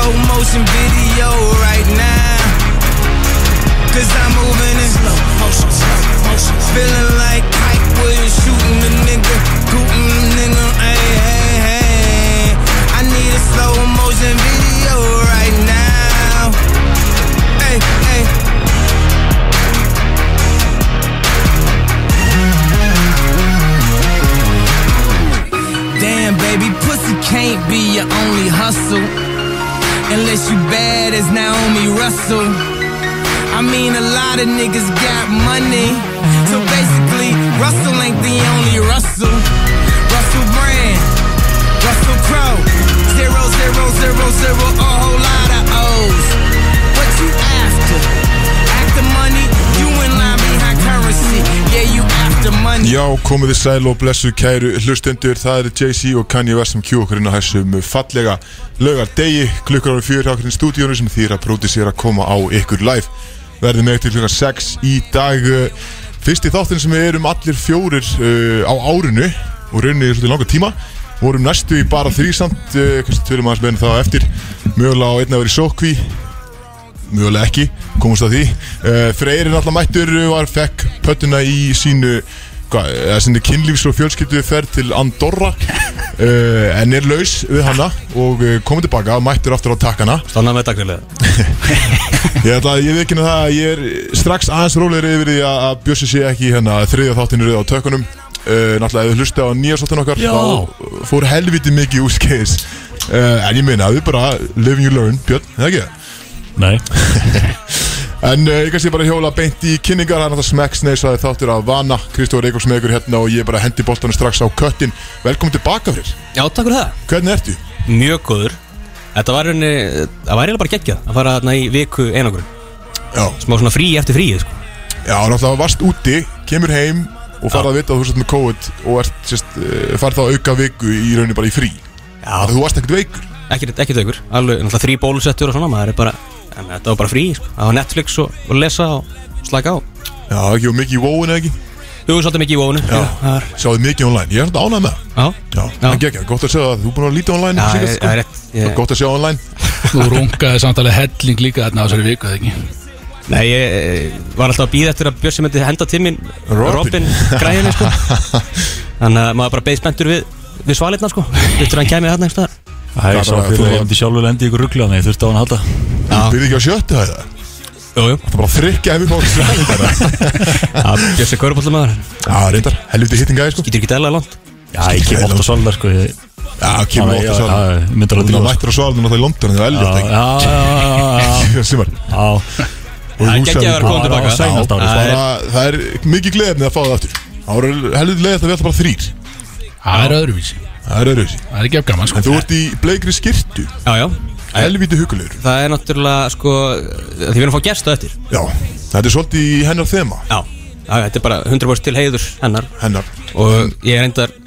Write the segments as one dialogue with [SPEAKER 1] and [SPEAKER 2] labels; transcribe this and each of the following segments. [SPEAKER 1] motion video right now. Cause I'm moving in slow motion, slow motion. Feeling like Mike Williams shooting a nigga, shooting a nigga, hey, hey, hey. I need a slow motion video right now. Hey, hey. Damn, baby, pussy can't be your only hustle. Unless you bad as Naomi Russell. I mean, a lot of niggas got money. So basically, Russell ain't the only Russell. Russell Brand, Russell Crowe. Zero, zero, zero, zero, a whole lot of O's. What you after? After money? You in line behind currency. Yeah, you after money.
[SPEAKER 2] Já, komið þið sæl og blessu kæru hlustendur, það eru Jay-Z og Kanye West sem kjú okkur inn á þessum fallega laugar degi, klukkur ára fjör hjá okkur í stúdíónu sem þýr að pródísera að koma á ykkur live. Verðið með til klukkan 6 í dag, uh, fyrst í þáttin sem við erum allir fjórir uh, á árinu og rauninni í svolítið langa tíma. Vorum næstu í bara þrísamt, uh, kannski tölum aðeins meðan það á eftir, mögulega á einna verið sókví, mjögulega ekki, komast að því uh, Freyrin alltaf mættur var fekk pöttuna í sínu hva, eða sinni kynlífs og fjölskylduferð til Andorra uh, en er laus við hanna og uh, komið tilbaka mættur aftur á takkana
[SPEAKER 3] Stanna með dagriðlega
[SPEAKER 2] ég ætla að ég veikina það að ég er strax aðeins rólegri yfir því að að Bjössi sé ekki í hérna þriðja þáttinu rauð á tökunum uh, náttúrulega ef við hlusta á nýja sáttin okkar
[SPEAKER 3] Já.
[SPEAKER 2] þá fór helviti mikið úrskeiðis uh, en ég meina við bara living you learn Björn, er það ekki það?
[SPEAKER 3] Nei
[SPEAKER 2] En uh, ég kannski bara hjóla beint í kynningar Það er náttúrulega smekksneis að þáttir að vana Kristóður Reykjavíks með ykkur hérna og ég bara hendi boltanum strax á köttin Velkomin tilbaka fyrir
[SPEAKER 3] Já, takk fyrir það
[SPEAKER 2] Hvernig ertu?
[SPEAKER 3] Mjög góður Þetta var henni, það var eiginlega bara geggjað að fara þarna í viku einangur
[SPEAKER 2] Já,
[SPEAKER 3] Smá svona frí eftir frí, sko
[SPEAKER 2] já náttúrulega varst úti, kemur heim og farað að vita að þú sért með COVID og ert, sérst, uh, farð þá auka viku í rauninni bara í frí
[SPEAKER 3] Já
[SPEAKER 2] Þú varst ekkert veikur
[SPEAKER 3] Ekkert, ekkert aukur, alveg, náttúrulega þrý bólusettur og svona Maður er bara, en, þetta var bara frí, sko Það var Netflix og, og lesa og slaka á
[SPEAKER 2] Já, ekki og mikið í vóin eða ekki
[SPEAKER 3] Þú er svolítið mikið í vónu Já, það er-
[SPEAKER 2] Sjáðu mikið online, ég er þetta ánægð með það
[SPEAKER 3] já,
[SPEAKER 2] Já,
[SPEAKER 3] Já.
[SPEAKER 2] það gekk, gott að segja það, þú er búin að líta online
[SPEAKER 3] Já,
[SPEAKER 2] síðast,
[SPEAKER 3] ég-
[SPEAKER 2] sko.
[SPEAKER 3] það er rétt, ég-
[SPEAKER 2] Gott að segja online
[SPEAKER 4] Þú rungaði samtalið helling líka þarna á þessari viku, eða ekki?
[SPEAKER 3] Nei, ég eh, var alltaf að býða eftir að Bjössi myndi henda tímin
[SPEAKER 2] Robin.
[SPEAKER 3] Robin græðinni, sko Þannig að maður bara beið spenntur við, við svalirna, sko Vittur hann kæmi þarna, ekki
[SPEAKER 5] Það
[SPEAKER 2] Það
[SPEAKER 5] er
[SPEAKER 2] er
[SPEAKER 5] svo
[SPEAKER 2] bara-
[SPEAKER 5] fyrir
[SPEAKER 2] þú-
[SPEAKER 5] að ég myndi sjálfur lendi í ykkur rugglu Þannig ég þurfti á hann að halda
[SPEAKER 2] Þú byrði ekki á sjöttu það
[SPEAKER 3] Jú, jú,
[SPEAKER 2] Það bara þrykja ef við fórum stræðin bara
[SPEAKER 3] að Bjössi Körbóllamæður
[SPEAKER 2] Já, reyndar, helviti hittingaði sko
[SPEAKER 3] Getur ekki dæla langt
[SPEAKER 5] Já, ég kem ofta svolítið sko Ég
[SPEAKER 2] Já, kemur
[SPEAKER 5] Já,
[SPEAKER 2] ofta
[SPEAKER 5] já,
[SPEAKER 2] svar
[SPEAKER 5] já, já, myndir að
[SPEAKER 2] Þú
[SPEAKER 5] drífa,
[SPEAKER 2] mættir að svara þannig að það er London Það er
[SPEAKER 5] Já,
[SPEAKER 2] elgjöld
[SPEAKER 5] já, já,
[SPEAKER 2] ekki Sumar
[SPEAKER 5] já
[SPEAKER 2] Og
[SPEAKER 3] Það er
[SPEAKER 2] í Húsavík.
[SPEAKER 3] geggjaður að koma
[SPEAKER 5] Já,
[SPEAKER 3] tilbaka.
[SPEAKER 5] á seinasta ári,
[SPEAKER 2] Já,
[SPEAKER 5] sko.
[SPEAKER 2] bara, Það er mikið gleðið með að fá það aftur Það voru helviti leiðið að við alltaf bara þrýr
[SPEAKER 4] Það er öðruvísi.
[SPEAKER 2] Það er öðruvísi
[SPEAKER 4] Það er ekki af gaman, sko.
[SPEAKER 2] En þú ert í bleikri skirtu
[SPEAKER 3] Já, já
[SPEAKER 2] Helviti hugulegur
[SPEAKER 3] Það er náttúrulega, sko, því við erum að fá gesta eftir
[SPEAKER 2] Já, þetta er svolítið í hennar þema
[SPEAKER 3] Já Þetta er bara 100% til heiður hennar
[SPEAKER 2] Hennar
[SPEAKER 3] Og ég er reyndar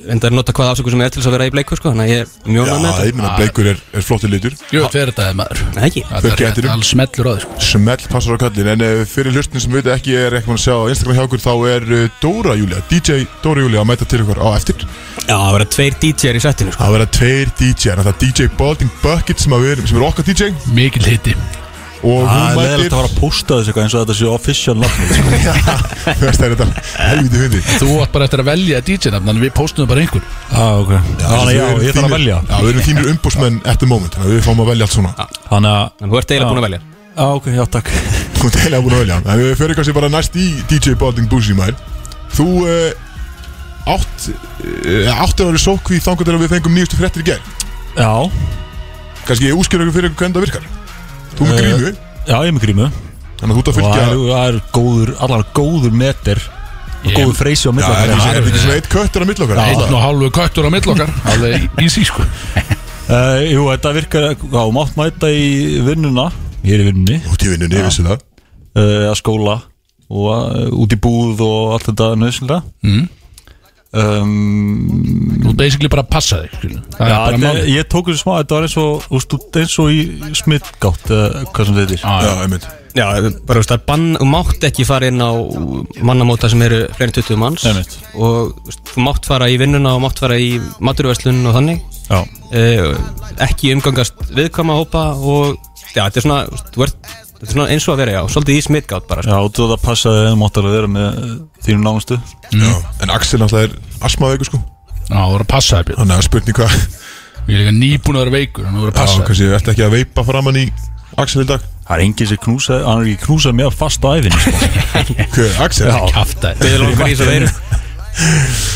[SPEAKER 3] Reyndar að nota hvaða ásöku sem er til þess að vera í bleiku, sko Þannig að ég er mjög
[SPEAKER 2] Já,
[SPEAKER 3] ánægð með þetta
[SPEAKER 2] ég meina bleikur er, er flottur litur
[SPEAKER 4] Jú, tveir þetta er maður.
[SPEAKER 3] Nei, ekki
[SPEAKER 4] Það er
[SPEAKER 2] Fuggið
[SPEAKER 4] rétt,
[SPEAKER 2] eftir um.
[SPEAKER 4] alls smellur á þig, sko.
[SPEAKER 2] Smell passar á kallin En eh, fyrir hlustin sem veit ekki er eitthvað að sjá á Instagram hjá okkur Þá er eh, Dóra Júlia, DJ Dóra Júlia að mæta til okkur á eftir
[SPEAKER 3] Já, það vera tveir DJ-er í settinu, sko
[SPEAKER 2] Það verða tveir DJ-ar Það er DJ Balding Bucket sem, að við erum- sem er okkar DJ
[SPEAKER 4] Mikil hitti.
[SPEAKER 2] Og
[SPEAKER 5] Það
[SPEAKER 2] hún
[SPEAKER 5] er leðilegt
[SPEAKER 2] mætir
[SPEAKER 5] Ah, að fara að posta þessu eitthvað eins og þetta séu official nafni sko.
[SPEAKER 2] Þú veist það er þetta helviti hundi
[SPEAKER 4] Þú átt bara eftir að velja DJ-nafn, en við postum bara einhver.
[SPEAKER 5] Já, ok Þannig já, ég þarf að velja Ah.
[SPEAKER 2] Já, við erum þínir umbúsmenn eftir moment Þannig að við fáum að velja allt svona
[SPEAKER 5] Þannig að,
[SPEAKER 3] Þannig þú ert eiginlega búin að velja
[SPEAKER 5] já, ok, já, takk
[SPEAKER 2] Þú ert eiginlega búin að velja Þannig að við fyrir kannski bara næst í DJ Balding Boozy maður Þú uh, átt uh, áttur árið sókví þangar til að við fengum nýjustu fréttir í gær
[SPEAKER 5] Já,
[SPEAKER 2] Kannski ég úskýra ykkur fyrir ykkur hvernig það virkar Þú með
[SPEAKER 5] Eh,
[SPEAKER 2] grímu
[SPEAKER 5] já, ég er með grímu
[SPEAKER 2] Þannig að þú ert að
[SPEAKER 5] Og það
[SPEAKER 2] fylgja
[SPEAKER 5] er- það er góður, allar góður meter Og góður
[SPEAKER 2] Já,
[SPEAKER 5] freysi á
[SPEAKER 2] en
[SPEAKER 5] milli
[SPEAKER 2] það er ekki svona eitt köttur að milla okkar
[SPEAKER 4] Einn og halvu köttur á mill okkar. Alveg í sí, sko.
[SPEAKER 5] Uh, jú, þetta virkar, já, þú mátt mæta í vinnuna, ég er í vinnunni,
[SPEAKER 2] Þú ert í vinnunni, ég vissi það
[SPEAKER 5] uh, að skóla og uh, út í búð og allt þetta nöðsynlega.
[SPEAKER 4] Mm.
[SPEAKER 5] Um,
[SPEAKER 4] Þú basically bara passa þig, skilju. Það
[SPEAKER 5] já,
[SPEAKER 4] er bara
[SPEAKER 5] þetta,
[SPEAKER 4] málið.
[SPEAKER 5] ég tók þessu smá, þetta var eins og, úst, eins og í smittgátt, uh, hvað sem þetta er.
[SPEAKER 4] Já,
[SPEAKER 2] Já,
[SPEAKER 4] já.
[SPEAKER 2] einmitt
[SPEAKER 3] Já, bara þú veist, það er bann, þú mátt ekki fara inn á mannamóta sem eru fleiri en 20 manns
[SPEAKER 5] Einmitt.
[SPEAKER 3] og þú veist, þú mátt fara í vinnuna og mátt fara í maturverslun og þannig
[SPEAKER 5] Já.
[SPEAKER 3] uh, ekki umgangast viðkama hópa og já, þetta er svona, þú veist, þú ert, þetta er svona eins og að vera já, svolítið í smitgátt bara sko.
[SPEAKER 5] Já, þú það passaði að þú mátt alveg vera með eh, þínum nánustu
[SPEAKER 2] Já, en Axel náttúrulega er asmaðveikur sko
[SPEAKER 4] Já, það voru að passa það Björn.
[SPEAKER 2] Þannig að spurning hvað
[SPEAKER 4] Ég er líka nýbúin að vera veikur, þannig að voru að
[SPEAKER 2] Já,
[SPEAKER 4] passa það
[SPEAKER 2] kannski við ætti ekki að veipa framann í Axel í dag
[SPEAKER 5] Það er enginn sem knúsaði, hann er ekki knúsaði mér fast á æfinni sko.
[SPEAKER 2] Hver, Axel?
[SPEAKER 5] Já.
[SPEAKER 4] Kjafta
[SPEAKER 3] Við erum langar í þessu veiru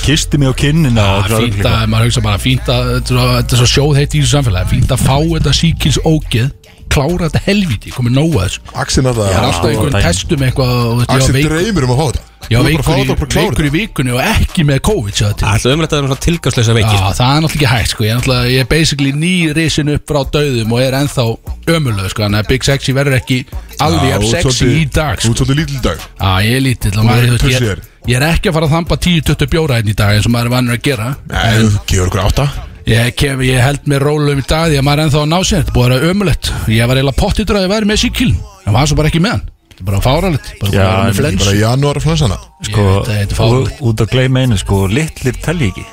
[SPEAKER 5] Kisti mig á kinnina og
[SPEAKER 4] Það er
[SPEAKER 5] eitthvað
[SPEAKER 4] fínt
[SPEAKER 5] ruglið.
[SPEAKER 4] að, maður hugsa bara, fínt að, þetta er svo- þetta er svo sjóð heitt í þessu samfélagi, fínt að fá þetta síkils ógeð, klára þetta helviti, komið nóga þessu.
[SPEAKER 2] Axel
[SPEAKER 4] Það er
[SPEAKER 2] náttúrulega
[SPEAKER 4] alltaf einhverjum
[SPEAKER 5] dæmi.
[SPEAKER 4] testum eitthvað og þetta ég
[SPEAKER 2] Axel
[SPEAKER 4] var veikur,
[SPEAKER 2] dreymir um að fá þetta
[SPEAKER 4] ég
[SPEAKER 2] Þú
[SPEAKER 4] var
[SPEAKER 2] er bara að fá
[SPEAKER 4] veikur,
[SPEAKER 2] þetta og bara
[SPEAKER 4] í,
[SPEAKER 2] klára
[SPEAKER 4] veikur í vikunni og ekki með COVID, sagði til.
[SPEAKER 3] Það er umrætt að vera svona tilgangslösa
[SPEAKER 4] Já,
[SPEAKER 3] veiki sko.
[SPEAKER 4] það er náttúrulega ekki hægt sko. ég, er náttúrulega, ég er basically ný risin upp frá döðum og er ennþá ömuleg sko. Þannig að Big Sexy verður ekki alveg
[SPEAKER 2] Já,
[SPEAKER 4] jafn
[SPEAKER 2] þú ert
[SPEAKER 4] sexy
[SPEAKER 2] svolítið-
[SPEAKER 4] í dag
[SPEAKER 2] Þú
[SPEAKER 4] sko.
[SPEAKER 2] ert svolítið lítil í dag
[SPEAKER 4] Já, ég er lítill og maður,
[SPEAKER 2] ert
[SPEAKER 4] þú veist, ég,
[SPEAKER 2] pussy þér.
[SPEAKER 4] ég er ekki að fara að þamba 10-20 bjóra einn í dag eins og maður er vannur að gera
[SPEAKER 2] Nei, þú gefur okkur átta
[SPEAKER 4] ég, kem, ég held með rólum í dag því að maður er ennþá að ná sér þetta er búið að vera ömulegt ég var eiginlega pottitur að ég væri með síkiln en var svo bara ekki með hann þetta er bara fáralegt bara
[SPEAKER 5] Já,
[SPEAKER 4] bara
[SPEAKER 2] Ég
[SPEAKER 4] með
[SPEAKER 5] en ég
[SPEAKER 2] er
[SPEAKER 4] flens
[SPEAKER 2] bara í janúar að flansa hana
[SPEAKER 5] Sko,
[SPEAKER 4] Ég veit að þetta er fáránlegt.
[SPEAKER 5] ú- út að gleyma einu sko, litlir telji ekki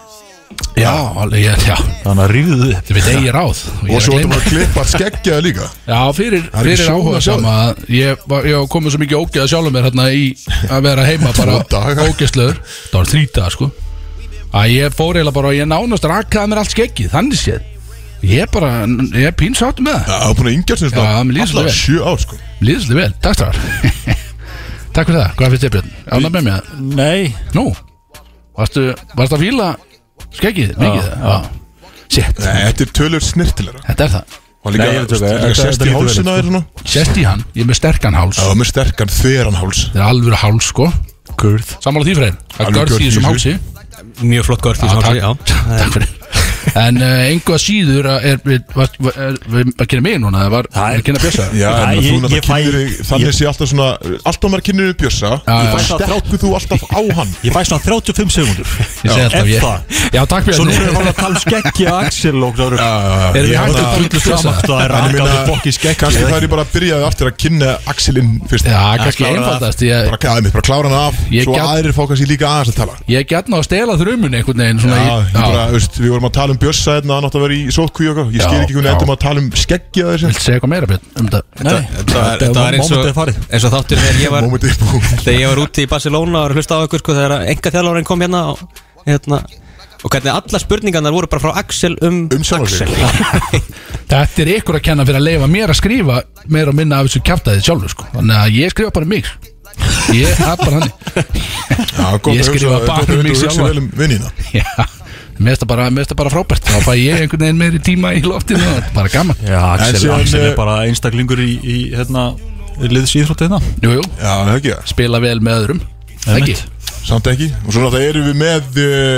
[SPEAKER 4] já, alveg, ég- já,
[SPEAKER 5] Þannig að ríðu þið upp
[SPEAKER 4] þetta veit eigi ráð ég er
[SPEAKER 2] Og
[SPEAKER 4] að
[SPEAKER 2] svo
[SPEAKER 4] gleyma-
[SPEAKER 2] ertu bara að klippa að skeggja það líka
[SPEAKER 4] Já, fyrir,
[SPEAKER 2] er ekki
[SPEAKER 4] fyrir
[SPEAKER 2] sjón að
[SPEAKER 4] áhuga
[SPEAKER 2] sjá
[SPEAKER 4] sama að ég, var, ég var komið svo mikið ógeða sjálfum mér hérna í að vera heima bara
[SPEAKER 2] Tvo daga.
[SPEAKER 4] ógeðslegur Það var þrítið sko að ég fór eiginlega bara og ég nánast rakaði mér allt skeggið, þannig séð Ég bara, ég er pínsátt með það
[SPEAKER 2] Já, Það er búin að yngjast þér
[SPEAKER 4] Já, mér líður
[SPEAKER 2] svona Alltaf
[SPEAKER 4] svolítið vel.
[SPEAKER 2] sjö ár sko
[SPEAKER 4] Líðislega vel, takk stráðar Takk fyrir það, hvað finnst þér Björn? Ánæg með mér
[SPEAKER 5] Nei,
[SPEAKER 4] Nú, varstu, varstu að fíla skeggið, mikið
[SPEAKER 5] Já,
[SPEAKER 4] það? Já, sétt,
[SPEAKER 2] Nei, þetta er tölur snirtilega
[SPEAKER 4] þetta er það
[SPEAKER 2] Og
[SPEAKER 5] Nei, ég
[SPEAKER 2] líka,
[SPEAKER 5] veit ekki,
[SPEAKER 2] líka
[SPEAKER 5] þetta-
[SPEAKER 2] sérst
[SPEAKER 5] þetta
[SPEAKER 2] í
[SPEAKER 5] lítur vel
[SPEAKER 2] hálsin á þér
[SPEAKER 5] út,
[SPEAKER 4] sko.
[SPEAKER 2] hérna. svona
[SPEAKER 4] Sest í hann, ég er með sterkan háls
[SPEAKER 2] Já, með sterkan þveran háls
[SPEAKER 4] Þetta er alvöru háls sko
[SPEAKER 5] kurð
[SPEAKER 4] Sammála því fræðin, að
[SPEAKER 2] Alveg
[SPEAKER 4] görð
[SPEAKER 2] görð
[SPEAKER 4] því
[SPEAKER 2] í
[SPEAKER 4] þessum
[SPEAKER 2] þessu.
[SPEAKER 4] hálsi
[SPEAKER 3] sko. Mjög flott górt í
[SPEAKER 4] Já,
[SPEAKER 3] þessu hálsi,
[SPEAKER 4] takk, takk fyrir En uh, einhvað síður að er, við, var, var, er, við að kynna mig núna eða var
[SPEAKER 5] Það er-
[SPEAKER 4] að kynna Bjössa
[SPEAKER 2] Já,
[SPEAKER 5] Nei,
[SPEAKER 2] en
[SPEAKER 5] ég-
[SPEAKER 2] þú
[SPEAKER 5] ég fæ-
[SPEAKER 2] náttúrulega kynir Þannig sé alltaf svona Alltaf maður kynir upp bjössa
[SPEAKER 4] já.
[SPEAKER 2] Þá stekkuð þú alltaf á hann
[SPEAKER 5] Ég fæ svona 35 segundur
[SPEAKER 4] Ég segi alltaf
[SPEAKER 5] er
[SPEAKER 4] ég
[SPEAKER 5] það?
[SPEAKER 4] Já, takk
[SPEAKER 5] Svo nú erum
[SPEAKER 4] Björn
[SPEAKER 5] við að tala um skeggi og axil og það
[SPEAKER 4] Erum
[SPEAKER 2] Erum
[SPEAKER 4] við hægt að tala um
[SPEAKER 5] Saman
[SPEAKER 4] stressa?
[SPEAKER 5] hvað það er
[SPEAKER 2] En ég
[SPEAKER 5] rakað
[SPEAKER 2] meina,
[SPEAKER 5] upp bóki skeggi
[SPEAKER 2] kannski það er ég bara að byrjaði aftur að kynna Axelinn fyrst
[SPEAKER 4] Já, kannski
[SPEAKER 5] klára það.
[SPEAKER 4] einfaldast Ég,
[SPEAKER 2] Bara kæðið mitt, bara klára hann af
[SPEAKER 4] Ég
[SPEAKER 2] Svo
[SPEAKER 4] gat-
[SPEAKER 2] aðrir fá kannski líka aðeins að tala
[SPEAKER 4] ég gætna að stela þrumun einhvern veginn
[SPEAKER 2] Já,
[SPEAKER 4] svona,
[SPEAKER 2] ég
[SPEAKER 4] í-
[SPEAKER 2] bara, veist, við vorum að tala um bjössa hérna Hann átti að vera í sótkví og eitthvað Ég
[SPEAKER 4] Já,
[SPEAKER 2] skil ekki hvernig
[SPEAKER 4] já.
[SPEAKER 2] endum að tala um skeggja þessi
[SPEAKER 4] Viltu segja eitthvað meira Björn? Um þetta
[SPEAKER 5] Nei,
[SPEAKER 3] já Það er eins
[SPEAKER 5] Mómentið er
[SPEAKER 3] og,
[SPEAKER 5] farið
[SPEAKER 3] eins og þáttur þegar ég var
[SPEAKER 2] Mómentið er búin
[SPEAKER 3] Þegar ég var úti í Barcelona og var að hlusta á ykkur sko, þegar enga þjálfárinn kom hérna og, hérna og hvernig alla spurningarnar voru bara frá Axel um,
[SPEAKER 2] Um sjálfan sig.
[SPEAKER 3] Axel
[SPEAKER 4] Þetta er ykkur að kenna fyrir að leifa mér að skrifa meira og minna af þessu kjaftaðið sjálfur sko. Þannig að ég skrifa bara um mig Ég er bara hann
[SPEAKER 2] Já, gott
[SPEAKER 4] Ég
[SPEAKER 2] að
[SPEAKER 4] skrifa
[SPEAKER 2] hugsa-
[SPEAKER 4] bara
[SPEAKER 2] gott að
[SPEAKER 4] um mig
[SPEAKER 2] hugsa
[SPEAKER 4] sjálfan.
[SPEAKER 2] vel um vinnina
[SPEAKER 4] Já, mér finnst það bara, mér finnst það bara frábært Þá fæ ég einhvern veginn meiri tíma í loftinu og þetta er Bara gaman
[SPEAKER 5] Já, Axel,
[SPEAKER 2] síðan,
[SPEAKER 5] Axel
[SPEAKER 2] eh,
[SPEAKER 5] er bara einstaklingur í, í hérna liðsýþrótt hérna
[SPEAKER 4] Jú, jú,
[SPEAKER 2] Já, það er ekki það
[SPEAKER 4] spila vel með öðrum ekki,
[SPEAKER 5] Einmitt.
[SPEAKER 2] Samt ekki Og svo náttúrulega erum við með uh,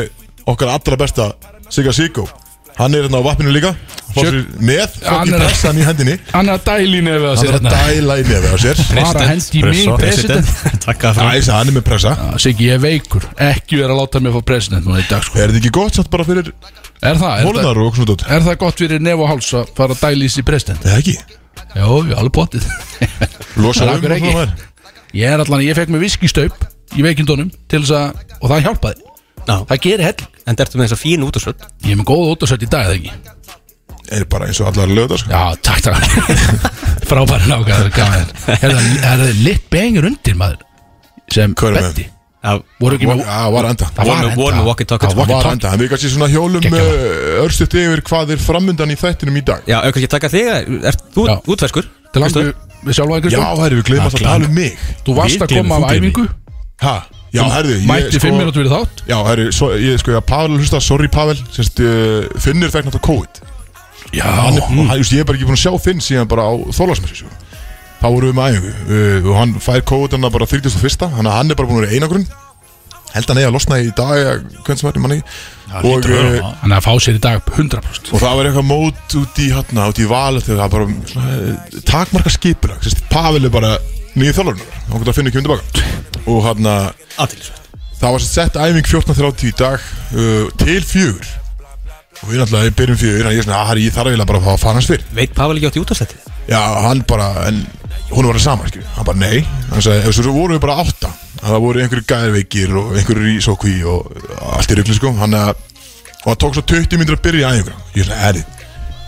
[SPEAKER 2] okkar allra besta Sigga Siggo Hann er hérna á vappinu líka Fá
[SPEAKER 4] Sjö-
[SPEAKER 2] sér Með
[SPEAKER 4] Hann
[SPEAKER 2] fokki
[SPEAKER 4] er-
[SPEAKER 2] pressan í hendinni
[SPEAKER 4] hann er að dæli nefið að
[SPEAKER 2] Hann
[SPEAKER 4] sér
[SPEAKER 2] er að
[SPEAKER 4] hérna
[SPEAKER 2] dæla í nefið á sér
[SPEAKER 4] var að hendi í mig president
[SPEAKER 5] Takk að
[SPEAKER 2] Æs, hann er með pressa
[SPEAKER 4] Já, Siggi, ég er veikur, ekki vera að láta mig fá president núna í dag sko
[SPEAKER 2] Er þetta ekki gott samt bara fyrir
[SPEAKER 4] Er það, er það,
[SPEAKER 2] hólunar og svona dót?
[SPEAKER 4] er það gott fyrir nef og háls að fara að dæli í sér president?
[SPEAKER 2] Eða ekki?
[SPEAKER 4] Jó, ég er alveg bóttið
[SPEAKER 2] Losa
[SPEAKER 4] Það
[SPEAKER 2] um
[SPEAKER 4] er
[SPEAKER 2] og
[SPEAKER 4] ekki.
[SPEAKER 2] svona þær
[SPEAKER 4] Ég er allan, ég fekk mér viskistaup í veikindunum til þess að, og það hjálpaði
[SPEAKER 3] Já,
[SPEAKER 4] Það gerir hell
[SPEAKER 3] en þetta með þess að fín út og svöld
[SPEAKER 4] Ég er með góða óttasöld í dag, eða ekki?
[SPEAKER 2] Er bara eins og allar lögðar sko
[SPEAKER 4] Já, takk takk Frábæri nákvæður gaman. Er það, er það lit bengur undir maður sem
[SPEAKER 2] Hver er með?
[SPEAKER 4] betti
[SPEAKER 3] Já,
[SPEAKER 4] voru ekki með
[SPEAKER 2] Já, var að enda
[SPEAKER 4] Það
[SPEAKER 3] voru með-
[SPEAKER 4] enda.
[SPEAKER 3] voru með walkie-talkie.
[SPEAKER 4] Það var
[SPEAKER 2] Var að
[SPEAKER 4] walkie-talkie.
[SPEAKER 2] enda En við kannski svona hjólum
[SPEAKER 4] Geggjað.
[SPEAKER 2] uh, örstutt yfir hvað er framundan í þættinum í dag
[SPEAKER 3] já auðvitað ekki taka þig að- Ert þú
[SPEAKER 4] Já.
[SPEAKER 3] útverskur?
[SPEAKER 4] Til langt við sjálfa
[SPEAKER 2] Já,
[SPEAKER 4] einhverjum
[SPEAKER 2] herri, við gleymum alltaf að tala um mig
[SPEAKER 4] Þú varst
[SPEAKER 5] Við
[SPEAKER 4] að koma
[SPEAKER 5] gleymum,
[SPEAKER 4] af
[SPEAKER 5] þú
[SPEAKER 4] æfingu
[SPEAKER 2] Ha? Já, herri ég,
[SPEAKER 4] Mætti
[SPEAKER 2] sko-
[SPEAKER 4] fimm minútur við þátt
[SPEAKER 2] Já, herri, svo, ég sko, ég Pavel hlusta, sorry Pavel sérst, uh, Finnir fekk náttúrulega COVID
[SPEAKER 4] Já
[SPEAKER 2] hann, er,
[SPEAKER 5] Mhm.
[SPEAKER 2] hann, just, Ég er bara ekki búin að sjá Finn síðan bara á Þorlásmessi sko. Þá vorum við með æfingu uh, og hann fær COVID hann bara 31. Þannig að hann er bara búin að vera í einangrun Held að hann eigi að losna í dag eða hvernig sem er, ég man ekki. og,
[SPEAKER 5] hlýtur að vera
[SPEAKER 2] uh,
[SPEAKER 5] það.
[SPEAKER 4] Þannig að fá sér í dag 100%
[SPEAKER 2] og það var eitthvað mót út í hann út í val þegar það bara svona, eh, takmarka skipulag sérst, Pavel er bara nýju þjálfurnar hann getur að finna ekki um tilbaka og hann
[SPEAKER 3] Aðeinsvægt
[SPEAKER 2] Það var sem sett æfing 14.30 í dag uh, til fjögur og við náttúrulega byrjum fjögur en ég er svona, að ég þarf eiginlega bara að fá að fara hans fyrr
[SPEAKER 3] Veit Pavel ekki átt í útversletti?
[SPEAKER 2] Já, hann bara, en hún var að saman, skilju hann bara, nei, hann sagði, ef svo svo voru við bara átta það voru einhverju gæðveikir og einhverju í sókví og allt í ruglu, sko, hann að og það tók svo 20 mínútur að byrja í æfingu ég er svona erið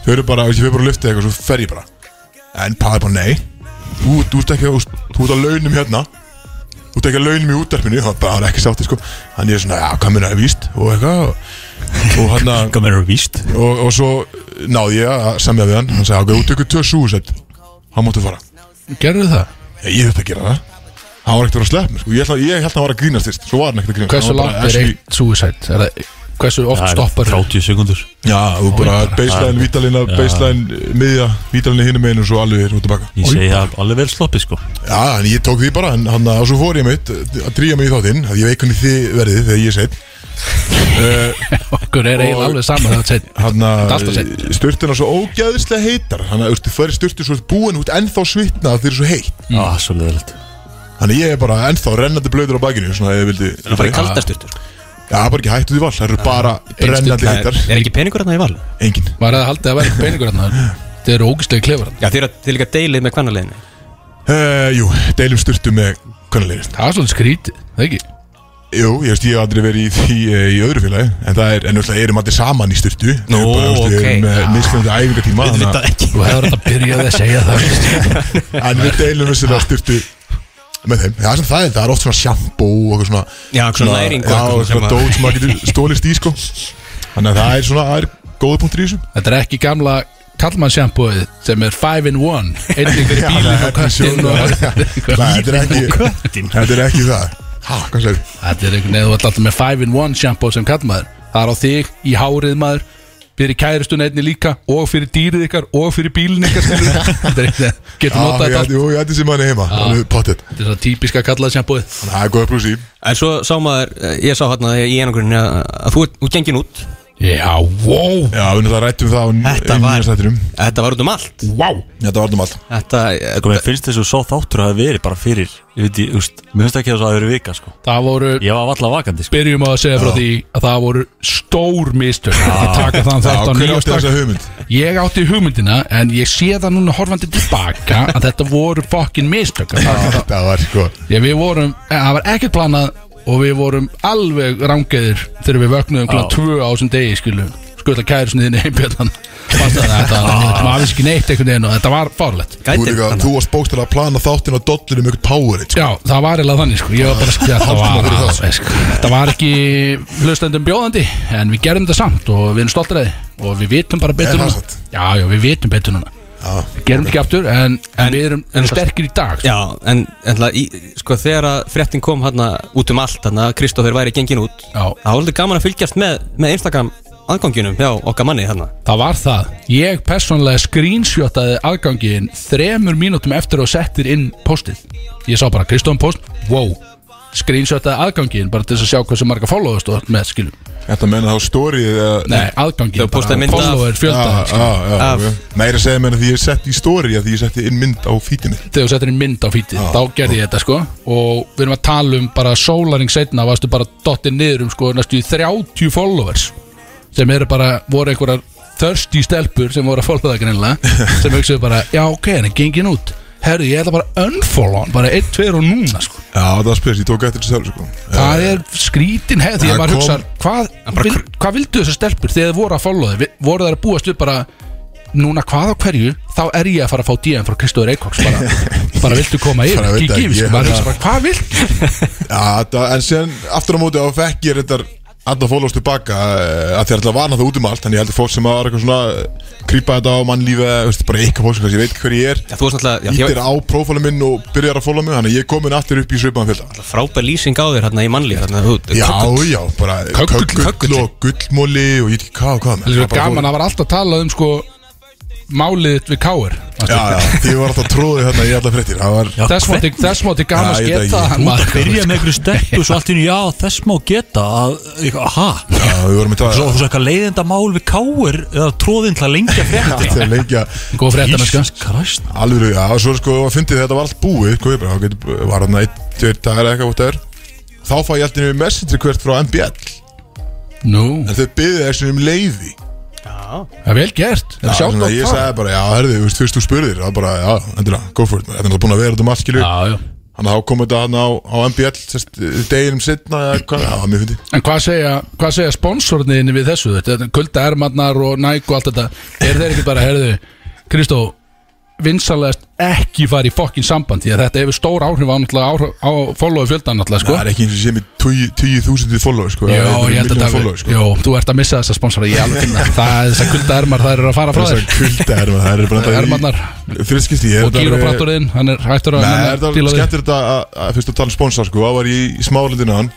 [SPEAKER 2] þau eru bara, ég fyrir bara að lyfta eitthvað svo fer ég bara en paði bara nei þú, þú ert ekki, þú, þú ert að launum hérna þú ert ekki að launum í útdarpinu það var bara ekki sátti sko hann er svona, já, hvað minna er víst og eitthvað og, og hann að
[SPEAKER 5] Hvað meður er víst?
[SPEAKER 2] og, og svo náði ég að semja við hann hann sagði, ok, þú tekur tvö súsett hann máttu fara
[SPEAKER 4] Gerðu það?
[SPEAKER 2] Ég, ég þurfti að gera það Hann var ekkert að vera að slepp mér sko. ég, ætla, ég held að hann var að grínast fyrst Svo var hann ekkert að grínast
[SPEAKER 4] Hversu
[SPEAKER 2] Hann var bara
[SPEAKER 4] langt er
[SPEAKER 2] actually-
[SPEAKER 4] eitt suicide? Er það, hversu oft stoppar
[SPEAKER 5] 30 sekundur
[SPEAKER 2] Já, þú bara
[SPEAKER 4] Ó, ég bara-
[SPEAKER 2] baseline, vítalina, baseline, eh, miðja Vítalina hinum meginu og svo alveg er út að baka
[SPEAKER 5] Ég segi það alveg vel sloppið sko
[SPEAKER 2] Já, en ég tók því bara En hann að svo fór ég mitt Að dríja mig í þáttinn Að ég veit hvernig þið verðið þegar ég er seitt
[SPEAKER 4] Okkur er eiginlega alveg sama þegar þetta er
[SPEAKER 2] Hann
[SPEAKER 4] Þetta er
[SPEAKER 2] að
[SPEAKER 4] alltaf seint.
[SPEAKER 2] styrtina svo ógæðislega heitar Hann að þú fyrir styrtu svo búin út Ennþá svitna þeir eru svo heitt
[SPEAKER 5] Já, svo leðilegt
[SPEAKER 2] Þannig ég er bara ennþá rennandi blöður á bakinu Svona ef ég vildi
[SPEAKER 3] Það er kaldasturtur
[SPEAKER 2] Já, bara ekki hægt út í vall Það eru bara
[SPEAKER 3] Ah,
[SPEAKER 2] brennandi heitar
[SPEAKER 3] Er ekki peningur hérna í val?
[SPEAKER 2] Engin
[SPEAKER 4] Var það haldið að vera peningur hérna Þetta eru ógæslega klefar hérna
[SPEAKER 3] Já, þið eru að- þið eru líka deilið með kvannaleginu
[SPEAKER 2] Uh, jú, deilum styrtu með kvölinlegin
[SPEAKER 4] Það er svolítið skrítið, það ekki?
[SPEAKER 2] Jú, ég veist, ég hef aldrei verið í því eh, í öðru félagi En það er, en náttúrulega erum allir saman í styrtu
[SPEAKER 3] Nó,
[SPEAKER 2] Við
[SPEAKER 3] ok.
[SPEAKER 2] erum með mismunandi æfingatíma
[SPEAKER 5] Við
[SPEAKER 2] þannig
[SPEAKER 5] vita ekki
[SPEAKER 4] Þú hefur þetta byrjaði að segja það
[SPEAKER 2] að- En við deilum þessi styrtu með þeim Já, sem það er, það er oft svona sjampó og eitthvað svona
[SPEAKER 3] Já, svona næring og
[SPEAKER 2] Já,
[SPEAKER 3] eitthvað
[SPEAKER 2] og svona
[SPEAKER 3] sem að-
[SPEAKER 2] dót sem maður getur stólist í, sko Þannig að það er svona, það er góða punktur í þessu
[SPEAKER 4] Þetta er ekki gamla kallmannsjampóið sem er 5 in 1 einnig fyrir
[SPEAKER 2] Já, það
[SPEAKER 4] bílinn og
[SPEAKER 2] er
[SPEAKER 4] köttin
[SPEAKER 2] sjónum.
[SPEAKER 4] og
[SPEAKER 2] Nei, þetta er ekki, þetta er ekki það Hæ, hvað sér?
[SPEAKER 4] Þetta er einhvern veginn, þú ert alltaf með 5 in 1 sjampó sem kallmaður Það er á þig, í hárið maður fyrir kæristun einni líka og fyrir dýrið ykkar og fyrir bílinn ykkar skilur við. Þetta er einhvern veginn,
[SPEAKER 2] Já,
[SPEAKER 4] getur notað
[SPEAKER 2] ég
[SPEAKER 4] þetta allt
[SPEAKER 2] ætti- jú, ég ætti sem hann heima alveg pottþétt.
[SPEAKER 4] Þetta er það típiska kallað sjampóið
[SPEAKER 2] Þannig að Það er góða pluss í
[SPEAKER 3] En svo sá maður, eh, ég sá hérna í einangurinn að að þú ert- þú ert gengin út
[SPEAKER 4] Já, wow,
[SPEAKER 2] Já, við náttúrulega rættum það á
[SPEAKER 3] Þetta var-
[SPEAKER 2] nýjastættinum
[SPEAKER 3] Þetta var út um allt
[SPEAKER 4] wow
[SPEAKER 2] Þetta var um allt
[SPEAKER 3] Þetta, eh,
[SPEAKER 5] Sko, mér finnst þessu svo þáttur að það verið bara fyrir Ég veit, ég, úst, mér finnst ekki að það hafi verið vika sko
[SPEAKER 4] Það voru,
[SPEAKER 5] Ég var alltaf vakandi sko
[SPEAKER 4] byrjum á að segja frá því að það voru stór mistök að taka
[SPEAKER 2] Já,
[SPEAKER 4] þann þetta á
[SPEAKER 2] hver átti
[SPEAKER 4] nýjastak
[SPEAKER 2] þessa hugmynd?
[SPEAKER 4] Ég átti hugmyndina en ég sé það núna horfandi tilbaka að þetta voru fokkin mistök að taka það.
[SPEAKER 2] Þetta var sko
[SPEAKER 4] Ég, við vorum, eh, það var ekkert planað og við vorum alveg rangeiðir þegar við vöknuðum kláð
[SPEAKER 5] Já.
[SPEAKER 4] tvö á þessum degi skilu skutla kærisni þinni heimbjöldan fannst að þetta
[SPEAKER 2] Ah.
[SPEAKER 4] maður vissi ekki neitt einhvern veginn og þetta var fárlegt
[SPEAKER 2] Þú,
[SPEAKER 3] gæti
[SPEAKER 2] líka, þú varst bókstæðlega að plana þáttin á dollinu með eitthvað power sko.
[SPEAKER 4] Já, það var eiginlega þannig sko, ég var bara að skilja þetta
[SPEAKER 2] Hálftíma
[SPEAKER 4] var
[SPEAKER 2] fyrir það.
[SPEAKER 4] alveg sko Þetta var ekki hlustendum bjóðandi en við gerum þetta samt og við erum stoltir af því og við vitum bara
[SPEAKER 2] Er
[SPEAKER 4] betur
[SPEAKER 2] það
[SPEAKER 4] núna
[SPEAKER 2] satt?
[SPEAKER 4] Já, já, við vitum betur núna
[SPEAKER 2] Já,
[SPEAKER 4] Við gerum ekki aftur en, en,
[SPEAKER 3] En-
[SPEAKER 4] við erum,
[SPEAKER 3] en-
[SPEAKER 4] erum sterkir í dag sko.
[SPEAKER 3] Já, en, en það, í, sko, þegar að fréttin kom hérna út um allt hérna, Kristófer væri gengin út
[SPEAKER 4] Já.
[SPEAKER 3] Það var svolítið gaman að fylgjast með, með Instagram aðganginum hjá okkar manni hérna
[SPEAKER 4] Það var það Ég persónlega screenshotaði aðgangin þremur mínútum eftir og settir inn postið Ég sá bara Kristofan post Wow Screenshotaði aðgangin bara til þess að sjá hversu marga followers þú átt með skilum
[SPEAKER 2] þetta menna þá stórið
[SPEAKER 4] Nei, aðgangin
[SPEAKER 3] Þau postaði mynd af-
[SPEAKER 4] Follower fjöldaði sko.
[SPEAKER 3] Af-
[SPEAKER 2] Meira segja mér að því ég setti í stóri að því ég setti inn mynd á fítinu
[SPEAKER 4] Þegar þú settir inn mynd á fítið
[SPEAKER 2] Já.
[SPEAKER 4] Þá gerði ég þetta sko Og við erum að tala um bara sólaring setna Varstu bara dottið niður um sko Næstu í 30 followers Sem eru bara, voru einhverjar Thirsty stelpur sem voru að followa það greinlega Sem hugsaðu bara, já ok, hann er gengin út Herðu, ég ætla bara að unfollow hann Bara 1, 2 og núna sko
[SPEAKER 2] Já, það var spes, ég tók eftir þessu sjálf sko.
[SPEAKER 4] Það er skrítin hefð Því
[SPEAKER 2] það
[SPEAKER 4] ég bara
[SPEAKER 2] kom-
[SPEAKER 4] hugsa, hvað, vil, hvað vildu þessar stelpur Þegar þið voru að followa þið Vi- Voru þær að búast við bara Núna hvað á hverju, þá er ég að fara að fá DM frá Kristóður Eikóks bara, bara viltu koma
[SPEAKER 2] Bara
[SPEAKER 4] yfir,
[SPEAKER 2] veit
[SPEAKER 4] kíkja
[SPEAKER 2] ekki,
[SPEAKER 4] yfir
[SPEAKER 2] ég-
[SPEAKER 4] sko, maður hugsa bara, hvað viltu
[SPEAKER 2] Já, þetta, en sen aftur á móti á fekk ég þetta Alltaf fólast tilbaka eh, að því alltaf var náttúrulega út um allt Þannig ég heldur fólk sem var eitthvað svona eh, Krýpa þetta á mannlífi, eða, veist, bara eitthvað fólk sem kannski veit ekki hver ég er
[SPEAKER 3] Já, þú varst náttúrulega, já,
[SPEAKER 2] Ítir á prófálum minn og byrjar að fóla mig Þannig að ég er komin aftur upp í svipaðan fjölda
[SPEAKER 3] þér frábær lýsing á þér hérna í mannlíf hérna, þú,
[SPEAKER 2] Já,
[SPEAKER 3] kökkull.
[SPEAKER 2] já, bara
[SPEAKER 4] Köggull,
[SPEAKER 2] köggull
[SPEAKER 3] köggull.
[SPEAKER 2] og gullmóli og ég veit ekki hvað og hvað
[SPEAKER 4] Það er svo gaman, það var alltaf að tala um sko málið þitt við káir
[SPEAKER 2] Já, já, því ég var alltaf tróðið þarna í alla fréttir Það var,
[SPEAKER 5] Já,
[SPEAKER 4] Þess mátti, þess mátti gaman
[SPEAKER 2] Já,
[SPEAKER 4] að
[SPEAKER 2] ég veit
[SPEAKER 4] sketa
[SPEAKER 2] ekki,
[SPEAKER 4] hann
[SPEAKER 5] Út að
[SPEAKER 4] maður.
[SPEAKER 5] byrja með einhverju stelpu Svo allt í nýja, já þess má geta að, eitthvað, Aha,
[SPEAKER 2] já, við vorum í það
[SPEAKER 5] svo þú svo eitthvað leiðinda mál við káir Eða tróðin til að lengja fréttir
[SPEAKER 2] Þetta er lengja
[SPEAKER 4] Góð sko. frétta mennska
[SPEAKER 5] Jesus Christ
[SPEAKER 2] Alveg, já, svo sko, að fyndið þetta var allt búið Hvað ég bara, þá getur, var þarna einn, tveir dagar eða eitthvað út það er Þá fæ ég alltaf message request frá MBL
[SPEAKER 4] Nú,
[SPEAKER 2] En þau byggðu þessu um leiði
[SPEAKER 4] það er vel gert
[SPEAKER 2] Já,
[SPEAKER 4] Það er sjátt
[SPEAKER 2] svona,
[SPEAKER 4] og
[SPEAKER 2] Ég
[SPEAKER 4] það
[SPEAKER 2] sagði bara, já, herðu, þú veist, fyrst þú spurðir Það var bara, já, endilega, go for it Þetta er náttúrulega búin að vera þetta um allt, skilju
[SPEAKER 4] Já, já
[SPEAKER 2] Þannig að þá kom þetta hann á, á MBL sest, deginum setna eða hvað, það var mjög fyndi
[SPEAKER 4] En hvað segja, hvað segja sponsorniðinni við þessu? Þetta kulda ermarnar og næk og allt þetta Er þeir ekki bara, herðu Kristó, vinsalegast ekki fara í fokkin samband Því að þetta hefur stór áhrif á, náttúrulega áhrif- á followu fjöldan náttúrulega, sko
[SPEAKER 2] Það er ekki eins og sé með 10 10.000 follower sko,
[SPEAKER 4] Jó,
[SPEAKER 2] eða
[SPEAKER 4] ég held að
[SPEAKER 2] milljón
[SPEAKER 4] það
[SPEAKER 2] follower, sko.
[SPEAKER 4] Jó, þú ert að missa þessa sponsora, ég alveg finna það. Það er þess að kulda ermar, það eru að fara frá
[SPEAKER 2] Þessar
[SPEAKER 4] þér
[SPEAKER 2] kulda er maður, það er bara
[SPEAKER 4] Ermarnar
[SPEAKER 2] Friskisti, ég
[SPEAKER 4] og gyropratturinn, hann er hættur að
[SPEAKER 2] Nei,
[SPEAKER 4] hann
[SPEAKER 2] það er
[SPEAKER 4] að
[SPEAKER 2] það
[SPEAKER 4] díla við.
[SPEAKER 2] skemmtir þetta að- að fyrst að tala um sponsor sko, það var ég í smálundinu hann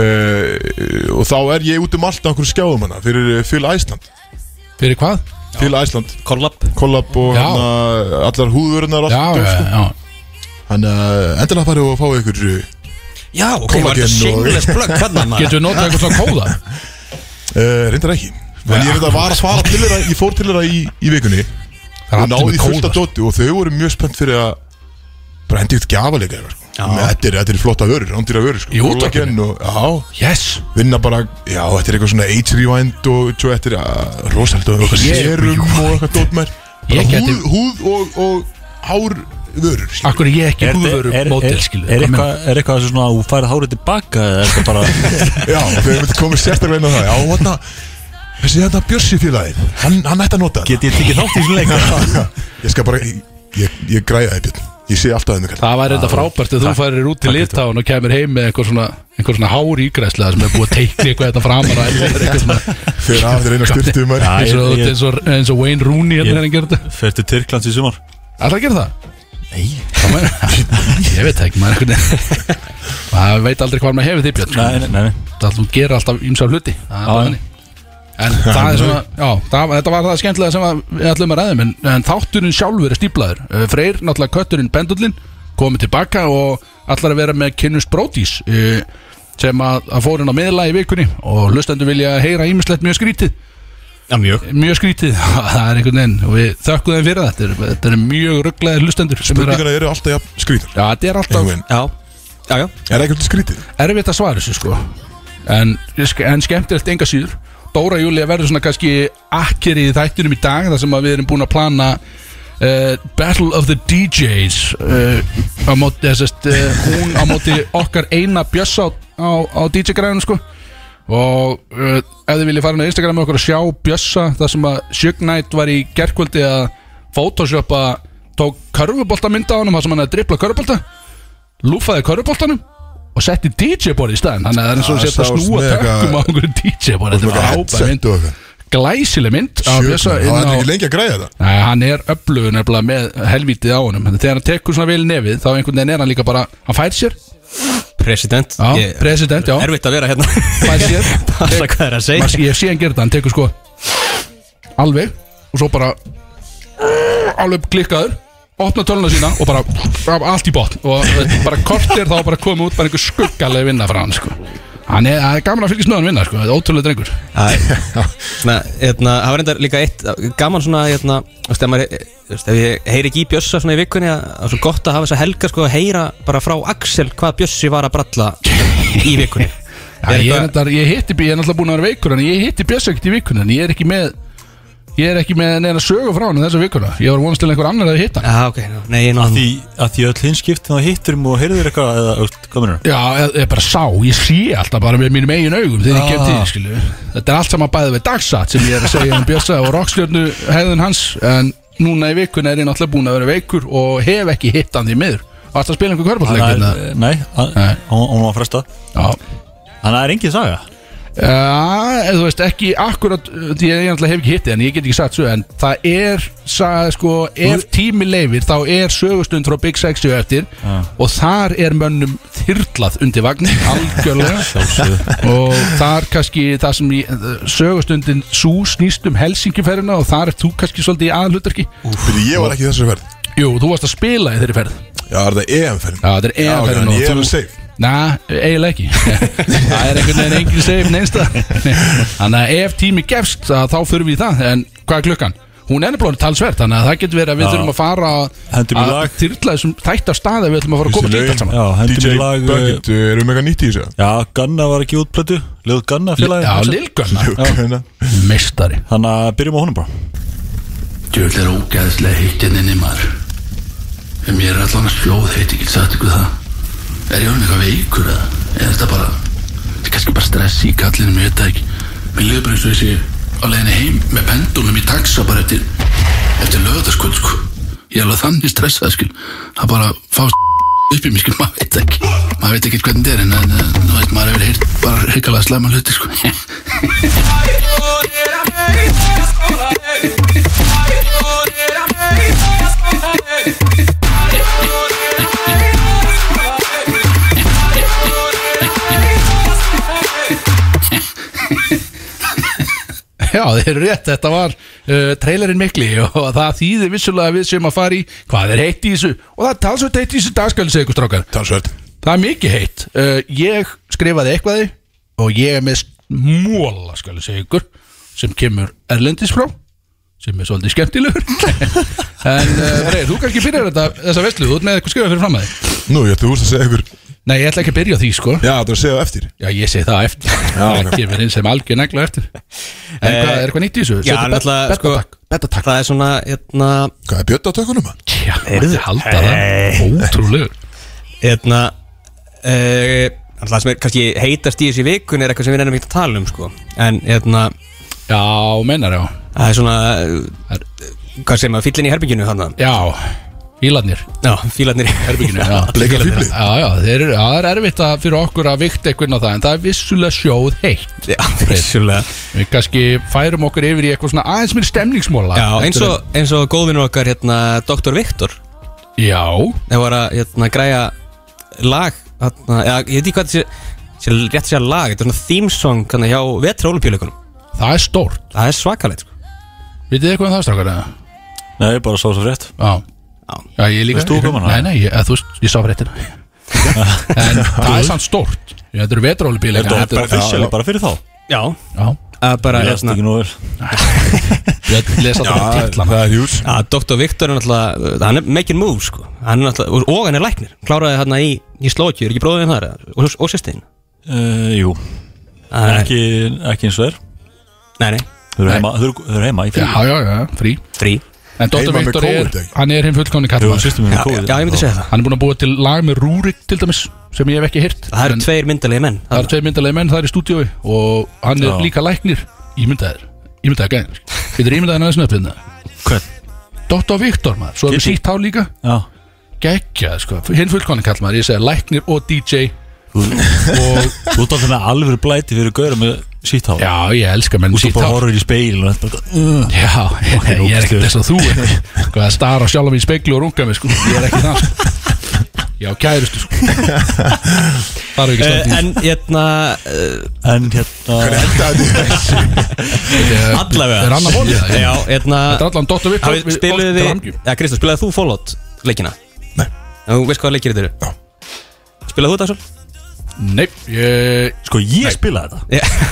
[SPEAKER 2] uh, og þá er ég út um allt á einhverju skjáðum hana fyrir eh, Fyl Æsland
[SPEAKER 4] Fyrir hvað?
[SPEAKER 2] Fyl Æsland,
[SPEAKER 3] Collab
[SPEAKER 2] kollab og
[SPEAKER 4] Já.
[SPEAKER 2] hana, allar húðvörunar
[SPEAKER 4] Já, já, já
[SPEAKER 2] Þannig að sko. eh, endilega farið og fáið ykkur uh,
[SPEAKER 3] Já, ok, var
[SPEAKER 2] Collagen
[SPEAKER 3] þetta shameless plug Hvernig maður?
[SPEAKER 4] Getur við notað eitthvað svona kóða?
[SPEAKER 2] eh, reyndar ekki En ég veit að var að fara til þeirra, ég fór til þeirra í, í vikunni
[SPEAKER 4] Það er
[SPEAKER 2] og
[SPEAKER 4] allir
[SPEAKER 2] náði
[SPEAKER 4] með
[SPEAKER 2] í fullt
[SPEAKER 4] kóða
[SPEAKER 2] af dóti og þau voru mjög spennt fyrir að bara hendi út gjafaleika sko.
[SPEAKER 3] Já.
[SPEAKER 2] Með- þetta, er- þetta er flotta vörur, rándýra vörur sko.
[SPEAKER 4] Í
[SPEAKER 2] Kollagen
[SPEAKER 4] útvarpinu?
[SPEAKER 2] og, já,
[SPEAKER 4] Yes
[SPEAKER 2] vinna bara, já, þetta er eitthvað svona age rewind og svo þetta er ah, að rosalega og eitthvað
[SPEAKER 4] Ég-
[SPEAKER 2] sérum og eitthvað dót mér bara
[SPEAKER 4] Ég gæti-
[SPEAKER 2] húð, húð og, og hár vörur skilur.
[SPEAKER 4] Akkur er ég ekki
[SPEAKER 5] Er, er,
[SPEAKER 4] húðvöru
[SPEAKER 5] er,
[SPEAKER 4] mótil,
[SPEAKER 5] er,
[SPEAKER 4] skilu
[SPEAKER 5] er eitthvað er eitthvað þessu svona að þú færið hárið tilbaka eða er þetta bara
[SPEAKER 4] Ah.
[SPEAKER 2] já, þau myndi komið sérstaklega inn á það já, hann þessi þetta Björsi félagir hann, hann ætti að nota þetta
[SPEAKER 5] get ég tekið þátt í þessum leik
[SPEAKER 2] ég skal bara, ég, ég, ég græða það Björn ég sé alltaf þeim ykkur
[SPEAKER 4] Það væri
[SPEAKER 5] Ah,
[SPEAKER 4] þetta frábært ef þú farir út til Litáin og kemur heim með einhver svona, einhver svona hár ígræslega sem er búið að teikna eitthvað þetta framar og eitthvað eitthvað svona
[SPEAKER 2] fyrir að þeir eina styrtu um
[SPEAKER 5] Já,
[SPEAKER 2] þær
[SPEAKER 5] ég-
[SPEAKER 4] eins og,
[SPEAKER 5] ég-
[SPEAKER 4] eins og, eins og Wayne Rooney hérna
[SPEAKER 5] Ég-
[SPEAKER 4] þegar hann gerði þetta
[SPEAKER 5] Fer til Tyrklands í sumar
[SPEAKER 4] Alltaf að gera það? Nei Ég veit það ekki, maður einhvern veginn maður veit aldrei hvað maður hefur því björn sko.
[SPEAKER 5] Nei, nei, nei, nei.
[SPEAKER 4] það þú gerir alltaf ýmsa hluti það er
[SPEAKER 5] Já,
[SPEAKER 4] bara
[SPEAKER 5] já.
[SPEAKER 4] þannig. en það er svona, já, það, þetta var það skemmtilega sem að við ætlum að ræðum en, en þátturinn sjálfur er stíplaður Eh, Freyr, náttúrulega kötturinn Bendullin komið tilbaka og allar að vera með kynnust brótís eh, sem að, að fór inn á miðla í vikunni og lustendur vilja heyra ímislegt mjög skrítið
[SPEAKER 3] Já, mjög
[SPEAKER 4] mjög skrítið, það er einhvern veginn og við þökkum þeim fyrir það, þetta er, þetta er mjög rugglaðir lustendur sem er að,
[SPEAKER 2] spurningana eru alltaf jafn skrítar
[SPEAKER 4] já, þetta er alltaf
[SPEAKER 2] er
[SPEAKER 3] Já, já, já
[SPEAKER 2] það ekki alltaf skrítið?
[SPEAKER 4] erfitt að svara þessu sko en, en skemmtilegt enga síður Dóra Júlia verður svona kannski akkir í þættunum í dag þar sem að við erum búin að plana uh, Battle of the DJs uh, á móti þessast uh, hún á móti okkar eina bjössa á, á, á DJ-græðinu sko og uh, ef þið viljið fara inn á Instagram með okkur að sjá bjössa þar sem að Sjögnætt var í gerkvöldi að photoshopa tók körfubolta mynda á honum þar sem hann er að dribla körfubolta lúfaði körfuboltanum og setti DJ-borði í staðin þannig að það er eins
[SPEAKER 2] Já,
[SPEAKER 4] og sé að
[SPEAKER 2] sást
[SPEAKER 4] snúa
[SPEAKER 2] með eitthvað-
[SPEAKER 4] tökum á einhverju DJ-borði þetta er frábær mynd,
[SPEAKER 2] Headset og eitthvað.
[SPEAKER 4] glæsileg mynd á
[SPEAKER 2] Sjökn,
[SPEAKER 4] Bjössa
[SPEAKER 2] það er
[SPEAKER 4] inn á
[SPEAKER 2] ekki lengi að græða það
[SPEAKER 4] Nei, hann er öflugur nefnilega með helvítið á honum Þannig að þegar hann tekur svona vel í nefið þá einhvern veginn er hann líka bara, hann fær sér
[SPEAKER 3] President
[SPEAKER 4] Já,
[SPEAKER 3] Ég-
[SPEAKER 4] president, já.
[SPEAKER 3] Erfitt að vera hérna
[SPEAKER 4] fær sér
[SPEAKER 3] Passa hvað er að segja
[SPEAKER 4] Mas, Ég sé hann gera þetta, hann tekur sko Alveg Og svo bara Alveg klikkaður Opna töluna sína og bara Allt í botn Og eh, bara kortir þá bara komið út Bara einhver skuggaleg vinna frá hann sko Hann er, það er gaman að fylgjast með hann vinna sko Það er ótrúlega drengur
[SPEAKER 3] Svona, hérna, það var reyndar líka eitt gaman svona, hérna, þú veist, ef maður, þú veist, ef ég heyri ekki í Bjössa svona í vikunni, að það er svo gott að hafa þess að helga, sko, að heyra bara frá Axel hvað Bjössi var að bralla í vikunni.
[SPEAKER 4] Já,
[SPEAKER 3] Er
[SPEAKER 4] ég,
[SPEAKER 3] eitthvað-
[SPEAKER 4] er endar, ég hitti, ég er náttúrulega búin að vera veikur En ég hitti Björs ekkert í vikuna En ég er ekki með Ég er ekki með neina sögu frá hann þessa vikuna Ég var vonast til að einhver annar að hitta hann
[SPEAKER 3] Já, ok, já, nei, ég náðum.
[SPEAKER 5] Því að því öll hins skiptin á hitturum og heyrðir eitthvað eða, þú veist, hvað mennur?
[SPEAKER 4] Já, ég, ég bara sá, ég sé alltaf bara með mínum eigin augum þegar ég
[SPEAKER 5] Ah.
[SPEAKER 4] kem til, því, skilu Þetta er allt saman bæðið við dagsatt sem ég er að segja um Björsa og rockstjörnu hegðun hans en núna í vikuna er ég náttúrulega búin að vera veikur og hef ekki hitt hann því miður Varst að spila einhver körbólleikina?
[SPEAKER 5] Nei, að-
[SPEAKER 4] Nei.
[SPEAKER 5] hún hún var fresta
[SPEAKER 4] Já,
[SPEAKER 5] Þannig að það er engin saga
[SPEAKER 4] Já, eða þú veist, ekki akkurat uh, því að ég náttúrulega hef ekki hitti en ég get ekki sagt svo en það er, sa- sko, ef tími leifir þá er sögustund frá Big 60 eftir og þar er mönnum þyrlað undir vagn algjörlega og þar kannski það sem ég, uh, sögustundin svo snýst um Helsingiferðina og þar er þú kannski svolítið í aðhlutarki
[SPEAKER 2] Fyrir ég var ekki í þessari ferð
[SPEAKER 4] Jú, þú varst að spila í þeirri ferð
[SPEAKER 2] Já, er það EM-ferðin?
[SPEAKER 4] Já, þetta er
[SPEAKER 2] Já, ok,
[SPEAKER 4] EM-ferðin
[SPEAKER 2] en
[SPEAKER 4] og
[SPEAKER 2] ég er
[SPEAKER 4] þú-
[SPEAKER 2] alveg safe.
[SPEAKER 4] Næ, eiginlega ekki Það er einhvern veginn engin safe neinsta Þannig að ef tími gefst að þá fyrir við í það En hvað er klukkan? Hún er nefnilega talsvert Þannig að það getur verið að við
[SPEAKER 5] Já.
[SPEAKER 4] þurfum að fara
[SPEAKER 5] Hendum í
[SPEAKER 4] að
[SPEAKER 5] lag.
[SPEAKER 4] Þyrla þessum þætt á staði Við ætlum að fara að koma til þetta saman
[SPEAKER 5] Já, hendum
[SPEAKER 2] DJ
[SPEAKER 5] í lag, uh,
[SPEAKER 2] Bucket, uh, erum við eitthvað nýtt í þessu?
[SPEAKER 5] Já, Ganna var ekki útplötu Lil Ganna félagi
[SPEAKER 4] Já, Lilgönna
[SPEAKER 2] Hérna.
[SPEAKER 4] Mestari
[SPEAKER 5] Þannig að byrjum á honum bara
[SPEAKER 6] Djöld er ógæðslega hittinni maður En mér er allan að slóð heit, ég get sagt ykkur það Er ég orðin eitthvað veikur eða? Eða er þetta bara Þetta er kannski bara stress í kallinu, mér veit það ekki Mér liður bara eins og þessi á leiðinni heim Með pendulum í taxa bara eftir Eftir lögðarskvöld, sko Ég er alveg þannig stressað, skil Það bara fá upp í mér, skil, maður veit það ekki Maður veit ekki hvernig þetta er En, en, en þú veit, maður hefur heyrt bara hrikalega slæma hluti, sko
[SPEAKER 4] Já, þeir eru rétt, þetta var uh, trailerinn mikli og það þýðir vissulega að við sem að fara í hvað er heitt í þessu og það er talsveit heitt í þessu dagskæli segja ykkur strákar
[SPEAKER 2] talsvert
[SPEAKER 4] Það er mikið heitt uh, Ég skrifaði eitthvað í og ég er með móla skal ég segja ykkur sem kemur erlendis frá sem er svolítið skemmtilegur en uh, reyð, þú kannski byrjar þetta þessa veslu, þú ert með eitthvað skrifað fyrir fram að þig
[SPEAKER 2] Nú, ég ætti húst að segja ykkur
[SPEAKER 4] Nei, ég ætla ekki að byrja á því sko
[SPEAKER 2] Já, það er að segja það eftir
[SPEAKER 4] Já, ég segi það eftir Það kemur inn sem algjör negla eftir En
[SPEAKER 3] Eh,
[SPEAKER 4] hvað, er eitthvað nýtt í þessu?
[SPEAKER 3] Já, náttúrulega, sko-
[SPEAKER 4] Bettatak
[SPEAKER 3] Það er svona, hérna,
[SPEAKER 2] Hvað er bjött á tökunum hann?
[SPEAKER 4] Já, þið halda það Ótrúlegur
[SPEAKER 3] hérna eh, Það sem er kannski heitast í þessi vikun er eitthvað sem við nefnum ekki að tala um, sko En, hérna,
[SPEAKER 4] Já, mennar já
[SPEAKER 3] það er svona eh, Hvað sem að fyllin í herbygginu hann
[SPEAKER 4] Já, fílarnir
[SPEAKER 3] Já, fílarnir í
[SPEAKER 4] Herbygginu, já
[SPEAKER 2] Bleika fífli
[SPEAKER 4] Já, já, þeir eru, já, það er erfitt að fyrir okkur að vikta einhvern á það En það er vissulega sjóð heitt
[SPEAKER 3] Já, vissulega
[SPEAKER 4] Við kannski færum okkur yfir í eitthvað svona aðeins mér stemningsmóla
[SPEAKER 3] Já, eins og, eins og góðvinur okkar, hérna, Dr. Viktor
[SPEAKER 4] Já,
[SPEAKER 3] Það var að, hérna, græja lag, hérna, eða, ég veit ekki hvað þetta sé Sér rétt sér lag, þetta er svona theme song hérna hjá vetra olupjuleikunum
[SPEAKER 4] það er stórt
[SPEAKER 3] Það er svakalegt, sko
[SPEAKER 4] Vitið þið eitthvað um það strákar eða?
[SPEAKER 5] Nei, bara sá svo rétt
[SPEAKER 4] Já Já, ég líka
[SPEAKER 5] Veist þú gaman að
[SPEAKER 4] Nei,
[SPEAKER 5] það?
[SPEAKER 4] nei, ég, að, þú, veist, ég sá fréttina En það er samt stórt Já, Þetta eru vetrólubíl
[SPEAKER 5] Þetta er bara
[SPEAKER 4] Já,
[SPEAKER 5] officially, bara fyrir þá
[SPEAKER 3] Já
[SPEAKER 4] já
[SPEAKER 3] Að bara,
[SPEAKER 5] Ég lest
[SPEAKER 3] hérna,
[SPEAKER 5] ekki nú vel
[SPEAKER 4] Ég lesa
[SPEAKER 2] Já,
[SPEAKER 4] þetta bara titla
[SPEAKER 2] það er hjús
[SPEAKER 3] Já, Dr. Viktor er náttúrulega, hann er making moves sko Hann er náttúrulega, og- og hann er læknir Kláraði hann í, í slóki, er ekki bróðin þar eða? og, og sérstein
[SPEAKER 5] Uh, Jú, ekki, ekki eins og er
[SPEAKER 3] Nei, nei,
[SPEAKER 5] Þau eru heima, þau eru- þau eru heima í
[SPEAKER 4] Já,
[SPEAKER 5] fyrir
[SPEAKER 4] já, já, frí
[SPEAKER 3] frí
[SPEAKER 4] En Dr.
[SPEAKER 2] Heima með
[SPEAKER 4] Viktor er,
[SPEAKER 2] COVID, ekki?
[SPEAKER 4] hann er hinn fullkomni
[SPEAKER 5] Jú,
[SPEAKER 4] kallmaður
[SPEAKER 5] sýstum við
[SPEAKER 3] Já, já, já, ég myndi segja það
[SPEAKER 4] Hann er búin að búa til lag með Rúrik til dæmis Sem ég hef ekki hýrt
[SPEAKER 3] Það eru tveir myndalegi menn
[SPEAKER 4] Það eru tveir myndalegi menn, það er í stúdíói Og hann er
[SPEAKER 5] Já.
[SPEAKER 4] líka læknir Ímyndaðir, ímyndaðir gæðin Getur sko. ímyndaðir aðeins nöfnirna
[SPEAKER 5] Hvern?
[SPEAKER 4] Dr. Viktor maður, svo erum við
[SPEAKER 5] Giddy.
[SPEAKER 4] sítt há líka
[SPEAKER 5] Já,
[SPEAKER 4] Gekkjað sko, hinn fullkomni kallmaður Ég segi læknir og DJ Og
[SPEAKER 5] þú ert alltaf með alveg blæti fyrir gauður með sítt hár
[SPEAKER 4] Já, ég elska menn
[SPEAKER 5] Þú ert
[SPEAKER 4] sítt
[SPEAKER 5] bara
[SPEAKER 4] hár
[SPEAKER 5] horfður í speil og þetta bara
[SPEAKER 4] Já, ég er ekkert þess að þú er Hvað að stara sjálf mér í speglu og runga mig sko. Ég er ekki það sko. Já, kærustu sko. Það eru ekki
[SPEAKER 3] Eh,
[SPEAKER 4] standið
[SPEAKER 3] En, hérna, eh,
[SPEAKER 5] En hérna,
[SPEAKER 3] allavega
[SPEAKER 4] er annað volið það, já.
[SPEAKER 3] Já, hérna
[SPEAKER 4] Þetta er allan Dr. Viktor
[SPEAKER 3] Hafið spiluðu
[SPEAKER 4] til
[SPEAKER 3] þið
[SPEAKER 4] hamingju.
[SPEAKER 3] Já, Kristó, spilaði þú Fallout leikina?
[SPEAKER 2] Nei.
[SPEAKER 3] En þú veist hvað leikir þetta eru?
[SPEAKER 2] Já.
[SPEAKER 3] Spilaði þú þetta svo?
[SPEAKER 4] Nei, ég,
[SPEAKER 5] sko ég spilaði þetta
[SPEAKER 3] Já,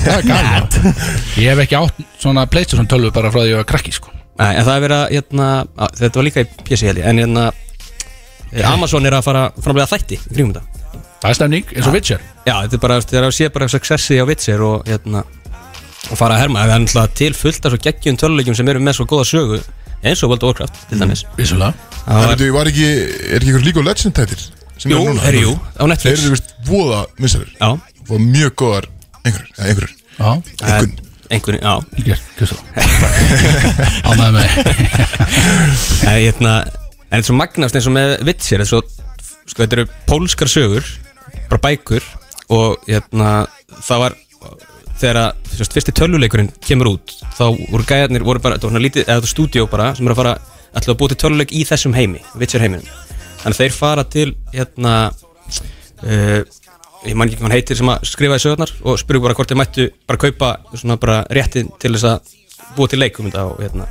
[SPEAKER 4] það er gæri Ég hef ekki átt svona Playstation 12 bara frá því ég var krakki sko.
[SPEAKER 3] Nei, en það er verið að, hérna, að þetta var líka í PC held ég, en hérna eh, Amazon er að fara framlega þætti í kringum þetta.
[SPEAKER 4] Það er stemning eins og Witcher
[SPEAKER 3] Já, þetta er bara, þetta er að sé bara successi á Witcher og hérna og fara að herma, það er náttúrulega til fullt af svo geggjum tölulegjum sem eru með svo góða sögu eins og World of Warcraft,
[SPEAKER 2] Mm.
[SPEAKER 3] til dæmis
[SPEAKER 4] Vissulega
[SPEAKER 3] Það var,
[SPEAKER 2] Þetta var ekki, er ekki einhver League of Legends tættir? sem
[SPEAKER 3] jú,
[SPEAKER 2] eru núna?
[SPEAKER 3] herri, jú, á
[SPEAKER 2] Þeir
[SPEAKER 3] Netflix
[SPEAKER 2] eru vist voða minnstæður
[SPEAKER 3] Já,
[SPEAKER 2] Og mjög góðar einhverjur eða einhverjur
[SPEAKER 4] Já,
[SPEAKER 2] Einhvern
[SPEAKER 3] einhvern, já
[SPEAKER 4] Hilgjör, kjössu Ánæði með
[SPEAKER 3] En hérna, en þetta er svo magnast eins og með Witcher, þetta er svo, sko þetta eru pólskar sögur, bara bækur og hérna, það var þegar að þú veist, fyrsti tölvuleikurinn kemur út, þá voru gæðarnir, voru bara, þetta var svona lítið, eða þetta var stúdíó bara, sem eru að fara, ætlaðu að búa til tölvuleik í þessum heimi, Witcher heiminum. Þannig að þeir fara til, hérna, uh, ég man ekki hvað hann heitir sem að skrifaði sögurnar og spurði bara hvort þeir mættu bara kaupa svona bara réttin til þess að búa til leikum þetta og hérna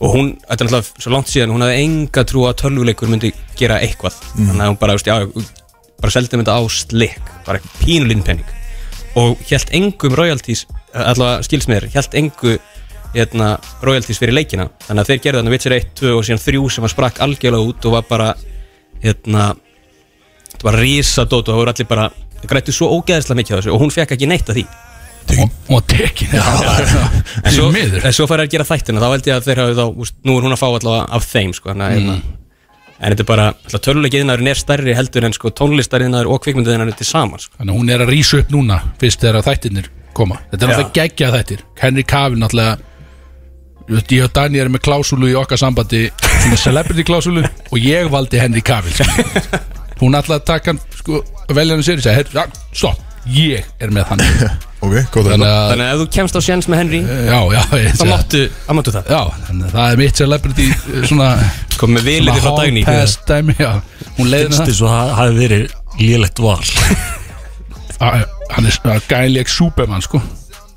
[SPEAKER 3] og hún, þetta er náttúrulega svo langt síðan hún hafði enga trú að tölvuleikur myndi gera eitthvað þannig að hún bara, veist, já, bara seldi mynda á slik bara pínulinn penning og hjælt engum royalties allavega skilsmiður, hjælt engu hérna, royalties fyrir leikina þannig að þeir gerðu þannig Witcher 1, 2 og síðan 3 sem að sprakk algjörlega út og var bara hérna, þetta var risadót og það voru allir bara grættu svo ógeðislega mikið á þessu og hún fekk ekki neitt af því
[SPEAKER 4] Og, og tekin
[SPEAKER 3] En svo,
[SPEAKER 4] Því miður
[SPEAKER 3] en svo fara að gera þættina þá held ég að þeir hafi þá, úst, nú er hún að fá allavega af þeim sko, hana, mm. en þetta er bara tölulegiðnaðurinn er stærri heldur en sko tónlistariðnaður og kvikmyndiðnaðurinn til saman sko.
[SPEAKER 4] Þannig að hún er að rýsa upp núna fyrst þegar þættirnir koma Þetta er
[SPEAKER 3] Já.
[SPEAKER 4] náttúrulega geggja þættir Henry Cavill náttúrulega Þú veist, Ég og Dani erum með klásulu í okkar sambandi svona celebrity klásulu og ég valdi Henry Cavill sko. Hún ætlaði að taka hann sko, velja hann sér og segja, ja, stopp, ég er með hann
[SPEAKER 2] Ok, hérna. góð að
[SPEAKER 4] Þannig að,
[SPEAKER 3] þannig að ef þú kemst á séns með Henry
[SPEAKER 4] já, Eh, já ég,
[SPEAKER 3] þá máttu, þá máttu það
[SPEAKER 4] Já, þannig að það er mitt celebrity eh, svona
[SPEAKER 3] komið með
[SPEAKER 4] svona
[SPEAKER 3] viliti frá dagný
[SPEAKER 4] hall-pass dæmi, já Hún leiði
[SPEAKER 5] finnst
[SPEAKER 4] það
[SPEAKER 5] þess að það hafi verið lélegt val
[SPEAKER 4] Að- Ah, Hann er svona gæðileg supermann, sko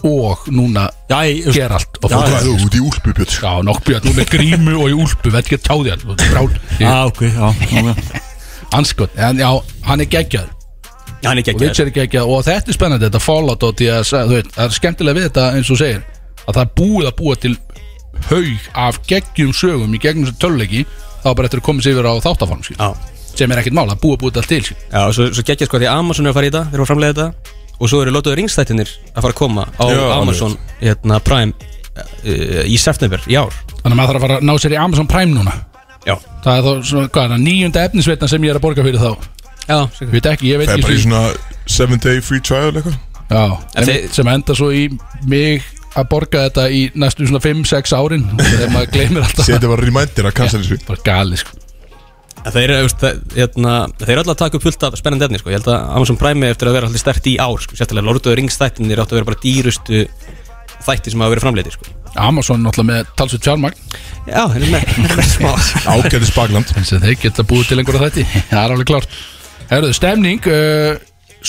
[SPEAKER 4] og núna
[SPEAKER 5] Já, ég,
[SPEAKER 4] Geralt og
[SPEAKER 5] Já,
[SPEAKER 2] Hvað
[SPEAKER 4] fólk
[SPEAKER 2] er þú út í úlpu, Björn? sko.
[SPEAKER 4] Já, nokkbjörn, hún er grímu og í úlpu veit ekki að tjáði hann, þú
[SPEAKER 5] já,
[SPEAKER 4] brál
[SPEAKER 5] Ah, ok, já, já, já.
[SPEAKER 4] anskot, sko. en já, hann er geggjað
[SPEAKER 3] hann er
[SPEAKER 4] og
[SPEAKER 3] geggjaður.
[SPEAKER 4] Witcher er geggjað og þetta er spennandi þetta Fallout og því að, þú veit, það er skemmtilega við þetta eins og þú segir, að það er búið að búa til haug af geggjum sögum í gegnum þessu töluleiki þá er bara eftir að koma sér yfir á þáttaform skil,
[SPEAKER 3] Já.
[SPEAKER 4] sem er ekkert mála, búið að búið þetta til skil.
[SPEAKER 3] Já, og svo, svo geggja sko því að Amazon er að fara í þetta, þeir eru að framlega þetta og svo eru Lotto Ringstættinir að fara að koma á
[SPEAKER 2] Já,
[SPEAKER 3] Amazon hérna, Prime uh, í september í ár
[SPEAKER 4] þannig að maður þarf að fara að ná sér í Amazon Prime núna
[SPEAKER 3] Já,
[SPEAKER 4] það er þá, svona, hvað er það, nýjunda efnisveitna sem ég er að borga fyrir þá
[SPEAKER 3] já,
[SPEAKER 4] ég veit ekki, ég veit
[SPEAKER 2] Það er
[SPEAKER 4] ekki
[SPEAKER 2] bara í svona 7 day free trial eitthvað
[SPEAKER 4] Já,
[SPEAKER 3] En
[SPEAKER 4] einmitt,
[SPEAKER 3] þið-
[SPEAKER 4] sem enda svo í mig að borga þetta í næstu svona 5-6 árin þegar maður gleymir alltaf
[SPEAKER 2] Setja bara reminder að cancel þessu
[SPEAKER 4] bara gali sko
[SPEAKER 3] þeir eru veist, það- hérna, þeir eru alltaf að taka upp fullt af spennandi efni sko. ég held að Amazon Prime er eftir að vera alltaf stert í ár sko. sérstilega Lotto Ringstættinir áttu að vera bara dýrustu þætti sem hafa verið framleiti sko.
[SPEAKER 4] Amazon náttúrulega með talsveit fjármagn
[SPEAKER 3] Já, hérna með smá.
[SPEAKER 2] Ágæðis bakland
[SPEAKER 4] eins og þeir geta búið til einhverja þætti það er alveg klart Herðu, stemning, uh,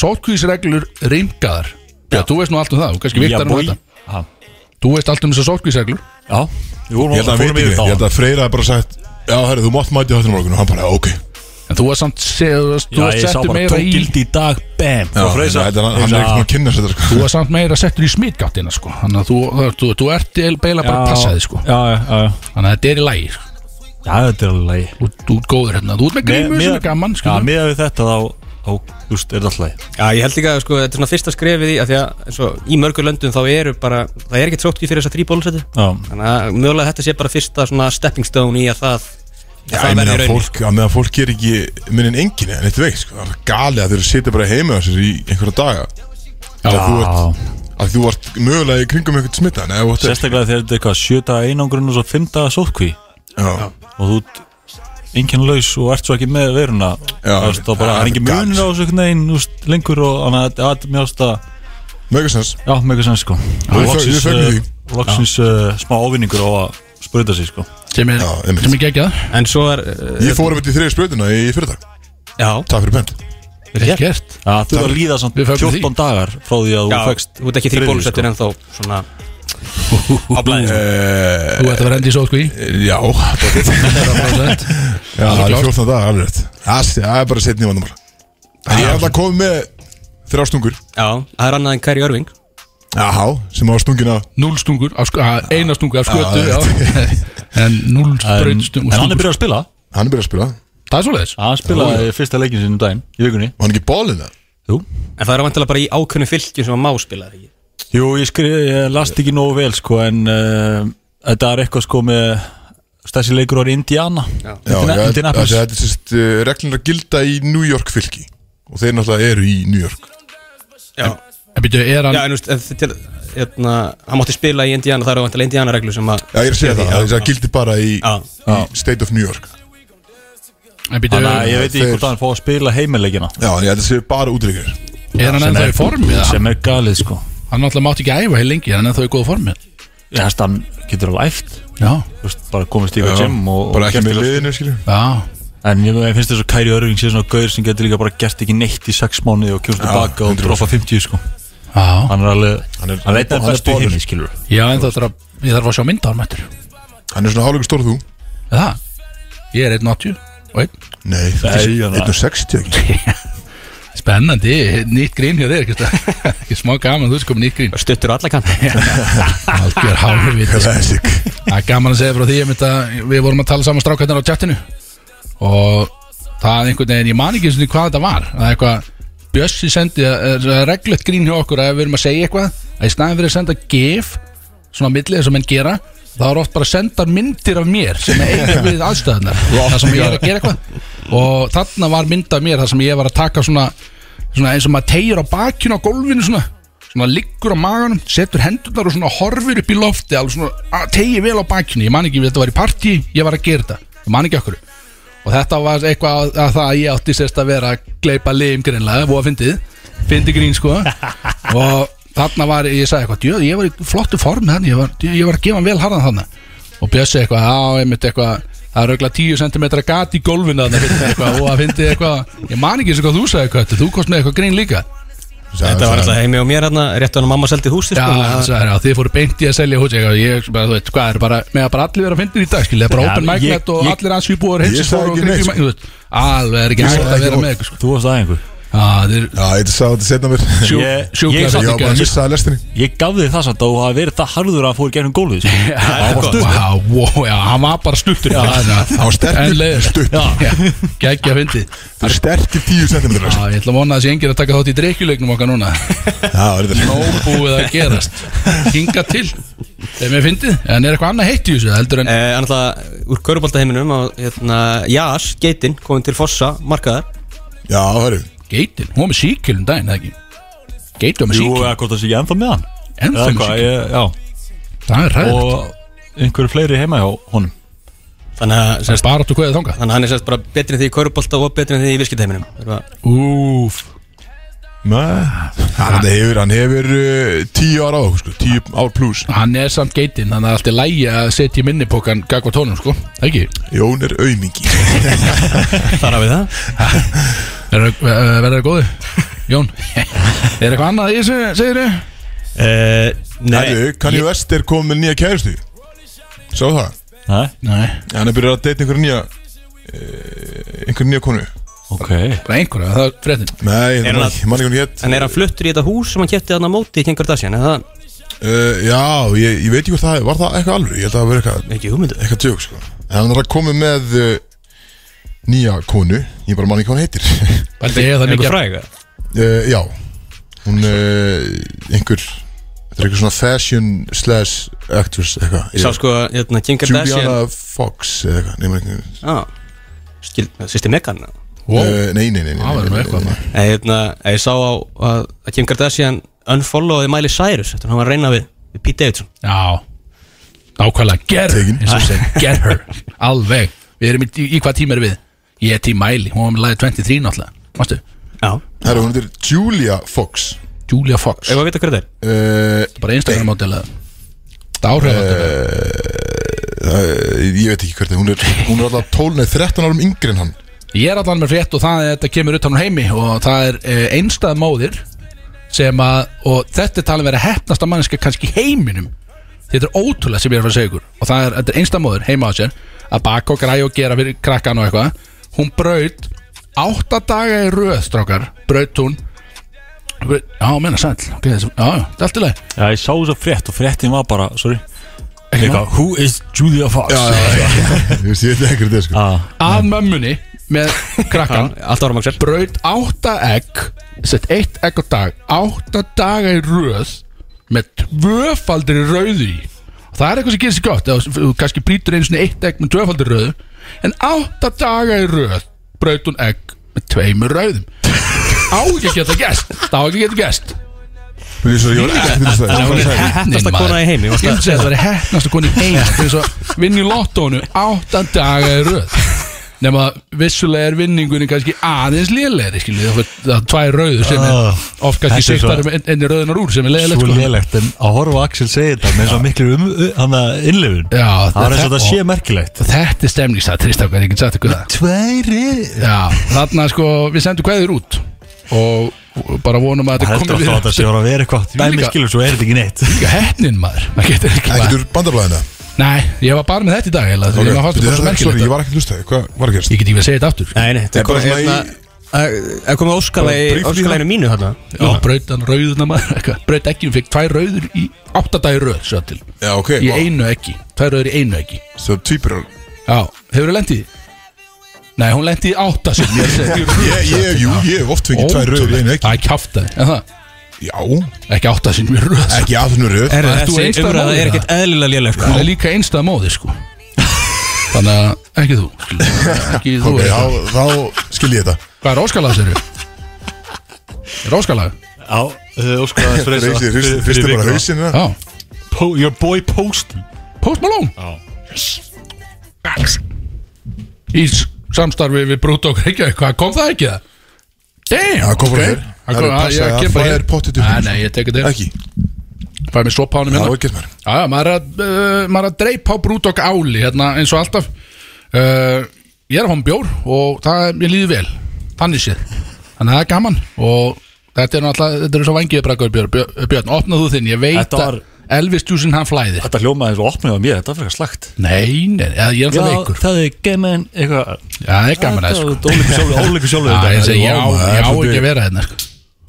[SPEAKER 4] sótkvísreglur rýmkaðar Já, þú veist nú allt um það, þú kannski
[SPEAKER 5] Já,
[SPEAKER 4] vittar um
[SPEAKER 5] boy.
[SPEAKER 4] þetta
[SPEAKER 5] Já,
[SPEAKER 4] Þú veist allt um þessar sótkvísreglur
[SPEAKER 5] já, við vorum
[SPEAKER 2] Ég held að hann
[SPEAKER 5] fórum
[SPEAKER 2] veit
[SPEAKER 5] yfir
[SPEAKER 2] ekki, ég
[SPEAKER 5] það
[SPEAKER 2] held að Freyra hafi bara sagt Já, herri, þú mátt mæti þáttunum morgun og hann bara, ok
[SPEAKER 4] en þú varst samt, se, þú varst- þú
[SPEAKER 5] Já,
[SPEAKER 4] varst
[SPEAKER 5] ég sá
[SPEAKER 4] settur
[SPEAKER 5] bara
[SPEAKER 4] meira
[SPEAKER 5] tók
[SPEAKER 4] í
[SPEAKER 5] gildi í dag, bam ah.
[SPEAKER 2] Já, ég held að hann hann er ekkert að kynna sér þetta
[SPEAKER 4] þú
[SPEAKER 2] sko
[SPEAKER 4] varst samt meira settur í smitgáttina sko þannig að þú, þú, þú, þú ert eiginlega bara að passa þig sko
[SPEAKER 5] Já, já, já,
[SPEAKER 4] þannig að þetta er í lægi sko.
[SPEAKER 5] já, þetta er alveg lagi.
[SPEAKER 4] þú, þú ert góður hérna, þú ert með grímu sem er gaman sko.
[SPEAKER 5] Já,
[SPEAKER 4] skilur.
[SPEAKER 5] miðað við þetta þá, þá, þú veist, er þetta alltaf lagi
[SPEAKER 3] Já, ég held líka að sko, þetta er svona fyrsta skrefið í að því að eins og í mörgur löndum þá eru bara það er ekkert sótt í fyrir þess að þrý bólusettu
[SPEAKER 5] Já,
[SPEAKER 3] Þannig að mögulega þetta sé bara fyrsta svona stepping stone í að það
[SPEAKER 2] Já, ég meina að fólk, að meðan fólk ger ekki minnin engin en eitt veikt, sko, það er galið að þeir sitja bara heima á sér í einhverja daga Já, þú ert, að þú ert mögulega í kringum einhvern smita Nei, þú ert
[SPEAKER 5] sérstaklega þegar þetta er eitthvað sjöta einangrun og svo fymta sótkví
[SPEAKER 2] Já,
[SPEAKER 5] og þú ert enginn laus og ert svo ekki með veruna
[SPEAKER 2] Já.
[SPEAKER 5] Þú veist, þá
[SPEAKER 2] Já,
[SPEAKER 5] bara það er engin
[SPEAKER 2] þetta er
[SPEAKER 5] munur á
[SPEAKER 2] gat.
[SPEAKER 5] þessu einhvern veginn þú veist, lengur og þannig að þetta er mjög ást að
[SPEAKER 2] mögursens
[SPEAKER 5] já, mjög eitthvað sem sko
[SPEAKER 2] ég
[SPEAKER 5] Og
[SPEAKER 2] fögn-
[SPEAKER 5] loksins,
[SPEAKER 2] ég fögnu
[SPEAKER 5] eh,
[SPEAKER 2] því.
[SPEAKER 5] loksins eh, smá ávinningur á að spurta sig sko
[SPEAKER 4] sem er,
[SPEAKER 2] Já, einmitt.
[SPEAKER 4] sem er geggjað
[SPEAKER 3] En svo er uh,
[SPEAKER 2] Ég fór um þetta í þriði spröðuna í fyrirdag
[SPEAKER 3] Já,
[SPEAKER 2] Takk fyrir pent
[SPEAKER 4] Vel gert
[SPEAKER 5] Já, þú verður að líða samt
[SPEAKER 4] Við fögnum
[SPEAKER 5] 14 dagar frá því að
[SPEAKER 3] já
[SPEAKER 5] þú fegst
[SPEAKER 3] þú ert ekki þrý
[SPEAKER 5] þriðju,
[SPEAKER 3] bólusettur
[SPEAKER 5] sko.
[SPEAKER 3] ennþá svona á blæðin sko.
[SPEAKER 2] Eh,
[SPEAKER 4] Þú ert að vera sko, endið sótkví
[SPEAKER 2] Já, pottþétt. Já, það er 14 dagar, alveg rétt Það sé- það er bara setni vandamál En Ég er alltaf komið með þrjástungur
[SPEAKER 3] Já, það er annað en Kæri Örving
[SPEAKER 2] Jáhá, sem á stungina
[SPEAKER 4] Núl stungur, af sk- að, eina stungur af skötu
[SPEAKER 2] Já,
[SPEAKER 4] já. En núl braut
[SPEAKER 5] en,
[SPEAKER 4] stungur
[SPEAKER 5] en hann er byrjað að spila
[SPEAKER 2] Hann er byrjað að spila Var
[SPEAKER 4] Það er svoleiðis
[SPEAKER 5] hann spilaði fyrsta leikin sinni um daginn í vikunni
[SPEAKER 2] hann ekki bólinn það?
[SPEAKER 5] Jú.
[SPEAKER 3] En það er vantilega bara í ákveðnu fylgjum sem að má spila það ekki
[SPEAKER 5] Jú, ég, skri, ég last ekki nógu vel sko en uh, þetta er eitthvað sko með stæssi leikur var í Indiana
[SPEAKER 2] Já,
[SPEAKER 5] Indiana-
[SPEAKER 2] já, þetta
[SPEAKER 5] Indianapolis
[SPEAKER 2] þetta er sérst uh, reglun að gilda í New York fylki Og þeir náttúrulega eru í New York
[SPEAKER 3] Já,
[SPEAKER 4] En byrju, er
[SPEAKER 3] já
[SPEAKER 4] hann
[SPEAKER 3] en þú veist, ef þið til- hérna, hann mátti spila í Indiana, það eru vantilega Indiana reglu sem að
[SPEAKER 2] Já, ég er að segja það, það, það gildi bara í,
[SPEAKER 3] Já.
[SPEAKER 2] í State of New York
[SPEAKER 4] En byrju,
[SPEAKER 5] Þannig að ég veit ekki
[SPEAKER 2] Þeir-
[SPEAKER 5] hvort hann fá að spila heimileikina
[SPEAKER 2] Já, en ég þetta séu bara útryggir
[SPEAKER 4] er hann ennþá í formi eða?
[SPEAKER 5] sem er galið sko
[SPEAKER 4] Hann náttúrulega mátti ekki æfa hér lengi Er hann ennþá í góða formi
[SPEAKER 5] Ég held að hann getur alveg æft
[SPEAKER 4] Já,
[SPEAKER 5] Þú veist, bara komist í eitthvað gym og,
[SPEAKER 2] Bara
[SPEAKER 5] og
[SPEAKER 2] ekki
[SPEAKER 5] gert
[SPEAKER 2] með
[SPEAKER 5] eitthvað.
[SPEAKER 2] liðinu, skilju
[SPEAKER 4] já
[SPEAKER 5] En ég, ég finnst þess að Kæri Örving sé svona gaur sem getur líka bara gert ekki neitt í sex mánuði og kemst tilbaka og
[SPEAKER 2] 100%.
[SPEAKER 5] dropa 50 sko
[SPEAKER 4] Já,
[SPEAKER 5] Hann er alveg,
[SPEAKER 2] Hann er-
[SPEAKER 5] hann er, hann er einn af
[SPEAKER 2] hann er
[SPEAKER 5] bestu í
[SPEAKER 2] bolur.
[SPEAKER 5] heimi skilur
[SPEAKER 4] já en það þarf að Ég þarf að sjá mynda hann mættur
[SPEAKER 2] Hann er svona hálfleikur stór og þú
[SPEAKER 4] Er Það, ég er 1.80 og einn
[SPEAKER 2] Nei,
[SPEAKER 5] Nei, hann-
[SPEAKER 2] 160 ekki
[SPEAKER 4] Spennandi, nýtt grín hjá þér ekki stað- Ekki smá gaman, þú veist komið nýtt grín
[SPEAKER 3] stuttur á alla kanta
[SPEAKER 4] Algjör hálfviti
[SPEAKER 2] Classic
[SPEAKER 4] Það er gaman að segja frá því ég myndi að við vorum að tala saman strákarnar á chatinu og það er einhvern veginn, ég man ekki eins og því hvað þetta var það er eitthvað, Bjössi sendi það er reglulegt grín hjá okkur að ef við erum að segja eitthvað að í staðin fyrir að senda gif svona á milli eins og menn gera þá er oft bara að senda myndir af mér sem er eiginlega við aðstæðunar það sem ég er að gera eitthvað og þarna var myndað mér þar sem ég var að taka svona, svona eins og maður tegir á bakinu á gólfinu svona svona liggur á maganum, setur hendurnar og svona horfir upp í lofti, alveg svona tegir vel á bakinu, ég man ekki, þetta var í partí ég var að gera þetta, ég man ekki okkur og þetta var eitthvað að, að það að ég átti sérst að vera að gleipa lim greinlega, búa fyndið, fyndi grín sko og þarna var ég sagði eitthvað, djöð, ég var í flottu form þannig, ég var, djöð, ég var að gefa hann vel harðan þannig og Bjössi eitthvað, á, einmitt eitthvað það er auðvitað 10 cm gat í gólfinu þarna, fyndi eitthvað, og að fyndi eitthvað ég man ekki eins og hvað þú sagði eitthvað, þú kost með eitthvað grín líka
[SPEAKER 3] Þetta var alltaf heimi og mér hérna, rétt á hann að mamma seldi húsi sko,
[SPEAKER 4] Já,
[SPEAKER 3] þannig
[SPEAKER 4] hann
[SPEAKER 3] að-
[SPEAKER 4] sagði, já, þið fóru beint í að selja húsi eitthvað, ég, bara, þú veit, hvað er bara, með að bara allir vera að fyndin í dag, skilja, bara
[SPEAKER 5] Já,
[SPEAKER 4] open mic
[SPEAKER 5] ég-
[SPEAKER 4] net og
[SPEAKER 5] ég-
[SPEAKER 4] allir hans íbúar
[SPEAKER 2] Ég
[SPEAKER 4] heimsins
[SPEAKER 2] sagði
[SPEAKER 4] fóru og
[SPEAKER 2] ekki
[SPEAKER 4] gripu
[SPEAKER 2] neitt,
[SPEAKER 4] í
[SPEAKER 2] sko.
[SPEAKER 4] mæk, þú veit, alveg er ekki
[SPEAKER 2] Ég
[SPEAKER 4] hægt
[SPEAKER 2] sagði
[SPEAKER 4] að vera
[SPEAKER 2] ekki
[SPEAKER 4] með
[SPEAKER 2] orð.
[SPEAKER 4] eitthvað, sko.
[SPEAKER 5] Þú varst aðeins
[SPEAKER 4] Já, það er
[SPEAKER 2] Já, ég sá þetta setna mér
[SPEAKER 4] sjú-
[SPEAKER 5] Ég-
[SPEAKER 4] sjúklega
[SPEAKER 5] ég
[SPEAKER 2] Ég
[SPEAKER 5] sá þetta
[SPEAKER 2] var
[SPEAKER 5] ekki
[SPEAKER 2] bara að missa að lestinni
[SPEAKER 5] Ég gaf þig það samt að þú hafi verið það harður að hann fór í gegnum gólfið sko.
[SPEAKER 4] Það var stuttur Já, wow, já, hann var bara stuttur Já, það
[SPEAKER 2] var sterkur,
[SPEAKER 4] En leiður
[SPEAKER 2] stuttur.
[SPEAKER 4] Já, geggja fyndið
[SPEAKER 2] Þú sterkir 10 cm Já,
[SPEAKER 4] Já, ég ætla að vona að þessi engir að taka þátt í dreikjuleiknum okkar núna
[SPEAKER 2] það er þetta
[SPEAKER 4] Nóg búið að gerast Hinga til Þegar mér fyndið En er eitthvað annað heitt í þessu heldur en
[SPEAKER 3] Eh, Þannig að úr körubaltaheiminum á hérna, Jas, geitinn, komin til Fossa, markaðar
[SPEAKER 2] Já, hörru
[SPEAKER 4] geitin Hún var með síkil um daginn, eða ekki Geitin var með
[SPEAKER 5] Jú,
[SPEAKER 4] síkil
[SPEAKER 5] eða hvort það sé ég ennþá með hann
[SPEAKER 4] Ennþá
[SPEAKER 5] Eða
[SPEAKER 4] með
[SPEAKER 5] hvað,
[SPEAKER 4] síkil.
[SPEAKER 5] ég- Já,
[SPEAKER 4] Það er ræður
[SPEAKER 5] og einhverju fleiri heima hjá honum
[SPEAKER 3] Þannig að,
[SPEAKER 4] Það
[SPEAKER 3] sérst,
[SPEAKER 4] er bara áttu hvað þangað
[SPEAKER 3] þannig að hann er sérst bara betri en því í körubalta og betri en því í viskitaheiminum Þannig
[SPEAKER 4] Úf
[SPEAKER 2] Hann hefur, hann hefur 10 ára á okkur, sko 10 ár pluss
[SPEAKER 4] Hann er samt geitin Þannig að allt er lægi að setja í minnipokan Gagva tónum, sko Ekki
[SPEAKER 2] Jón er aumingi
[SPEAKER 3] að við það
[SPEAKER 4] Verður það góði? Jón Er eitthvað annað í þessu, segir þau?
[SPEAKER 3] eh,
[SPEAKER 2] Herru, Kanye West er komið með nýja kærustu Sá það?
[SPEAKER 5] Nei,
[SPEAKER 4] Nei
[SPEAKER 2] Hann er byrjað að deyta einhverja nýja eh, einhverja nýja konu
[SPEAKER 5] ok
[SPEAKER 4] Bara einhverja, það er fréttin
[SPEAKER 2] Nei,
[SPEAKER 3] Er
[SPEAKER 2] það
[SPEAKER 3] hann
[SPEAKER 2] man
[SPEAKER 3] að-
[SPEAKER 2] ekki, man ekki hún hétt
[SPEAKER 3] En er hann fluttur í þetta hús sem hann kæfti þarna á móti í Kengur Dasjan eða það
[SPEAKER 2] uh, Já, ég, ég veit ekki hvort það er Var það eitthvað alveg? Ég held að það var eitthvað
[SPEAKER 3] ekki hugmyndu
[SPEAKER 2] eitthvað tjók, sko En hann er að koma með uh, nýja konu Ég bara man ekki hvað hann heitir
[SPEAKER 4] Bældi ég að það mikið
[SPEAKER 3] Einhver fræg
[SPEAKER 2] uh, Já, hún uh, einhver Þetta er eitthvað svona fashion slash actress eitthvað
[SPEAKER 3] Ég sá sko, hérna, Kengur Dasjan
[SPEAKER 2] Juliana Fox eða eitthvað Nei, maður ekki-
[SPEAKER 3] Skild, sýsti Megan
[SPEAKER 4] Wow,
[SPEAKER 2] Eh, Nei, nei, nei nei,
[SPEAKER 4] það var
[SPEAKER 2] nei,
[SPEAKER 4] nú
[SPEAKER 2] nei,
[SPEAKER 4] eitthvað
[SPEAKER 2] nei.
[SPEAKER 4] maður.
[SPEAKER 3] Eh, Hérna, eh, ég sá á að að Kim Kardashian unfollowaði Miley Cyrus eftir að hann var að reyna við, við Pete Davidson
[SPEAKER 4] Já Nákvæmlega, get her
[SPEAKER 2] Tekin.
[SPEAKER 4] eins og seg, Get her, alveg Við erum í, í, í hvað tíma erum við? Ég er tím mæli, hún var með lagið 23 náttúrulega Mástu,
[SPEAKER 3] Já,
[SPEAKER 2] Herra, hún heitir Julia Fox
[SPEAKER 4] Julia Fox
[SPEAKER 3] ef að vita hver það er
[SPEAKER 2] uh,
[SPEAKER 4] Bara Instagram ádelega Dárhjöfandela uh,
[SPEAKER 2] Ég veit ekki hvert það er. hún er Hún er alltaf 12, nei, 13 árum yngri en hann
[SPEAKER 4] Ég er allan með frétt og það er þetta kemur utan á heimi Og það er uh, einstæð móðir Sem að, og þetta er talið vera hefnasta mannska kannski í heiminum Þetta er ótrúlega sem ég er að fara að segja ykkur Og það er, þetta er einstæð móðir heima á sér Að baka og græja og gera fyrir krakkan og eitthvað Hún braut Átta daga í röð, strákar Braut hún Já, menna sæll okay, þessi- Já, já, þetta er allt í lagi
[SPEAKER 5] Já, ég sá þess að frétt og fréttin var bara, sorry Hérna. Eitthvað, who is Julia Fox? Já,
[SPEAKER 2] Ég veist, ég veit ekki hvert það er
[SPEAKER 4] Ah.
[SPEAKER 2] sko
[SPEAKER 4] Að mömmunni með krakkan
[SPEAKER 3] Allt ára maksel
[SPEAKER 4] braut átta egg sett eitt egg á dag átta daga í röð með tvöfaldri rauði það er eitthvað sem gerir sér gott eða þú kannski brýtur einu svona eitt egg með tvöfaldri rauðu en átta daga í röð braut hún egg með tveimur rauðum á ekki að geta gest það á ekki að geta gest
[SPEAKER 2] Mér finnst svo, Ég var ekki fyrir þess að
[SPEAKER 4] hún er
[SPEAKER 3] Heppnasta kona í heimi,
[SPEAKER 4] ég
[SPEAKER 3] varstu
[SPEAKER 4] vil
[SPEAKER 3] að-
[SPEAKER 4] segja það er hefnasta kona í heimi það er svo vinn í lottónu áttan daga í röð nema að vissulega er vinningunni kannski aðeins lélegri skilju það er tvær rauður sem er
[SPEAKER 5] Ah,
[SPEAKER 4] oft kannski
[SPEAKER 5] þetta er svo-
[SPEAKER 4] siktar um enni rauðunar úr sem er
[SPEAKER 5] Svo
[SPEAKER 4] lélegilegt sko.
[SPEAKER 5] lélegt, en að horfa á Axel segja þetta með svo miklu um, hann að innlifun
[SPEAKER 4] Já,
[SPEAKER 5] Það var eins og
[SPEAKER 4] þetta-
[SPEAKER 5] þetta sé merkilegt
[SPEAKER 4] þetta er stemningsatrið strákar, ég get sagt ykkur það
[SPEAKER 5] Tværi
[SPEAKER 4] já þarna sko við sendum kveður út og bara vonum að
[SPEAKER 5] Það
[SPEAKER 4] þetta
[SPEAKER 5] heldur
[SPEAKER 4] komi
[SPEAKER 5] alltaf að þetta sé að vera eitthvað
[SPEAKER 4] Þvílíka-
[SPEAKER 5] Dæmi skilur, svo er þetta ekki neitt
[SPEAKER 4] líka hefnin maður maður getur ekki
[SPEAKER 2] Ekki
[SPEAKER 4] maður
[SPEAKER 2] úr bandablaðina
[SPEAKER 4] nei ég var bara með þetta í dag eiginlega, því
[SPEAKER 2] Ok,
[SPEAKER 4] að maður fannst
[SPEAKER 2] byrju,
[SPEAKER 4] þetta
[SPEAKER 2] þetta
[SPEAKER 4] bara svo
[SPEAKER 2] er- sorry,
[SPEAKER 4] merkilegt
[SPEAKER 2] Ég var ekki að hlusta það, hvað var að gerast?
[SPEAKER 4] ég get ekki að segja þetta aftur
[SPEAKER 3] Nei, nei,
[SPEAKER 2] Þetta er bara
[SPEAKER 3] kom-
[SPEAKER 2] svona í-
[SPEAKER 3] hérna, að að koma óskalagi
[SPEAKER 2] Bara briefly
[SPEAKER 3] óskalaginu mínu hérna
[SPEAKER 4] Já, braut hann rauðuna maður eitthvað. Braut ekki, hún fekk tvær rauður í áttadagi rauð svo til,
[SPEAKER 2] Já, ok,
[SPEAKER 4] í einu ekki Tvær rauður í einu ekki
[SPEAKER 2] svo týpurar
[SPEAKER 4] Já, hefur þú lendið? Nei, hún lendið í átta sem ég segi
[SPEAKER 2] Ég, ég, jú, ég hef oft fengið tvær rauður í einu ekki
[SPEAKER 4] Það er kjáftaði, en það,
[SPEAKER 2] Já,
[SPEAKER 4] ekki átta sem ég rauð sko.
[SPEAKER 2] ekki aðnur rauð
[SPEAKER 4] Ert þú
[SPEAKER 3] Þessi
[SPEAKER 4] einstæð
[SPEAKER 3] umræða
[SPEAKER 4] móðir,
[SPEAKER 3] er ekkert eðlilega léleg sko.
[SPEAKER 4] Hún er líka einstað móði, sko Þannig að ekki þú skilur. Ekki þú
[SPEAKER 2] Ok,
[SPEAKER 4] okay,
[SPEAKER 2] þá, þá skil ég þetta
[SPEAKER 4] Hvað er óskalag sér? Er óskalag?
[SPEAKER 5] Já, uh, þið óskaði
[SPEAKER 2] Reysi, hristi bara hausinn hérna.
[SPEAKER 4] Já
[SPEAKER 5] Your boy Poston
[SPEAKER 4] Post Malone Í s- samstarfi við Brútó Reykjavík Hvað kom það ekki það? Damn
[SPEAKER 2] Það kom bara
[SPEAKER 4] ok.
[SPEAKER 2] hér. Það
[SPEAKER 4] Það kom-
[SPEAKER 2] er
[SPEAKER 4] að-
[SPEAKER 2] passað,
[SPEAKER 4] ég
[SPEAKER 2] það
[SPEAKER 4] kem bara
[SPEAKER 2] fær
[SPEAKER 4] hér. Ah,
[SPEAKER 2] pottþétt upp.
[SPEAKER 4] Nei, nei, ég teki þetta
[SPEAKER 2] Ekki,
[SPEAKER 4] Fæði mér sophánum
[SPEAKER 2] það
[SPEAKER 4] hérna
[SPEAKER 2] var gett maður
[SPEAKER 4] Já, maður er að, uh, maður er að dreipa á Brúdok áli hérna eins og alltaf uh, Ég er að fá mér bjór og það er, ég líður vel Þannig séð Þannig að það er gaman og þetta er náttúrulega, þetta er svo vangið brakkur Björn, Björn, Björn opnað þú þinn, ég veit
[SPEAKER 5] Þetta var-
[SPEAKER 4] að Elvis Djúsin hann flæðir
[SPEAKER 5] Þetta hljómaði eins og opnið á mér, þetta var frekar slagt
[SPEAKER 4] Nei, nei, eða ég er alltaf veikur Já,
[SPEAKER 5] það er gemin eitthvað
[SPEAKER 4] það er gaman að sko
[SPEAKER 5] sko Ólíku sjálfur
[SPEAKER 4] Já, ég segi, já,
[SPEAKER 2] maður,
[SPEAKER 4] já,
[SPEAKER 2] þetta er-
[SPEAKER 4] ekki að vera hérna sko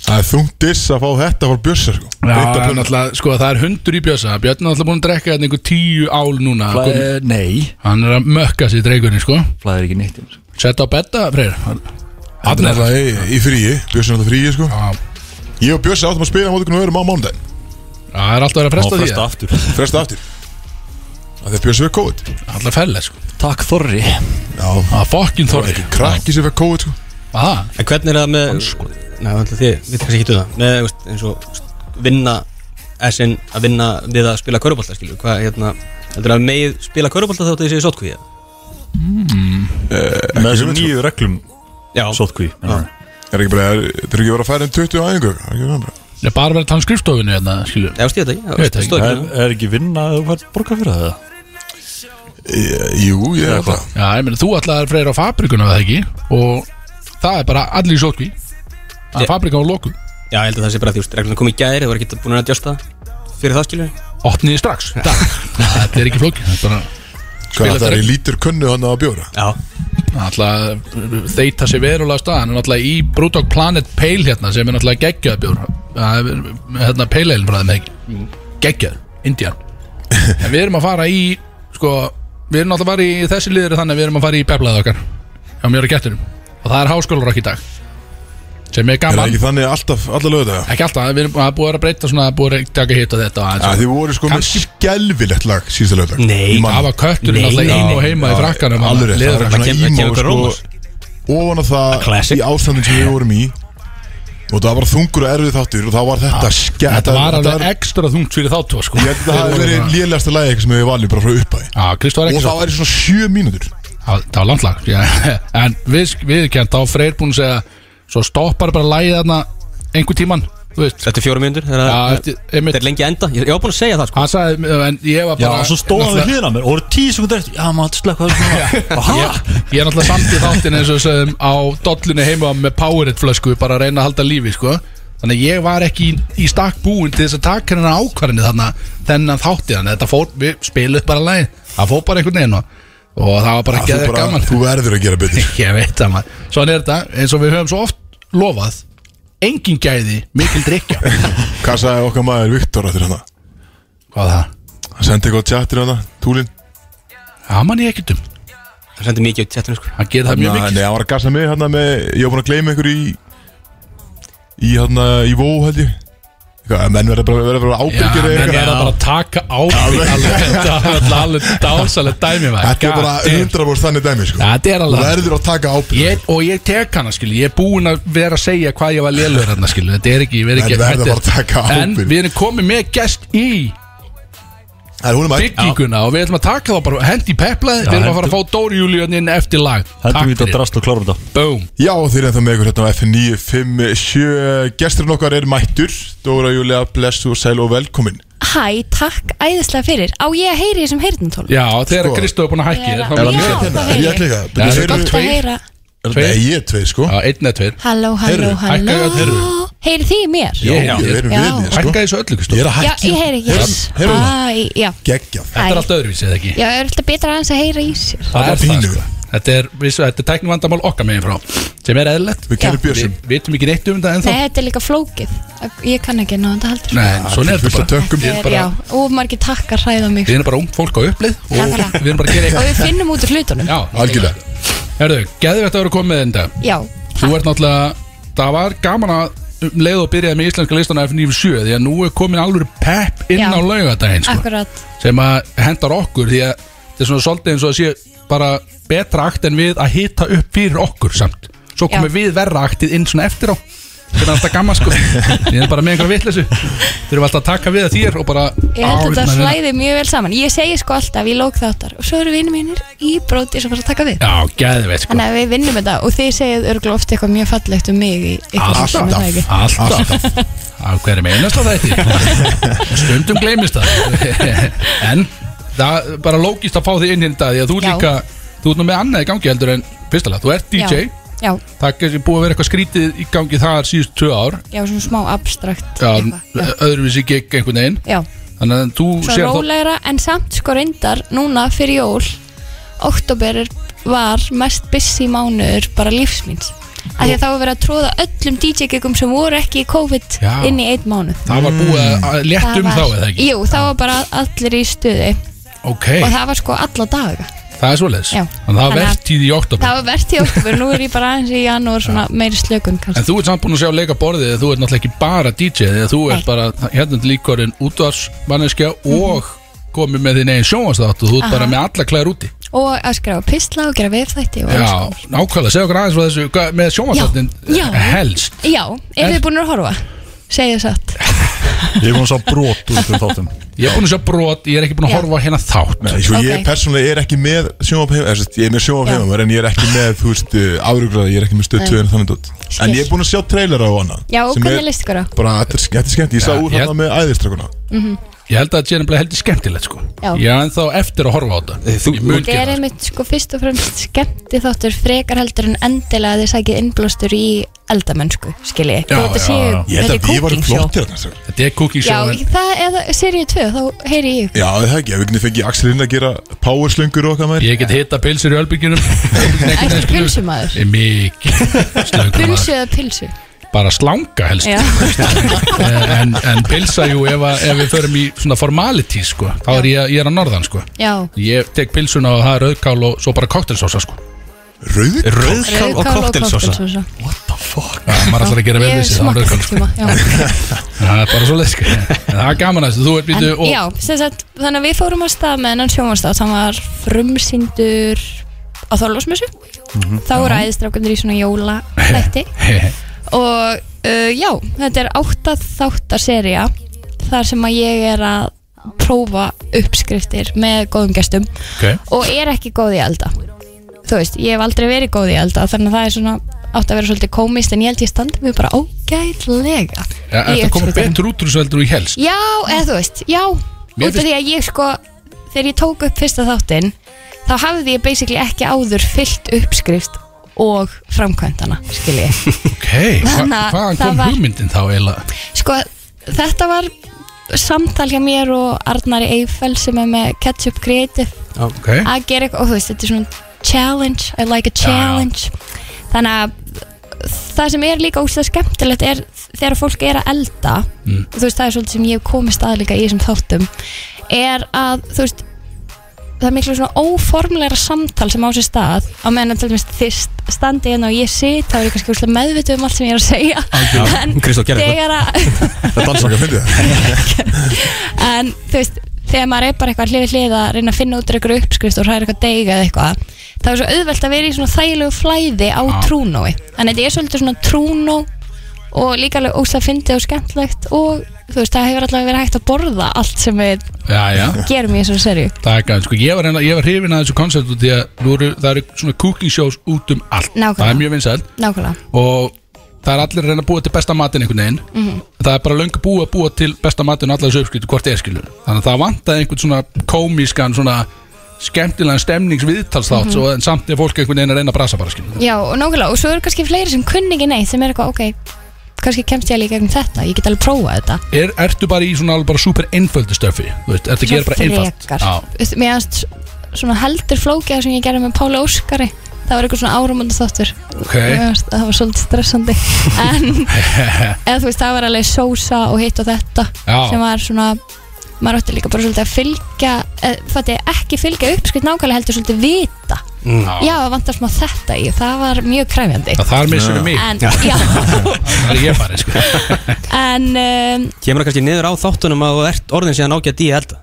[SPEAKER 2] Það er þungt diss að fá þetta frá Bjössa sko
[SPEAKER 4] Já,
[SPEAKER 2] Þetta
[SPEAKER 4] en
[SPEAKER 2] pönn-
[SPEAKER 4] náttúrulega, sko, það er hundur í bjösa Björn er náttúrulega búin að drekka hérna einhver tíu ál núna Kom-
[SPEAKER 5] Flæðir, nei,
[SPEAKER 4] Hann er að mökka sér dreikurinn, sko
[SPEAKER 5] flæðir ekki neitt inn, sko.
[SPEAKER 4] Sett á betta, Freyr
[SPEAKER 2] Þetta er
[SPEAKER 4] Adnir
[SPEAKER 2] alltaf í- í fríi, Bjössa er alltaf fríi sko
[SPEAKER 4] Já,
[SPEAKER 2] Ég og Bjössa áttum að spila mót ykkur og öðrum á mánudaginn
[SPEAKER 4] það er alltaf verið að
[SPEAKER 5] Má
[SPEAKER 4] fresta því
[SPEAKER 5] fresta aftur
[SPEAKER 2] Fresta aftur Það er Bjössa við COVID
[SPEAKER 4] Alltaf felle, sko
[SPEAKER 5] Takk Þorri
[SPEAKER 2] Já,
[SPEAKER 4] Það er fokkin þorri
[SPEAKER 2] krakki sem fekk COVID sko
[SPEAKER 4] Það,
[SPEAKER 3] En hvernig er það með Nei, alltaf þið, við kannski hittu það Með, veist, eins og, veist, vinna Essin að vinna við að spila körubólta skilju Hvað, hérna Heldur að megið spila körubólta þá þetta ég segi sótkvíði
[SPEAKER 5] Með þessum nýju reglum
[SPEAKER 3] Já,
[SPEAKER 5] Sótkví
[SPEAKER 2] Er ekki bara, er- þetta er ekki bara að færa um 20 æfingu Er ekki það bara
[SPEAKER 4] það er bara verið að tala um skrifstofinu hérna, skilju
[SPEAKER 3] Já, stíða þetta ekki,
[SPEAKER 4] Ég veit
[SPEAKER 3] það
[SPEAKER 4] ekki.
[SPEAKER 3] stóð ekki
[SPEAKER 5] Er
[SPEAKER 3] hérna.
[SPEAKER 5] er ekki vinna að þú fært borga fyrir það? eða?
[SPEAKER 2] Í- Jú, ég er alltaf
[SPEAKER 4] Já, ég meina, þú alltaf er Freyr á fabrikuna, það ekki Og það er bara allir í sótkví Það
[SPEAKER 3] Ég-
[SPEAKER 4] er fabrika á lokum
[SPEAKER 3] Já, ég held að það sé bara því, reglunum kom í gæri Það var ekki búin að adjusta fyrir það skilju
[SPEAKER 4] Opniði strax í dag. Það er ekki flókið Það er bara
[SPEAKER 2] Hvað
[SPEAKER 4] Spila
[SPEAKER 2] það er
[SPEAKER 4] fyrir-
[SPEAKER 2] í lítur kunnu hann að bjóra
[SPEAKER 3] Já,
[SPEAKER 4] alltaf þeita uh, sér verulega á stað hann er alltaf í Brewdog Planet Pale hérna sem er alltaf geggjað bjór Það er, hérna Pale Ale frá þeim ekki geggjað, Indian en við erum að fara í sko, við erum alltaf að fara í þessi liður er þannig að við erum að fara í peblaðið okkar hjá mér og getturum og það er háskólarokk í dag sem er
[SPEAKER 2] Er það
[SPEAKER 4] gaman
[SPEAKER 2] ekki þannig alltaf, alla lögða
[SPEAKER 4] ekki alltaf, við erum að búið að vera að breyta svona búið að taka hitt og þetta og aðeins og-
[SPEAKER 2] Þið voru sko með
[SPEAKER 4] Kannski-
[SPEAKER 2] skelvilegt lag síðasta lögða
[SPEAKER 3] Nei,
[SPEAKER 4] það var kötturinn
[SPEAKER 3] Nei,
[SPEAKER 4] alltaf inn
[SPEAKER 3] nei.
[SPEAKER 4] og heima í frakkanum hann
[SPEAKER 2] Alveg rétt, það
[SPEAKER 4] leður
[SPEAKER 2] var eitthvað
[SPEAKER 4] hann.
[SPEAKER 3] kem- það
[SPEAKER 2] svona
[SPEAKER 3] kemur
[SPEAKER 2] ímá
[SPEAKER 3] bara
[SPEAKER 2] sko
[SPEAKER 3] Rómars.
[SPEAKER 2] Ofan á
[SPEAKER 3] A
[SPEAKER 2] það
[SPEAKER 3] classic.
[SPEAKER 2] Í ástandin sem við vorum í Og það var þungur og erfið þáttur Og það var þetta skell
[SPEAKER 4] Ah, þetta var alveg
[SPEAKER 2] þetta-
[SPEAKER 4] ekstra þungt fyrir þá tvo sko
[SPEAKER 2] Ég held að það hefði verið lélegasta lagi sem við valið bara frá uppæði
[SPEAKER 4] Já, Kristof var
[SPEAKER 2] Og
[SPEAKER 4] ekki
[SPEAKER 2] það væri svona 7 mínútur
[SPEAKER 4] Það það var landlag já. En við, við kent á Freyr búin að segja Svo stoppar bara lægið þarna Einhver tíman, þú veist
[SPEAKER 3] Þetta er fjórum myndur
[SPEAKER 4] Já,
[SPEAKER 3] Þetta
[SPEAKER 4] eftir, einmitt,
[SPEAKER 3] er lengi að enda, ég ég var búin að segja það sko
[SPEAKER 4] Hann sagði, en ég var
[SPEAKER 5] Já,
[SPEAKER 4] bara
[SPEAKER 5] og svo stóð hann við
[SPEAKER 4] náttúrulega-
[SPEAKER 5] hliðina á mér og voru tíu sekundur eftir Já, maður slökk hvað það
[SPEAKER 4] Ég, ég er náttúrulega samt í þáttin eins og sem á dollunni heima með Powerade flösku bara að reyna að halda lífi sko þannig að ég var ekki í, í stakk búin til þess að taka hérna ákvarðinni þarna þennan þátti þannig að þetta fór, við spilum bara lægi það fór bara einhvern veginn og, og það var bara
[SPEAKER 2] Að Þú
[SPEAKER 4] geðveikt
[SPEAKER 2] bara,
[SPEAKER 4] gaman
[SPEAKER 2] þú verður að gera betur
[SPEAKER 4] Ég veit það maður Svona er þetta, eins og við höfum svo oft lofað Engin gæði, mikil drikja
[SPEAKER 2] Hvað sagði okkar maður Viktor eftir hann
[SPEAKER 4] Hvað það?
[SPEAKER 2] Hann sendi eitthvað á hérna, tjattir hann, túlin
[SPEAKER 4] Það man ég ekkert um
[SPEAKER 3] Það sendi mikið út í chatinu sko
[SPEAKER 4] Hann gerir það mjög
[SPEAKER 2] Nei,
[SPEAKER 4] mikið
[SPEAKER 2] hann var að gasa mig hann með Ég var búin að gleyma einhverju í Í hann, í vó held ég Eitthvað, að Menn verður bara, verður bara
[SPEAKER 4] Já,
[SPEAKER 2] ábyrgir eða
[SPEAKER 4] menn
[SPEAKER 2] eitthvað. hérna.
[SPEAKER 4] er að bara taka ábyrg alveg, Þetta er alveg dásalega dæmi maður.
[SPEAKER 2] Þetta er bara
[SPEAKER 4] God damn.
[SPEAKER 2] 100% þannig dæmi sko.
[SPEAKER 4] Þetta er
[SPEAKER 2] Þú
[SPEAKER 4] alveg
[SPEAKER 2] verður að taka ábyrgð
[SPEAKER 4] Ég, og ég tek hana skil ég er búinn að vera að segja hvað ég var lélur hérna skil þetta er ekki, ég verð ekki
[SPEAKER 2] En verða
[SPEAKER 4] þetta er-
[SPEAKER 2] bara að taka
[SPEAKER 4] en
[SPEAKER 2] ábyrgð.
[SPEAKER 4] við erum komið með gest í
[SPEAKER 2] Það er hún er mætt
[SPEAKER 4] bygginguna og við ætlum að taka þá bara hendi peplaði, við erum að fara að fá Dóri Júlíun inn eftir lag,
[SPEAKER 5] Hættum við þetta
[SPEAKER 4] fyrir,
[SPEAKER 5] drast og klárum þetta
[SPEAKER 4] boom
[SPEAKER 2] Já, þeir eru ennþá með ykkur hérna á F957 Gesturinn okkar er mættur Dóra Júlia, bless og sæl og velkomin
[SPEAKER 7] Hæ, takk æðislega fyrir Á ég að heyri þessum heyrnintólum
[SPEAKER 4] Já, þegar
[SPEAKER 2] Sko.
[SPEAKER 4] Kristó er búin að hækki
[SPEAKER 7] Ég er
[SPEAKER 4] þér,
[SPEAKER 7] að-
[SPEAKER 4] þá
[SPEAKER 7] Já,
[SPEAKER 4] verður
[SPEAKER 7] það
[SPEAKER 4] mikið.
[SPEAKER 7] heyri
[SPEAKER 2] Ég ætla ekki
[SPEAKER 4] Já,
[SPEAKER 2] að
[SPEAKER 4] þetta
[SPEAKER 7] Það
[SPEAKER 4] er
[SPEAKER 7] er gott
[SPEAKER 4] tveir.
[SPEAKER 7] að heyra
[SPEAKER 4] tveir.
[SPEAKER 2] Nei, ég er tveir sko
[SPEAKER 4] Já, einn eða tveir
[SPEAKER 7] Halló, halló,
[SPEAKER 2] Heyrðu,
[SPEAKER 7] halló
[SPEAKER 4] hækkaðu öll heyrðu.
[SPEAKER 7] Heyri þið í mér?
[SPEAKER 2] Já,
[SPEAKER 4] hérna.
[SPEAKER 2] við erum
[SPEAKER 7] Já.
[SPEAKER 2] við þér sko
[SPEAKER 4] Hækka þessu öllu Kristó
[SPEAKER 2] Ég er að
[SPEAKER 7] Já,
[SPEAKER 2] hækki
[SPEAKER 7] ég heyri ekki
[SPEAKER 2] Heyrðu- heyrðu það?
[SPEAKER 7] Æ, Já,
[SPEAKER 2] geggjað
[SPEAKER 4] Þetta er allt öðruvísi eða ekki
[SPEAKER 7] já, er alltaf betra aðeins að heyra í sér
[SPEAKER 2] var pínu.
[SPEAKER 4] sko. Þetta er, vissu, þetta er tæknivandamál okkar megin frá sem er eðlilegt
[SPEAKER 2] Við kennum
[SPEAKER 7] Já.
[SPEAKER 2] Björsum
[SPEAKER 4] Við vitum ekki neitt um þetta ennþá
[SPEAKER 7] Nei, þetta er líka flókið Ég kann ekki ná þetta haldur
[SPEAKER 4] Nei, en svona er
[SPEAKER 2] fullt
[SPEAKER 4] þetta
[SPEAKER 2] af tökum.
[SPEAKER 4] bara Við erum
[SPEAKER 7] Já,
[SPEAKER 4] bara,
[SPEAKER 7] og margir takkar hræða mig
[SPEAKER 4] við erum bara ung fólk á upplið og
[SPEAKER 7] Nákvæmlega.
[SPEAKER 4] við erum bara að gera
[SPEAKER 7] Og
[SPEAKER 4] eitthvað
[SPEAKER 7] við finnum út úr hlutunum
[SPEAKER 4] Já,
[SPEAKER 2] Algjörlega
[SPEAKER 4] herðu, geðu þetta að vera komið þetta
[SPEAKER 7] Já,
[SPEAKER 4] Þú ert náttúrulega, það var gaman að um leið og byrjaði með íslenska listana F97 því að nú er komin alveg pepp inn
[SPEAKER 7] Já.
[SPEAKER 4] á laugadaginn sko,
[SPEAKER 7] akkurat
[SPEAKER 4] sem að hendar okkur því að þetta er svona svolítið eins og að sé bara betra akt en við að hita upp fyrir okkur samt svo
[SPEAKER 7] Já.
[SPEAKER 4] komum við verra aktið inn svona eftir á þetta er alltaf gaman sko ég er bara með einhverja vitleysu þurfum alltaf að taka við að þér og bara
[SPEAKER 7] Ég held að
[SPEAKER 4] Á,
[SPEAKER 7] þetta
[SPEAKER 4] hérna,
[SPEAKER 7] flæði mjög vel saman Ég segi sko alltaf í lók þáttar Og svo eru vinnir mínir í bróti sem fara að taka við
[SPEAKER 4] já, gæðveit sko
[SPEAKER 7] Þannig að við vinnum þetta Og þið segið örgulega oft eitthvað mjög fallegt um mig í ykkur
[SPEAKER 4] Ah, Alltaf.
[SPEAKER 7] sem er það ekki.
[SPEAKER 4] alltaf á hverjum einasta þætti stundum gleymist það en það er bara lógist að fá þig inn hérna í dag því að þú ert
[SPEAKER 7] Já.
[SPEAKER 4] líka þú ert nú með annað í gangi heldur en fyrstulega, þú ert DJ
[SPEAKER 7] Já, já,
[SPEAKER 4] það er kannski búið að vera eitthvað skrítið í gangi þar síðust tvö ár
[SPEAKER 7] já, svona smá abstrakt
[SPEAKER 4] Já,
[SPEAKER 7] eitthvað. já,
[SPEAKER 4] öðruvísi gegn einhvern veginn
[SPEAKER 7] já.
[SPEAKER 4] þannig að þú
[SPEAKER 7] Svo
[SPEAKER 4] sér þá
[SPEAKER 7] rólegra en samt sko reyndar Núna fyrir jól Oktober var mest busy mánuður Bara lífsmins Af því að þá var verið að tróða öllum DJ-gegum sem voru ekki í COVID
[SPEAKER 4] Já.
[SPEAKER 7] inn í einn mánuð
[SPEAKER 4] það var búið að- að létt um þá eða ekki
[SPEAKER 7] Jú, þá var bara allir í stuði
[SPEAKER 4] ok,
[SPEAKER 7] og það var sko alla daga
[SPEAKER 4] það er svoleiðis
[SPEAKER 7] Já.
[SPEAKER 4] þannig að það
[SPEAKER 7] Þannig að-
[SPEAKER 4] verðtíð í oktober
[SPEAKER 7] það var verðt í oktober, nú er ég bara aðeins í janúar svona meiri slökun kannski
[SPEAKER 4] En þú ert samt búin að sjá leika borðið þú ert náttúrulega ekki bara DJ þegar þú ert
[SPEAKER 7] Nei.
[SPEAKER 4] bara hérna líkorinn útvarsmanneskja og komið með þinn eigin sjónvarsþátt og þú ert
[SPEAKER 7] Aha.
[SPEAKER 4] bara með alla klæðir úti
[SPEAKER 7] og að skrifa pistla og gera vefþætti og alls
[SPEAKER 4] Já,
[SPEAKER 7] konar.
[SPEAKER 4] nákvæmlega, segja okkur aðeins frá þessu hvað- með sjónvarsþáttin
[SPEAKER 7] Já, já.
[SPEAKER 4] helst
[SPEAKER 7] Já, eru
[SPEAKER 4] Er-
[SPEAKER 7] þið búin að horfa? Segðu satt
[SPEAKER 5] Ég er búin að sá brot úr þessum þáttum
[SPEAKER 4] Ég er búin að sjá brot, ég er ekki búin að
[SPEAKER 7] Já.
[SPEAKER 4] horfa á hérna þátt
[SPEAKER 2] Nei, svo
[SPEAKER 7] Ok.
[SPEAKER 2] Sko, ég persónulega er ekki með sjónvapheimar ég er með sjónvapheimar en ég er ekki með þú veist, afrugræði, ég er ekki með stöð 2 en þannig dót. en
[SPEAKER 7] Skil.
[SPEAKER 2] ég er búin að sjá trailera á hana
[SPEAKER 7] Já, og
[SPEAKER 2] sem
[SPEAKER 7] hvernig
[SPEAKER 2] er
[SPEAKER 7] list ykkur á?
[SPEAKER 2] bara, þetta er, þetta er skemmt, ég sá
[SPEAKER 4] Já,
[SPEAKER 2] úr
[SPEAKER 4] ég-
[SPEAKER 2] hana með æðistrakuna
[SPEAKER 4] Ég held að þetta sé nefnilega heldur skemmtilegt sko
[SPEAKER 7] Já.
[SPEAKER 4] Ég er ennþá eftir að horfa á þetta
[SPEAKER 3] Þú-
[SPEAKER 4] Ég mun
[SPEAKER 7] Þetta er
[SPEAKER 4] gera það
[SPEAKER 7] einmitt sko fyrst og fremst skemmti þáttur frekar heldur en endilega að þið sækið innblástur í eldamennsku, skilji
[SPEAKER 4] Já,
[SPEAKER 7] Þetta
[SPEAKER 4] já,
[SPEAKER 7] séu,
[SPEAKER 4] já.
[SPEAKER 2] ég held
[SPEAKER 7] þetta er
[SPEAKER 2] að við varum
[SPEAKER 7] cooking show
[SPEAKER 2] flottir þarna, sko. strákar.
[SPEAKER 4] Þetta er cooking
[SPEAKER 7] Já,
[SPEAKER 4] show en-
[SPEAKER 7] það eða seríu 2, þá heyri ég
[SPEAKER 2] já, það er ekki, ef við getum fengið Axel inn að gera powerslöngur og okkar maður
[SPEAKER 4] Ég get hitta pilsur í ölbyggjunum
[SPEAKER 7] Ættu pulsu maður?
[SPEAKER 4] Mikið slöngur maður.
[SPEAKER 7] Pulsu eða pilsu?
[SPEAKER 4] bara slanga helst
[SPEAKER 7] Já,
[SPEAKER 4] Eh, en, en pilsa jú ef, að- ef við förum í svona formality sko, þá er ég, ég er að norðan sko
[SPEAKER 7] já
[SPEAKER 4] ég tek pilsuna og það er rauðkál og svo bara koktelsósa sko
[SPEAKER 2] rauð,
[SPEAKER 5] Rauðkál og
[SPEAKER 7] Rauðkál
[SPEAKER 5] koktelsósa
[SPEAKER 7] koktelsósa.
[SPEAKER 4] ja, maður ætlar að gera vel
[SPEAKER 7] Ég
[SPEAKER 4] við sig það er
[SPEAKER 7] smakkaði
[SPEAKER 4] rauðkál
[SPEAKER 7] ekki
[SPEAKER 4] sko.
[SPEAKER 7] tíma, já
[SPEAKER 4] það er bara svo leið sko En það er gaman að þessu, þú ert býtu
[SPEAKER 7] En,
[SPEAKER 4] og
[SPEAKER 7] já, sem sagt, þannig að við fórum að stað með hennan sjónvarstátt hann var frumsýndur á Þorlósmessu þá voru æðistrákandir í svona jóla þætti og uh, já, þetta er átta þáttaserja þar sem að ég er að prófa uppskriftir með góðum gestum
[SPEAKER 4] Ok.
[SPEAKER 7] og er ekki góð í að elda þú veist, ég hef aldrei verið góð í að elda þannig að það er svona átt að vera svolítið komist en ég held ég standi mig bara ógæðlega
[SPEAKER 4] ja, er það komið betur út úr þessu heldur og í helst
[SPEAKER 7] Já, eða þú veist, já
[SPEAKER 4] Mér
[SPEAKER 7] Út af
[SPEAKER 4] finnst-
[SPEAKER 7] því að ég sko Þegar ég tók upp fyrsta þáttinn Þá hafði ég basically ekki áður fyllt uppskrift Og framkvæmdana Skil ég
[SPEAKER 4] ok, hva,
[SPEAKER 7] Þannig að
[SPEAKER 4] hvaðan
[SPEAKER 7] það
[SPEAKER 4] kom
[SPEAKER 7] var-
[SPEAKER 4] hugmyndin þá eiginlega
[SPEAKER 7] Sko, þetta var samtal hjá mér og Arnari Eiffel sem er með Ketchup Creative
[SPEAKER 4] ok,
[SPEAKER 7] að gera eitthvað, og þú veist, þetta er svona challenge, I like a challenge þannig að það sem er líka óslega skemmtilegt er þegar fólk er að elda og þú veist, það er svolítið sem ég hef komist að líka í þessum þáttum er að, þú veist það er miklu svona óformlegra samtal sem á sér stað á meðan að til dæmis þið standi hérna og ég sit þá er ég kannski óslega meðvituð um allt sem ég er að segja en
[SPEAKER 3] Kristó, gerðu eitthvað
[SPEAKER 7] þegar að
[SPEAKER 2] það dansa okkar fyndið það.
[SPEAKER 7] en þú veist, þegar maður er bara eitthvað hlið við hlið að reyna að finna út úr eitthvað uppskrift og hræða eitthvað deg eða eitthvað það er svo auðvelt að vera í svona þægilegu flæði á
[SPEAKER 4] Já.
[SPEAKER 7] trúnói en þetta er svolítið svona trúnó og líka alveg óslega fyndið og skemmtlegt og þú veist, það hefur allavega verið hægt að borða allt sem við
[SPEAKER 4] já já
[SPEAKER 7] gerum í þessari serju
[SPEAKER 4] það er gæðin, sko ég var, reyna, ég var hrifin að þessu koncept út því að nú eru, það eru svona cooking shows út um allt
[SPEAKER 7] Nákvæmlega.
[SPEAKER 4] það er mjög vinsælt
[SPEAKER 7] nákvæmlega,
[SPEAKER 4] og það er allir að reyna að búa til besta matinn einhvern veginn
[SPEAKER 7] Mhm.
[SPEAKER 4] það er bara löngu búið að búa til besta matinn og allar þessu uppskritu hvort er skilur þannig að það vantaði einhvern svona komískan svona skemmtilegan stemningsviðtalsþátt
[SPEAKER 7] Mhm.
[SPEAKER 4] mm en samt er fólk einhvern veginn að reyna að brasa bara skilur
[SPEAKER 7] já og nákvæmlega og svo eru kannski fleiri sem kunni ekki neitt sem er eitthvað, ok kannski kemst ég líka um þetta, ég get alveg prófað þetta
[SPEAKER 4] er, ertu bara í svona alveg bara super einföldu stöfi þú veist, ertu að gera bara einfalt Já.
[SPEAKER 7] einfalt Mér finnst svona heldur flókið sem ég gerði með Páli Óskari Það var eitthvað svona áramöndu þáttur
[SPEAKER 4] ok,
[SPEAKER 7] Það var svolítið stressandi En eða þú veist, það var alveg sósa og hitt og þetta
[SPEAKER 4] Já.
[SPEAKER 7] Sem var svona Maður átti líka bara svolítið að fylgja eða, Fatti ekki fylgja uppskrift nákvæmlega heldur svolítið vita Já, það vantar smá þetta í og Það var mjög kræfjandi
[SPEAKER 4] það þar missur við mig
[SPEAKER 7] En, já,
[SPEAKER 4] það er ég bara sko.
[SPEAKER 7] en um,
[SPEAKER 3] Kemur það kannski niður á þáttunum að þú ert orðin síðan ágætt í að elda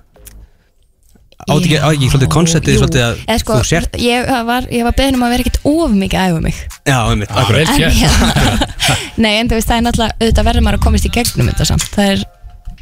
[SPEAKER 3] átt ekki, átt ekki svolítið konceptið svolítið að
[SPEAKER 7] Eða sko,
[SPEAKER 3] þú sért
[SPEAKER 7] ég var, ég var beðin um að vera ekkert of mikið að æfa mig
[SPEAKER 3] Já, einmitt,
[SPEAKER 4] Ah,
[SPEAKER 3] akkurat
[SPEAKER 4] vel
[SPEAKER 7] en,
[SPEAKER 4] gert.
[SPEAKER 7] hérna, Nei, en þú veist, það er náttúrulega auðvitað verður maður að komast í gegnum þetta samt það er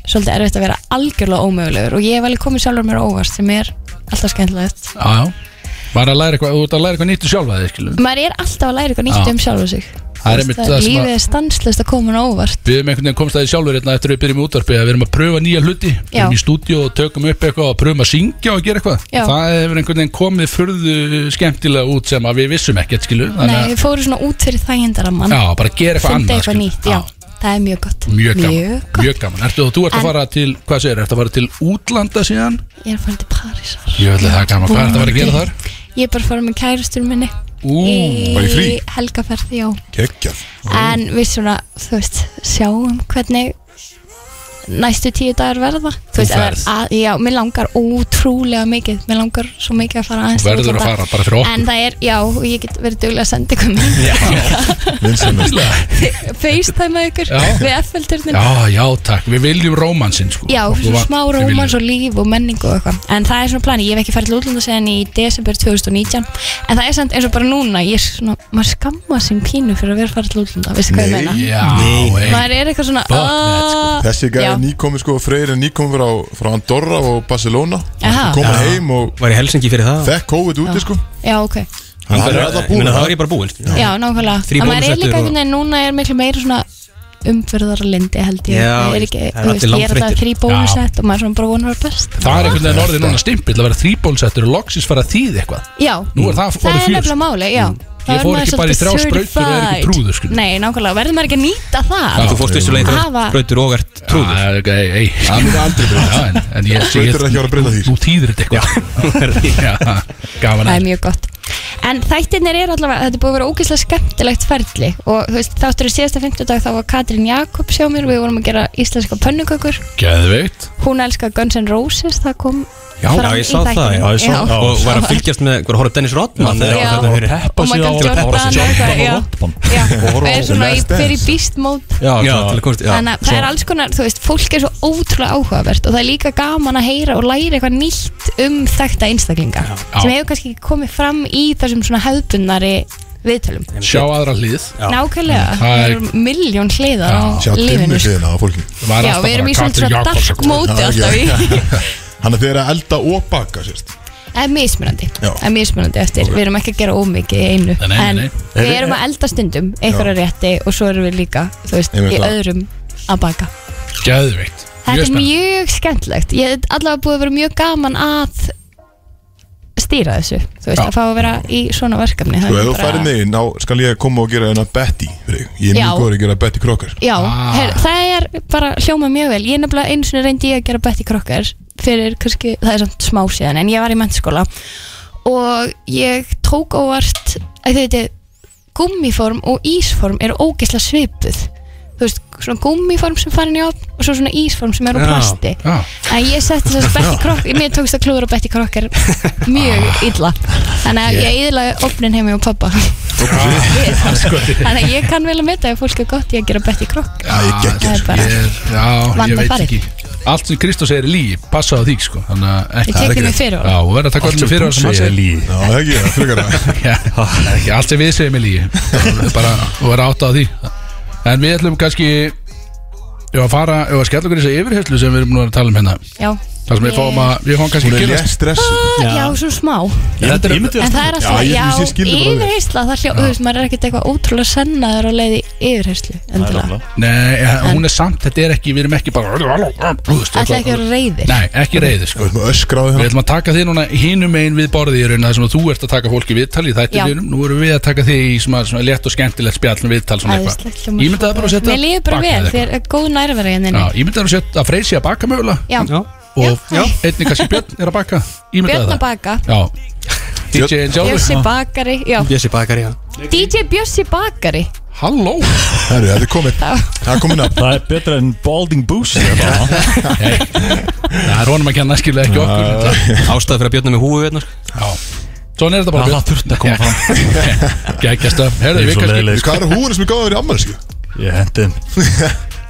[SPEAKER 7] svolítið erfitt að vera algjörlega ómögulegur og ég hef alveg komið sjálfur mér á óvart sem er alltaf skemmtilegt
[SPEAKER 4] Já, já Var að læra eitthvað, þú ert að læra eitthvað nýttu sjálfa þig, skilum
[SPEAKER 7] maður er alltaf að læra eitthvað nýtt
[SPEAKER 4] Já.
[SPEAKER 7] um sjálfur sig
[SPEAKER 4] Það er einmitt það sem að-
[SPEAKER 7] lífið er stanslust að koma á óvart
[SPEAKER 4] Við hefum einhvern veginn komst að því sjálfur hérna eftir að við byrjum í útvarpi að við erum að pröfa nýja hluti Við erum í stúdíu og tökum upp eitthvað og pröfum að syngja og gera eitthvað
[SPEAKER 7] Já.
[SPEAKER 4] Það hefur einhvern veginn komið furðu skemmtilega út sem að við vissum ekkert skilur
[SPEAKER 7] Nei, við fórum svona út fyrir þægindaramman
[SPEAKER 4] Já, bara gera eitthvað
[SPEAKER 7] fundið
[SPEAKER 4] annað
[SPEAKER 7] eitthvað
[SPEAKER 4] skilur.
[SPEAKER 7] nýtt, já, það er mjög gott
[SPEAKER 4] Mjög gaman,
[SPEAKER 7] Mjög
[SPEAKER 4] mjög,
[SPEAKER 7] gott.
[SPEAKER 4] gaman. Ertu, og þú ert
[SPEAKER 7] En-
[SPEAKER 4] að fara til, hvað segir, ertu að fara til útlanda síðan?
[SPEAKER 7] Ég er að fara til Parísar
[SPEAKER 4] Ég ætla það er gaman, hvað ertu að fara að gera þar?
[SPEAKER 7] Ég er bara að fara með kærastur minni
[SPEAKER 4] Ú,
[SPEAKER 2] bara í frí?
[SPEAKER 7] helgaferð, já
[SPEAKER 2] Kekjað
[SPEAKER 7] En við svona, þú veist, sjáum hvernig næstu tíu dagar verða Þú
[SPEAKER 4] ferð.
[SPEAKER 7] veist, ef það er að, já, mér langar ótrúlega mikið Mér langar svo mikið að fara aðeins
[SPEAKER 4] Þú verður að
[SPEAKER 7] útlanda.
[SPEAKER 4] fara, bara fyrir okkur.
[SPEAKER 7] En það er, já, og ég get verið duglega að senda ykkur
[SPEAKER 2] Vinsælast
[SPEAKER 7] mynd FaceTime ykkur
[SPEAKER 4] Já.
[SPEAKER 7] við F-felturnin
[SPEAKER 4] já, já, takk, við viljum rómansinn sko.
[SPEAKER 7] Já,
[SPEAKER 4] Þú
[SPEAKER 7] svona
[SPEAKER 4] var-
[SPEAKER 7] smá
[SPEAKER 4] við viljum.
[SPEAKER 7] rómans og líf og menning og eitthvað En það er svona plani, ég hef ekki farið til útlanda séðan í desember 2019 En það er samt eins og bara núna, ég er svona, maður skamma sín pínu fyrir að vera að fara til útlanda, veistu hvað ég
[SPEAKER 2] Nei.
[SPEAKER 7] meina?
[SPEAKER 4] Já, ein,
[SPEAKER 7] Maður er eitthvað svona
[SPEAKER 4] Fuck that, sko.
[SPEAKER 7] "Ah."
[SPEAKER 2] Þessi gæði
[SPEAKER 7] Já.
[SPEAKER 2] nýkomi sko Freyr er nýkomi frá, frá Andorra og Barcelona
[SPEAKER 7] Aha.
[SPEAKER 2] Komin heim og
[SPEAKER 3] Var í Helsingi fyrir það
[SPEAKER 2] þekk COVID úti sko
[SPEAKER 7] Já, ok
[SPEAKER 2] Hann er að það
[SPEAKER 3] Ég meina,
[SPEAKER 2] búin
[SPEAKER 3] Það var ég bara búinn Já,
[SPEAKER 7] Já, nákvæmlega
[SPEAKER 3] Þrír
[SPEAKER 7] En maður er
[SPEAKER 3] bónusettur
[SPEAKER 7] líka
[SPEAKER 3] og-
[SPEAKER 7] einhvern veginn, núna er miklu meira svona umfyrðarlindi held ég
[SPEAKER 3] Já,
[SPEAKER 7] Það er ekki,
[SPEAKER 3] það er
[SPEAKER 7] þú
[SPEAKER 3] allir
[SPEAKER 7] veist, ég er alltaf
[SPEAKER 3] langþreyttir.
[SPEAKER 7] þrý bónusett og maður svona bara vonar það best
[SPEAKER 4] Það er einhvern veginn orðið núna stimpill að vera þrýbólsettur og loksins fara að þýð eitthvað
[SPEAKER 7] Já,
[SPEAKER 4] Nú er það orðið
[SPEAKER 7] það er
[SPEAKER 4] fjör,
[SPEAKER 7] nefnilega
[SPEAKER 4] sko.
[SPEAKER 7] máli, já Þá
[SPEAKER 4] Ég
[SPEAKER 7] er
[SPEAKER 4] fór
[SPEAKER 7] maður
[SPEAKER 4] ekki bara í
[SPEAKER 7] svolítið
[SPEAKER 4] þrjár sprautur og er ekki
[SPEAKER 7] certified.
[SPEAKER 4] trúður, skilur.
[SPEAKER 7] Nei, nákvæmlega, verður maður ekki að nýta það
[SPEAKER 4] Já.
[SPEAKER 3] Þú fórst vissulega í
[SPEAKER 7] Hafa-
[SPEAKER 3] þrjá sprautur og ert trúður
[SPEAKER 4] Já, ok, ei, ei Það mun aldrei breyta En, en ég,
[SPEAKER 2] Sveitir
[SPEAKER 4] ég,
[SPEAKER 2] er ekki að vera að breyta því.
[SPEAKER 4] Nú þýðir þetta eitthvað Já, Gaman
[SPEAKER 7] Það
[SPEAKER 4] að
[SPEAKER 7] er mjög gott En þættirnir eru allavega, þetta er búið að vera ógeðslega skemmtilegt ferli og þú veist, þáttur í síðasta fimmtudag þá var Katrín Jakobs hjá mér, við vorum að gera íslenska pönnukökur
[SPEAKER 4] Geðveikt
[SPEAKER 7] hún elskar Guns N' Roses það kom
[SPEAKER 4] Já,
[SPEAKER 7] fram
[SPEAKER 3] Já, ég
[SPEAKER 7] í
[SPEAKER 3] sá það,
[SPEAKER 7] þættinum.
[SPEAKER 3] já, ég sá það Og var að fylgjast með, var að horfa á Dennis Rodman
[SPEAKER 5] Já,
[SPEAKER 3] þegar
[SPEAKER 7] já.
[SPEAKER 3] þetta fyrir
[SPEAKER 5] Peppa
[SPEAKER 7] Oh my
[SPEAKER 5] sig á
[SPEAKER 7] God, Jordan, eitthvað, já. Já, við erum svona í fyrir býst mót
[SPEAKER 5] Já,
[SPEAKER 3] Já,
[SPEAKER 5] svona-
[SPEAKER 3] til að komast já.
[SPEAKER 7] þannig að það er alls konar, þú veist, fólk er svo ótrúlega áhugavert og það er líka gaman að heyra og læra eitthvað nýtt um þekta einstaklinga sem hefur kannski ekki komið fram í þessum svona hefðbundari viðtölum
[SPEAKER 4] Sjá aðra hlið
[SPEAKER 3] Mm,
[SPEAKER 7] nákvæmlega,
[SPEAKER 4] Það
[SPEAKER 7] það
[SPEAKER 4] er-
[SPEAKER 7] eru miljón hliðar á
[SPEAKER 2] Sjá dimmi
[SPEAKER 7] lífinu sko.
[SPEAKER 2] hliðina á fólki
[SPEAKER 4] Var
[SPEAKER 7] Já,
[SPEAKER 4] alltaf
[SPEAKER 7] við erum
[SPEAKER 4] bara
[SPEAKER 7] í svona
[SPEAKER 4] Katrín
[SPEAKER 7] svona
[SPEAKER 4] Jakobs
[SPEAKER 7] dark
[SPEAKER 4] eitthvað.
[SPEAKER 7] móti
[SPEAKER 2] Já,
[SPEAKER 7] alltaf í
[SPEAKER 2] Hann er þeirra að elda og baka sérst
[SPEAKER 7] Það er mismunandi,
[SPEAKER 2] Já.
[SPEAKER 7] það er mismunandi eftir Við erum ekki að gera ómikið í einu
[SPEAKER 4] Nei, nei, nei, nei.
[SPEAKER 7] En við erum
[SPEAKER 2] eh,
[SPEAKER 7] að elda stundum einhverja rétti og svo erum við líka þú veist,
[SPEAKER 2] Einmitt
[SPEAKER 7] í
[SPEAKER 2] það.
[SPEAKER 7] öðrum að baka
[SPEAKER 4] Geðveikt
[SPEAKER 7] Þetta er
[SPEAKER 4] spennandi.
[SPEAKER 7] mjög skemmtlegt Ég hef allavega búið að vera mjög gaman að stýra þessu Þú veist,
[SPEAKER 4] Já.
[SPEAKER 7] að fá að vera í svona verkefni það
[SPEAKER 2] Sko
[SPEAKER 7] er
[SPEAKER 2] ef þú
[SPEAKER 7] bara-
[SPEAKER 2] færir mig inn, þá skal ég koma og gera hennar Betty fyrir þig. Ég er
[SPEAKER 7] Já.
[SPEAKER 2] mjög góður að gera Betty krokkar
[SPEAKER 7] Já,
[SPEAKER 4] Ah.
[SPEAKER 7] her, það er bara hljóma mjög vel Ég nefnilega einu sinni reyndi ég að gera Betty Crocker fyrir kannski, það er samt smá síðan en ég var í mentaskóla og ég tók óvart að þetta gummiform og ísform eru ógeðslega svipuð þú veist, svona gummiform sem farin í opn og svo svona ísform sem er á
[SPEAKER 3] Já,
[SPEAKER 7] plasti
[SPEAKER 4] já.
[SPEAKER 7] en ég setti þess að Betty Crocker mér tókst að klúður á Betty Crocker mjög illa þannig að ég eðlaði opnin heimi á pappa þannig að ég kann vel að meta ef fólk er gott í að gera Betty Crocker
[SPEAKER 2] Það er
[SPEAKER 7] það
[SPEAKER 2] geggjur
[SPEAKER 7] er bara
[SPEAKER 4] Ég er- Já, ég
[SPEAKER 7] Vandað
[SPEAKER 4] veit
[SPEAKER 7] farið.
[SPEAKER 4] ekki Allt sem Kristó segir er lígi Passa á því, sko Þannig að
[SPEAKER 7] Ég
[SPEAKER 4] ekki
[SPEAKER 7] tek þig með fyrirvara.
[SPEAKER 4] Já, og verður að taka allir fyrir sem hann segir
[SPEAKER 5] líð
[SPEAKER 2] Já, það er ekki, það er frekar að
[SPEAKER 4] Já, það er ekki allt sem við segjum er lígi Það er bara að vera átt á því En við ætlum kannski Ég var að fara, ég var að skella okkur í þessu yfirherslu sem við erum nú að tala um hérna
[SPEAKER 7] Já
[SPEAKER 4] Það sem við fáum að, við fáum kannski
[SPEAKER 2] Hún
[SPEAKER 4] að
[SPEAKER 2] er
[SPEAKER 4] gerast
[SPEAKER 2] létt stress
[SPEAKER 7] Já, svona smá
[SPEAKER 5] Ég myndi
[SPEAKER 7] En það er alltaf,
[SPEAKER 2] Já, ég-
[SPEAKER 7] já,
[SPEAKER 2] ég- ég skil þetta bara vel.
[SPEAKER 7] yfirheysla Það hljó, þú veist, maður er ekkert eitthvað ótrúlega sennaður á leiði yfirheyslu endilega
[SPEAKER 4] Nei, ja, hún er samt, þetta er ekki, við erum ekki bara Þú veist,
[SPEAKER 7] Ætla ekki að vera reyðir
[SPEAKER 4] Nei, ekki reyði
[SPEAKER 2] Þú
[SPEAKER 4] sko
[SPEAKER 2] veist maður öskraði
[SPEAKER 4] Við
[SPEAKER 2] hérna
[SPEAKER 4] ætlum að taka þig núna hinum einn við borðið í raun Það sem að þú ert að taka fólki viðtal í þætti
[SPEAKER 7] Já.
[SPEAKER 4] við Nú erum við að taka þig í svona, svona létt og skemmtilegt spjall um viðtal svona
[SPEAKER 7] Æðislegt
[SPEAKER 4] eitthvað
[SPEAKER 7] hljómar
[SPEAKER 4] Ég myndi það bara að setja
[SPEAKER 7] Mér líður bara
[SPEAKER 4] baka
[SPEAKER 7] vel,
[SPEAKER 4] eða
[SPEAKER 7] þér er góð nærvera hérna
[SPEAKER 4] Já,
[SPEAKER 7] inni.
[SPEAKER 4] ég myndi það að setja að freysi að baka mögulega
[SPEAKER 7] Já,
[SPEAKER 3] Já,
[SPEAKER 4] og
[SPEAKER 7] Já.
[SPEAKER 4] einnig kannski Björn er að baka ímyndaði
[SPEAKER 7] Björn að
[SPEAKER 4] það
[SPEAKER 7] baka
[SPEAKER 4] Já DJ
[SPEAKER 7] Bjössi
[SPEAKER 4] Sjálfur
[SPEAKER 7] bakari, já
[SPEAKER 3] Bjössi bakari, já
[SPEAKER 7] DJ Bjössi bakari
[SPEAKER 4] Halló
[SPEAKER 2] Herru, þetta er komið Það er komið nafn
[SPEAKER 5] Það er betra en Balding Boosie
[SPEAKER 4] Það er honum að kenna skilja ekki okkur
[SPEAKER 3] Ástæði fyrir að björna með húfu hérna, sko. veitna
[SPEAKER 4] Já Svona er þetta bara
[SPEAKER 5] Það þurfti að koma fram
[SPEAKER 4] Björn Gækjast að Herðu
[SPEAKER 5] Ég er
[SPEAKER 4] við
[SPEAKER 5] svo
[SPEAKER 4] kannski
[SPEAKER 5] leiðileg sko.
[SPEAKER 2] Hvað er húðurinn sem er gáður í ammælisku?
[SPEAKER 5] Ég hendi þeim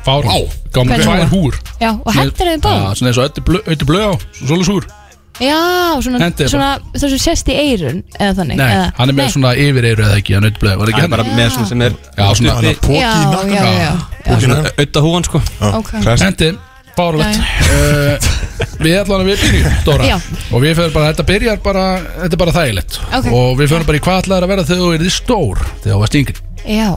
[SPEAKER 4] Fár á Gáðum
[SPEAKER 7] Hvernig
[SPEAKER 4] tvær
[SPEAKER 7] var?
[SPEAKER 4] húr
[SPEAKER 7] Já, og hendur þau
[SPEAKER 4] Já,
[SPEAKER 7] báð
[SPEAKER 4] Svona eins og öllu blöð á Svona svolítið húr
[SPEAKER 7] Já, svona,
[SPEAKER 4] Hendið
[SPEAKER 7] svona það sem sést í eirun eða þannig
[SPEAKER 4] Nei,
[SPEAKER 7] eða,
[SPEAKER 4] hann er með svona yfir eiru eða ekki, hann auðvitað var ekki
[SPEAKER 3] Hann er
[SPEAKER 4] hann
[SPEAKER 3] bara með svona sem er
[SPEAKER 4] Já, svona-
[SPEAKER 2] Þannig að póki
[SPEAKER 7] Já,
[SPEAKER 2] í nakkan
[SPEAKER 7] já, já, já.
[SPEAKER 3] Ötta húan sko
[SPEAKER 7] ok.
[SPEAKER 4] Hendi, bárlegt Eh, Við ætlum að við byrjum, Dóra
[SPEAKER 7] Já.
[SPEAKER 4] Og við fyrir bara, þetta byrjar bara, þetta er bara þægilegt
[SPEAKER 7] Ok.
[SPEAKER 4] Og við fyrir bara í hvað ætlaðir að vera þegar þú er stór Þegar þú varst yngri
[SPEAKER 7] Já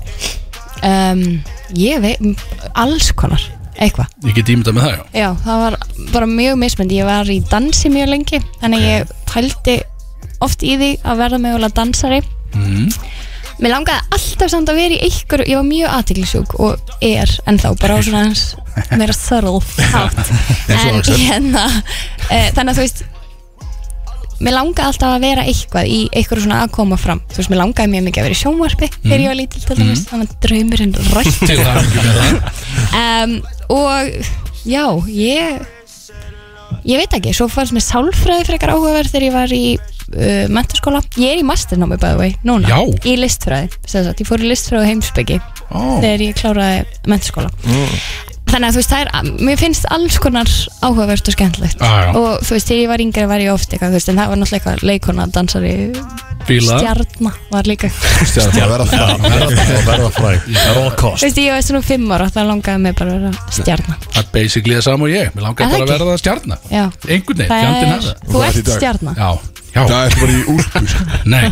[SPEAKER 7] um, Ég veit, alls konar eitthvað,
[SPEAKER 4] Ég get ímyndað með það, já
[SPEAKER 7] já, það var bara mjög mismönd, ég var í dansi mjög lengi þannig ég pældi oft í því að verða mögulega dansari Mér langaði alltaf samt að vera í einhverju, ég var mjög aðtiklisjúk og er ennþá bara á svona hans meira þörl hátt en hérna e, þannig að þú veist mér langaði alltaf að vera eitthvað í einhverju svona að koma fram, þú veist, mér langaði mjög mikið að vera í sjónvarpi þegar ég var lítil til dæmis, þannig að draumurinn rætt
[SPEAKER 4] Til það ekki með það
[SPEAKER 7] um, og já, ég ég veit ekki, svo fannst mér sálfræði frekar áhugaverð þegar ég var í uh, mentaskóla, ég er í masternámi by the way, núna,
[SPEAKER 4] Já.
[SPEAKER 7] í listfræði sem sagt, ég fór í listfræði og heimsbyggi
[SPEAKER 4] Ó, Mm.
[SPEAKER 7] þegar ég kláraði mentaskóla þannig að þú veist, það er, mér finnst alls konar áhugavert og skemmtilegt
[SPEAKER 4] Já, já.
[SPEAKER 7] og þú veist, þegar ég var yngri var ég oft eitthvað, þú veist, en það var náttúrulega eitthvað leikona, dansari,
[SPEAKER 4] Bíla
[SPEAKER 7] stjarna var líka,
[SPEAKER 2] Stjarnan að verða það
[SPEAKER 5] verða fræg At all
[SPEAKER 7] þú
[SPEAKER 5] cost
[SPEAKER 7] veist, ég var svona fimm ára það langaði mig bara að vera stjarna
[SPEAKER 4] Það er basically það sama og ég Mér langaði
[SPEAKER 7] Er
[SPEAKER 4] bara
[SPEAKER 7] það
[SPEAKER 4] að
[SPEAKER 7] ekki?
[SPEAKER 4] verða það stjarnar
[SPEAKER 7] já,
[SPEAKER 4] Einhvern veginn,
[SPEAKER 7] það
[SPEAKER 4] fjandinn
[SPEAKER 7] er,
[SPEAKER 4] hafa
[SPEAKER 2] Þú
[SPEAKER 7] þú
[SPEAKER 2] ert í
[SPEAKER 7] ert
[SPEAKER 2] dag.
[SPEAKER 7] stjarna
[SPEAKER 4] Já, já
[SPEAKER 2] Það er bara í úlpu sko.
[SPEAKER 4] Nei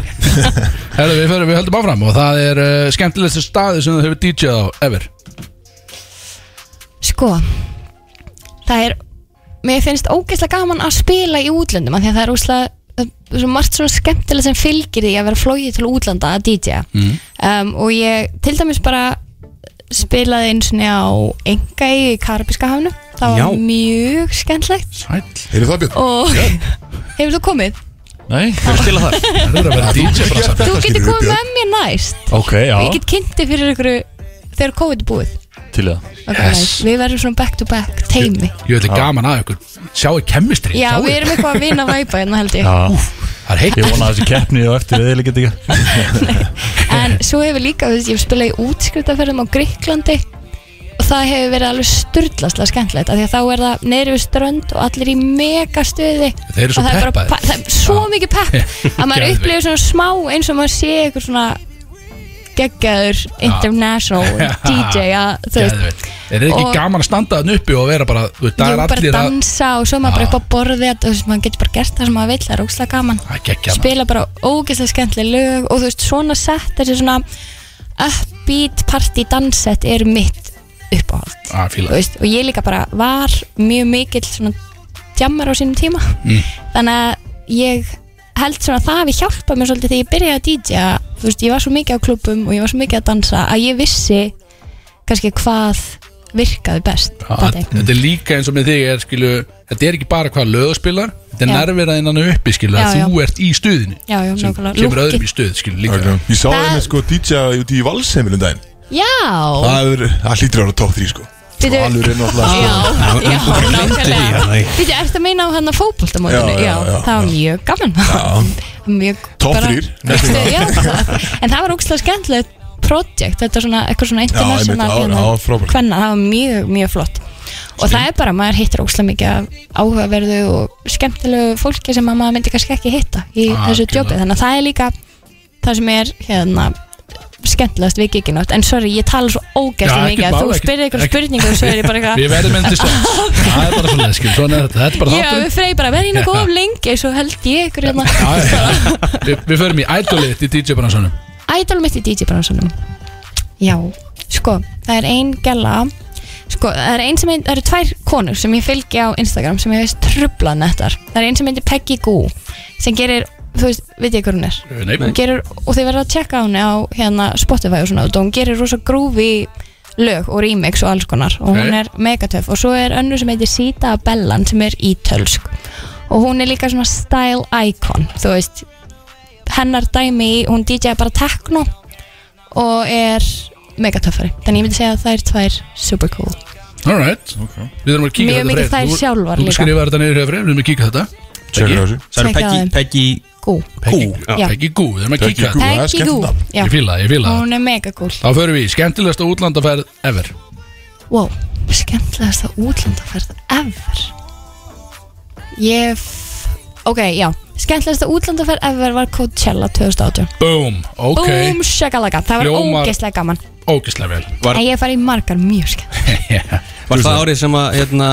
[SPEAKER 4] Herðu, við, fyrir, við höldum áfram og það er uh, skemmtilegstu staði sem þú hefur DJ'að á ever
[SPEAKER 7] Sko Það er Mér finnst ógeðslega gaman að spila í útlöndum af Því að það er úslega Svo margt svona skemmtilega sem fylgir því að vera flóið til útlanda að DJ mm. um, Og ég til dæmis bara spilaði eins og á enga í Karabíska hafnu Það var
[SPEAKER 3] Já.
[SPEAKER 7] mjög skemmtilegt
[SPEAKER 4] Sæll
[SPEAKER 2] Heyrðu það Björn?
[SPEAKER 7] Og hefur þú komið?
[SPEAKER 5] Nei
[SPEAKER 3] Hefur stilað þar
[SPEAKER 4] Það er að vera DJ bara
[SPEAKER 2] Þetta
[SPEAKER 7] Þú
[SPEAKER 2] skilur
[SPEAKER 7] getur
[SPEAKER 2] við,
[SPEAKER 7] komið
[SPEAKER 2] Björn.
[SPEAKER 7] með mér næst
[SPEAKER 5] Ok,
[SPEAKER 7] Ég
[SPEAKER 5] já
[SPEAKER 7] get kynnti fyrir ykkur þegar COVID er búið
[SPEAKER 5] Til það
[SPEAKER 7] okay,
[SPEAKER 4] Yes.
[SPEAKER 7] nice. Við verðum svona back to back teimi
[SPEAKER 4] Ég ætla gaman að ykkur Sjáu kemmistri
[SPEAKER 7] Já, við erum eitthvað að vinna væpa hérna held ég
[SPEAKER 5] Já
[SPEAKER 4] Það er heitt
[SPEAKER 5] Ég vona að þessi keppni og eftir við eða ekki
[SPEAKER 7] En svo hefur líka, þú veist, ég hef spilað í útskriftaförðum á Gríklandi og það hefur verið alveg sturdlaslega skemmtilegt af því að þá er það neyri við strönd og allir í megastuði
[SPEAKER 4] Þeir eru svo
[SPEAKER 7] og það er, bara,
[SPEAKER 4] peppaðir.
[SPEAKER 7] pa- það er svo mikið pepp að maður
[SPEAKER 4] Geðveikt.
[SPEAKER 7] upplifir svona smá eins og maður sé eitthvað svona geggjaður international DJ að þú veist
[SPEAKER 4] Geðveikt. Er þetta ekki
[SPEAKER 7] Og-
[SPEAKER 4] gaman að standa þann uppi og vera bara þú veit,
[SPEAKER 7] Jú,
[SPEAKER 4] Það er
[SPEAKER 7] bara
[SPEAKER 4] allir að
[SPEAKER 7] dansa og svo er maður bara upp á borði að, þú veist, maður getur bara gert það sem maður vill, það er ógslag gaman
[SPEAKER 4] Það er geggjað, maður.
[SPEAKER 7] spila bara ógeðslega skemmtileg lög og þú veist svona sett þessi svona upbeat party dansett er mitt uppáhald
[SPEAKER 4] Á,
[SPEAKER 7] þú
[SPEAKER 4] fíla.
[SPEAKER 7] veist, og ég líka bara var mjög mikill svona djammar á sínum tíma
[SPEAKER 4] Mm.
[SPEAKER 7] þannig að ég held svona að það hafi hjálpað mér svolítið þegar ég byrjaði að DJ -a. þú veist, ég var svo mikið á klubum og ég var svo mikið að dansa að ég vissi kannski hvað virkaði best
[SPEAKER 4] Já,
[SPEAKER 7] fattaði.
[SPEAKER 4] Þetta er líka eins og með þig er, skilu, Þetta er ekki bara hvað lög þú spilar Þetta er
[SPEAKER 7] Já.
[SPEAKER 4] nærverðin hann uppi skilu,
[SPEAKER 7] Já,
[SPEAKER 4] að
[SPEAKER 7] já.
[SPEAKER 4] Þú ert í stuðinu
[SPEAKER 7] já, já,
[SPEAKER 4] sem
[SPEAKER 7] nákvæmlega
[SPEAKER 4] kemur
[SPEAKER 7] Lúkkið.
[SPEAKER 4] öðrum í stuð skilu, líka.
[SPEAKER 2] Ok. Ég sá
[SPEAKER 7] Það-
[SPEAKER 2] það með sko DJ út í Valsheimilum daginn
[SPEAKER 7] já,
[SPEAKER 2] Það er, það hlýtur að vera tótt þrý sko
[SPEAKER 7] Bíddu.
[SPEAKER 2] Valur er náttúrulega
[SPEAKER 7] já,
[SPEAKER 2] sko
[SPEAKER 7] já, nákvæmlega
[SPEAKER 3] Nei.
[SPEAKER 7] Býtu, ertu að meina á hann að fótboltamótinu?
[SPEAKER 2] Já, já, já,
[SPEAKER 7] það var mjög gaman Mjög
[SPEAKER 2] Topp
[SPEAKER 7] bara-
[SPEAKER 2] þrír, næstu
[SPEAKER 7] Veistu, já, það- En það var ógstlega skemmtilegt projekt, þetta er svona eitthvað svona international
[SPEAKER 2] einmitt, já,
[SPEAKER 7] hérna,
[SPEAKER 2] já, frábært.
[SPEAKER 7] kvenna, það var mjög, mjög flott og það er bara, maður hittir ógstlega mikið af áhugaverðu og skemmtilegu fólki sem að maður myndi kannski ekki hitta í
[SPEAKER 4] Ah,
[SPEAKER 7] þessu
[SPEAKER 4] algjörlega.
[SPEAKER 7] djópi, þannig að það er líka það sem er hérna skemmtilegast við giginótt, en sorry, ég tala svo
[SPEAKER 4] Já,
[SPEAKER 7] ógæslega
[SPEAKER 4] ekkert
[SPEAKER 7] mikið að
[SPEAKER 4] mál,
[SPEAKER 7] þú
[SPEAKER 4] ekkert-
[SPEAKER 7] spyrir eitthvað
[SPEAKER 4] ekkert-
[SPEAKER 7] spurningu og svo er ég bara eitthvað
[SPEAKER 4] Við verðum enn til stöð Það er bara svona, skilu, svona er þetta Þetta er bara
[SPEAKER 7] Já,
[SPEAKER 4] þátturinn.
[SPEAKER 7] við freyð eh, bara, verði nokkuð of lengi svo held ég ykkur hérna
[SPEAKER 4] Já, já, já. Vi, við förum í ædolið í DJ bransanum
[SPEAKER 7] Ædol mitt í DJ bransunum Já, sko, það er ein gæla Sko, það er ein sem heit, það eru tvær konur sem ég fylgi á Instagram sem ég veist trublað nettar Það er ein sem heitir Peggy Goo sem gerir, þú veist, veit ég hver hún er
[SPEAKER 4] Eh, Nei,
[SPEAKER 7] Hún gerir, og þið verða að tjekka á henni á hérna Spotify og svona og hún gerir rosa grúfi lög og remix og alls konar og
[SPEAKER 4] Ok.
[SPEAKER 7] hún er megatöf og svo er önnur sem heitir Sita Bellan sem er ítölsk og hún er líka svona style icon þú veist hennar dæmi, í- hún DJ bara techno og er megatöfari, þannig ég myndi segja að það er tvær super cool,
[SPEAKER 4] alright Við þurfum að kíka
[SPEAKER 7] mjög mikið
[SPEAKER 4] þetta
[SPEAKER 7] þær
[SPEAKER 4] Freyr.
[SPEAKER 7] sjálfar
[SPEAKER 4] Þú- Þú
[SPEAKER 7] líka,
[SPEAKER 4] skrifaði þetta niður hefur, við þurfum að kíka þetta
[SPEAKER 2] Tjekkur á þessu
[SPEAKER 3] Það eru
[SPEAKER 7] Tjekka
[SPEAKER 3] Peggy,
[SPEAKER 7] þeim.
[SPEAKER 3] Peggy
[SPEAKER 7] cool
[SPEAKER 4] Peggy,
[SPEAKER 3] Gú,
[SPEAKER 7] já.
[SPEAKER 4] Peggy Gú, við þurfum að
[SPEAKER 2] Peggy
[SPEAKER 4] kíka
[SPEAKER 2] Goo,
[SPEAKER 4] þetta
[SPEAKER 2] það er
[SPEAKER 7] Peggy
[SPEAKER 2] skemmtilegt
[SPEAKER 7] Goo,
[SPEAKER 2] nafn.
[SPEAKER 7] já,
[SPEAKER 4] Ég fíla, það, ég fíla það
[SPEAKER 7] hún er mega cool
[SPEAKER 4] Þá förum við í skemmtilegasta útlandaferð ever
[SPEAKER 7] Wow, skemmtilegasta útlandaferð ever Ég f- ok, já skemmtilegasta útlandaferð ever var Coachella 2018
[SPEAKER 4] Boom, ok,
[SPEAKER 7] Boom, shakalaka, það var
[SPEAKER 4] Hljómar-
[SPEAKER 7] ógeðslega gaman
[SPEAKER 4] ógislega vel
[SPEAKER 3] Var-
[SPEAKER 7] En ég farið í margar mjög skemmt
[SPEAKER 3] Var það árið sem að hérna,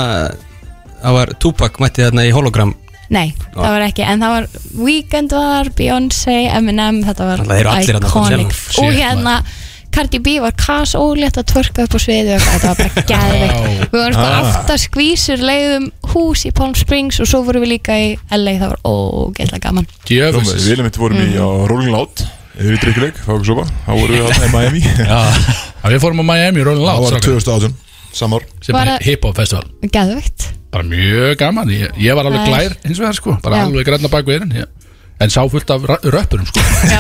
[SPEAKER 3] það var Tupac mætti þarna í hologram
[SPEAKER 7] Nei, það var ekki, en það var Weekend var, Beyoncé, Eminem Þetta var
[SPEAKER 3] Þannig að þeir eru allir þarna á Coachella.
[SPEAKER 7] iconic
[SPEAKER 4] Shit,
[SPEAKER 7] Og hérna Cardi B var kas ólétt að tvörka upp á sviði og þetta var bara geðveikt Við vorum sko
[SPEAKER 3] Ah.
[SPEAKER 7] aftaskvísur leiðum hús í Palm Springs og svo vorum við líka í LA, það var ógeðslega gaman
[SPEAKER 2] Rúmið,
[SPEAKER 4] Djöfus
[SPEAKER 2] við erum mitt vorum
[SPEAKER 7] Mm.
[SPEAKER 2] í á Rolling Loud Yfir í drikkjuleik, fá okkur sopa Þá vorum við á Miami Það
[SPEAKER 4] Já, Við fórum á Miami, Rolling
[SPEAKER 2] var
[SPEAKER 4] Loud
[SPEAKER 2] 2018, samar
[SPEAKER 4] sem
[SPEAKER 7] Var
[SPEAKER 4] er
[SPEAKER 7] að-
[SPEAKER 4] hip-hop festival
[SPEAKER 7] Geðveikt
[SPEAKER 4] bara mjög gaman, ég, ég var alveg
[SPEAKER 7] Það er-
[SPEAKER 4] glær eins og það sko, bara
[SPEAKER 7] Já.
[SPEAKER 4] alveg grænna bak við erin já. en sá fullt af ra- röppurum sko
[SPEAKER 7] Já,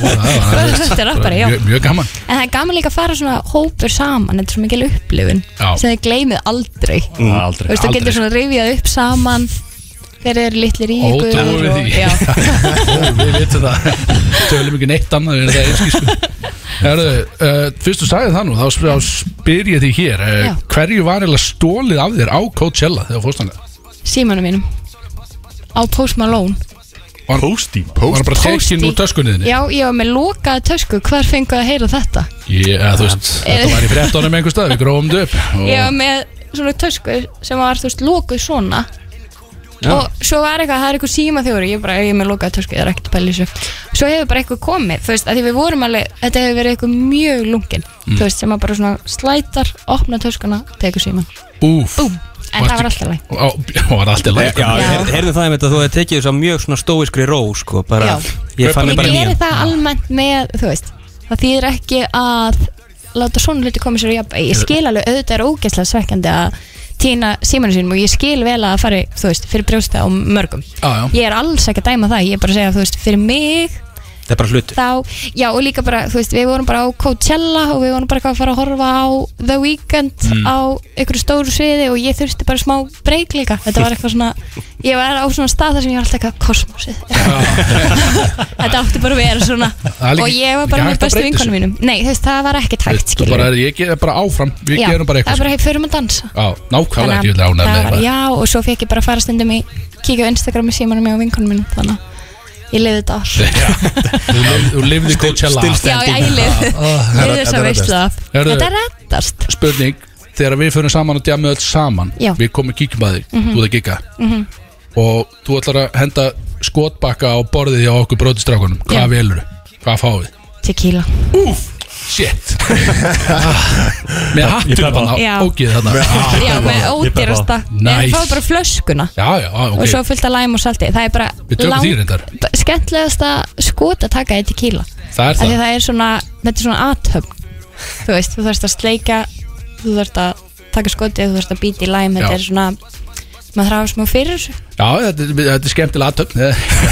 [SPEAKER 4] það
[SPEAKER 7] þetta er rappari, já
[SPEAKER 4] mjög, mjög gaman
[SPEAKER 7] En það er gaman líka að fara svona hópur saman Þetta er svo mikil upplifun
[SPEAKER 4] Já.
[SPEAKER 7] sem þið gleymið aldrei Þú
[SPEAKER 5] Aldrei
[SPEAKER 7] veist, þú getur svona rifjað upp saman þeir eru litlir í ykkur
[SPEAKER 4] Ótrúið
[SPEAKER 7] og-
[SPEAKER 4] við því.
[SPEAKER 7] Já,
[SPEAKER 4] Ó, við vitum það tölum ekki neitt annað en það er einski sko Herðu, uh, fyrst þú sagði það nú þá sp- þá spyr ég því hér uh,
[SPEAKER 7] Já.
[SPEAKER 4] hverju var eiginlega stólið af þér á Coachella þegar fórstanga
[SPEAKER 7] símanum mínum á Post Malone
[SPEAKER 5] Póstím
[SPEAKER 4] var hann bara tekinn
[SPEAKER 7] Pósti.
[SPEAKER 4] úr töskunniðinni
[SPEAKER 7] Já, ég var með lokaða tösku, hvar fengu að heyra þetta?
[SPEAKER 4] ég, að, þú veist, þetta var í frettunum einhver stað við grófum þetta upp
[SPEAKER 7] Ég var
[SPEAKER 4] og
[SPEAKER 7] með svona tösku sem var, þú veist, lokuð svona og svo var eitthvað, það er eitthvað síma þjóri ég bara, ég er með lokaða tösku, það er ekkert pæli svo svo hefur bara eitthvað komið, þú veist, að því við vorum alveg þetta hefur verið eitthvað mjög lungin
[SPEAKER 4] Mm.
[SPEAKER 7] þú veist, sem að bara svona slætar opna töskuna, tekur síman,
[SPEAKER 4] búf
[SPEAKER 7] búm en það var alltaf læg
[SPEAKER 4] Á, og var alltaf læg
[SPEAKER 3] Já, ég heyrði það einmitt að þú hefði tekið þess að mjög svona stóiskri ró sko, bara,
[SPEAKER 7] Já.
[SPEAKER 3] ég fann
[SPEAKER 7] ég
[SPEAKER 3] mig bara
[SPEAKER 7] gerir
[SPEAKER 3] nýjan
[SPEAKER 7] það almennt með, þú veist það þýðir ekki að láta svona hluti koma sér í jafnvægi, ég skil alveg auðvitað er ógeðslega svekkjandi að týna símanu sínum og ég skil vel að það fari, þú veist, fyrir brjósta á mörgum
[SPEAKER 4] Já, já.
[SPEAKER 7] ég er alls ekki að dæma það, ég er bara að segja, þú veist, fyrir mig
[SPEAKER 3] Það er bara hlutur
[SPEAKER 7] þá, já og líka bara, þú veist, við vorum bara á Coachella og við vorum bara eitthvað að fara að horfa á The Weeknd á einhverju stóru sviði og ég þurfti bara smá breyk líka, þetta var eitthvað svona ég var á svona stað þar sem ég var alltaf eitthvað kosmosið, þetta átti bara að vera svona
[SPEAKER 4] Það er líka-
[SPEAKER 7] og ég var
[SPEAKER 4] líka
[SPEAKER 7] bara
[SPEAKER 4] hægt
[SPEAKER 7] með
[SPEAKER 4] að
[SPEAKER 7] bestu
[SPEAKER 4] breyta
[SPEAKER 7] vinkonum mínum nei, þú veist, það var ekkert hægt,
[SPEAKER 4] Þú
[SPEAKER 7] skilur
[SPEAKER 4] bara, ég ger bara áfram Við gerum bara
[SPEAKER 7] það
[SPEAKER 4] eitthvað
[SPEAKER 7] er bara, hey, förum að dansa
[SPEAKER 4] Já, nákvæmlega ekki vilja ánægð
[SPEAKER 7] það
[SPEAKER 4] með
[SPEAKER 7] var,
[SPEAKER 4] það
[SPEAKER 7] já, og svo fekk ég bara að fara stundum í kíkja á Instagram í símanum mér og vinkonum mínum þannig að ég liði þetta ár
[SPEAKER 4] Þú lif- Þú lifði Coachella af.
[SPEAKER 7] Já, já, ég lið Lið þess að veist það
[SPEAKER 4] Heyrðu.
[SPEAKER 7] Þetta reddast
[SPEAKER 4] Spurning, þegar við fyrir saman og djamið öll saman
[SPEAKER 7] Já. Mhm.
[SPEAKER 4] Við komum og kíkjum að þig, þú ert að gigga Og þú ætlar að henda skotbakka á borðið hjá okkur brótistrákunum
[SPEAKER 7] Já.
[SPEAKER 4] Hvað velur þú? Hvað fáum við?
[SPEAKER 7] Tequila
[SPEAKER 4] Úf, shit Ah, Með
[SPEAKER 5] ég
[SPEAKER 4] hattur
[SPEAKER 5] peppa
[SPEAKER 4] bara
[SPEAKER 7] Já.
[SPEAKER 4] ógið þarna Ah,
[SPEAKER 7] Já, með ódýrasta
[SPEAKER 4] Nice.
[SPEAKER 7] Ég fá bara flöskuna
[SPEAKER 4] Já, já, ah, ok
[SPEAKER 7] Og svo fullt af læm og salti Það er bara
[SPEAKER 4] Við tökum
[SPEAKER 7] lang-
[SPEAKER 4] því reyndar.
[SPEAKER 7] b- Skemmtilegasta skot að taka er tequila
[SPEAKER 4] Það er
[SPEAKER 7] Af því
[SPEAKER 4] það
[SPEAKER 7] það er svona Þetta er svona athöfn Þú veist, þú þarfst að sleika Þú þarfst að taka skotið Þú þarfst að býta í læm Þetta
[SPEAKER 4] Já.
[SPEAKER 7] er svona Maður þarf að hafa smá fyrir þessu
[SPEAKER 4] Já, þetta, þetta er skemmtilega aðtöfn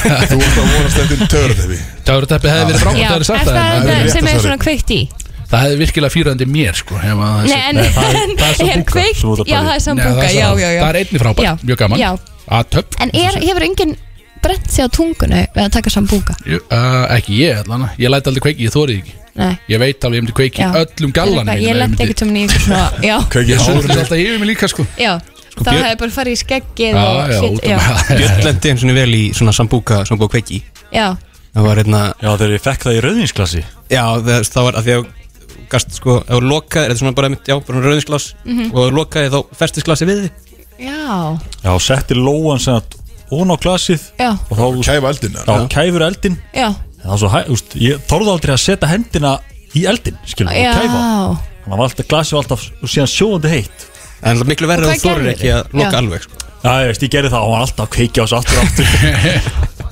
[SPEAKER 2] Þú ert að vonast eftir törðefi
[SPEAKER 4] Töfrateppi hefði verið frábært að
[SPEAKER 7] Já, er
[SPEAKER 4] verið sagt
[SPEAKER 7] það
[SPEAKER 4] það en-
[SPEAKER 7] þetta
[SPEAKER 2] rétt
[SPEAKER 7] sem
[SPEAKER 2] að
[SPEAKER 7] er
[SPEAKER 2] svara.
[SPEAKER 7] svona kveikt í
[SPEAKER 4] Það hefði virkilega fýrandi mér sko ef að þessi-
[SPEAKER 7] Nei, en
[SPEAKER 5] það er- það er
[SPEAKER 7] er,
[SPEAKER 5] sambúka,
[SPEAKER 7] kveikt
[SPEAKER 5] sem þú ert að
[SPEAKER 7] Já,
[SPEAKER 5] pæla í.
[SPEAKER 7] það er
[SPEAKER 4] Nei, það,
[SPEAKER 7] sambúka
[SPEAKER 4] er
[SPEAKER 7] já,
[SPEAKER 4] sama.
[SPEAKER 7] já, já.
[SPEAKER 4] það er einni frábær,
[SPEAKER 7] Já.
[SPEAKER 4] mjög gaman
[SPEAKER 7] Já.
[SPEAKER 4] að töpp,
[SPEAKER 7] En er, hefur enginn brent sig á tungunu við að taka sambúka?
[SPEAKER 4] uh, ekki ég allan ég læt aldrei kveiki, ég þórið ekki
[SPEAKER 7] Nei
[SPEAKER 4] ég veit alveg, ég myndi kveiki
[SPEAKER 7] já.
[SPEAKER 4] í öllum gallanum
[SPEAKER 7] Ég lendi ekkert um nýjum svona Já,
[SPEAKER 4] ég sörður
[SPEAKER 2] Kveikið
[SPEAKER 4] alltaf yfir mig líka sko
[SPEAKER 7] já Þá
[SPEAKER 4] Björn-
[SPEAKER 7] hefði bara farið í skeggið
[SPEAKER 4] já,
[SPEAKER 7] og
[SPEAKER 4] já,
[SPEAKER 7] shit,
[SPEAKER 4] út um það
[SPEAKER 3] Björn lendi eins og vel í svona sambúka sem búið kveiki
[SPEAKER 7] já,
[SPEAKER 3] Það var einna,
[SPEAKER 5] Já, þegar ég fekk það í rauðinsklassi
[SPEAKER 3] já það, það var að því að gast sko, ef þú lokaði, þetta er svona bara mitt, já, bara rauðinsglas
[SPEAKER 7] Mhm.
[SPEAKER 3] og ef þú lokaði þá festist glasi við þig
[SPEAKER 7] já Já,
[SPEAKER 5] Já, setti lóan sem að ón á glasið
[SPEAKER 7] já,
[SPEAKER 5] og þá úst,
[SPEAKER 2] Kæfa eldin
[SPEAKER 5] já, kæfur eldin
[SPEAKER 7] já,
[SPEAKER 5] það var svo hæ, úst, ég þorði aldrei að setja hendina í eldin, skilur,
[SPEAKER 7] já.
[SPEAKER 5] og kæfa þannig að var alltaf, glasið var alltaf og síðan sjóðandi heitt
[SPEAKER 3] En það er miklu verið
[SPEAKER 7] Og
[SPEAKER 3] að
[SPEAKER 7] hvað
[SPEAKER 3] þú þorir
[SPEAKER 7] gerðirðu?
[SPEAKER 3] ekki að loka
[SPEAKER 7] Já.
[SPEAKER 3] alveg sko.
[SPEAKER 5] Já, ég veist, ég gerði það og hann var alltaf að kveikja á þessu aftur og aftur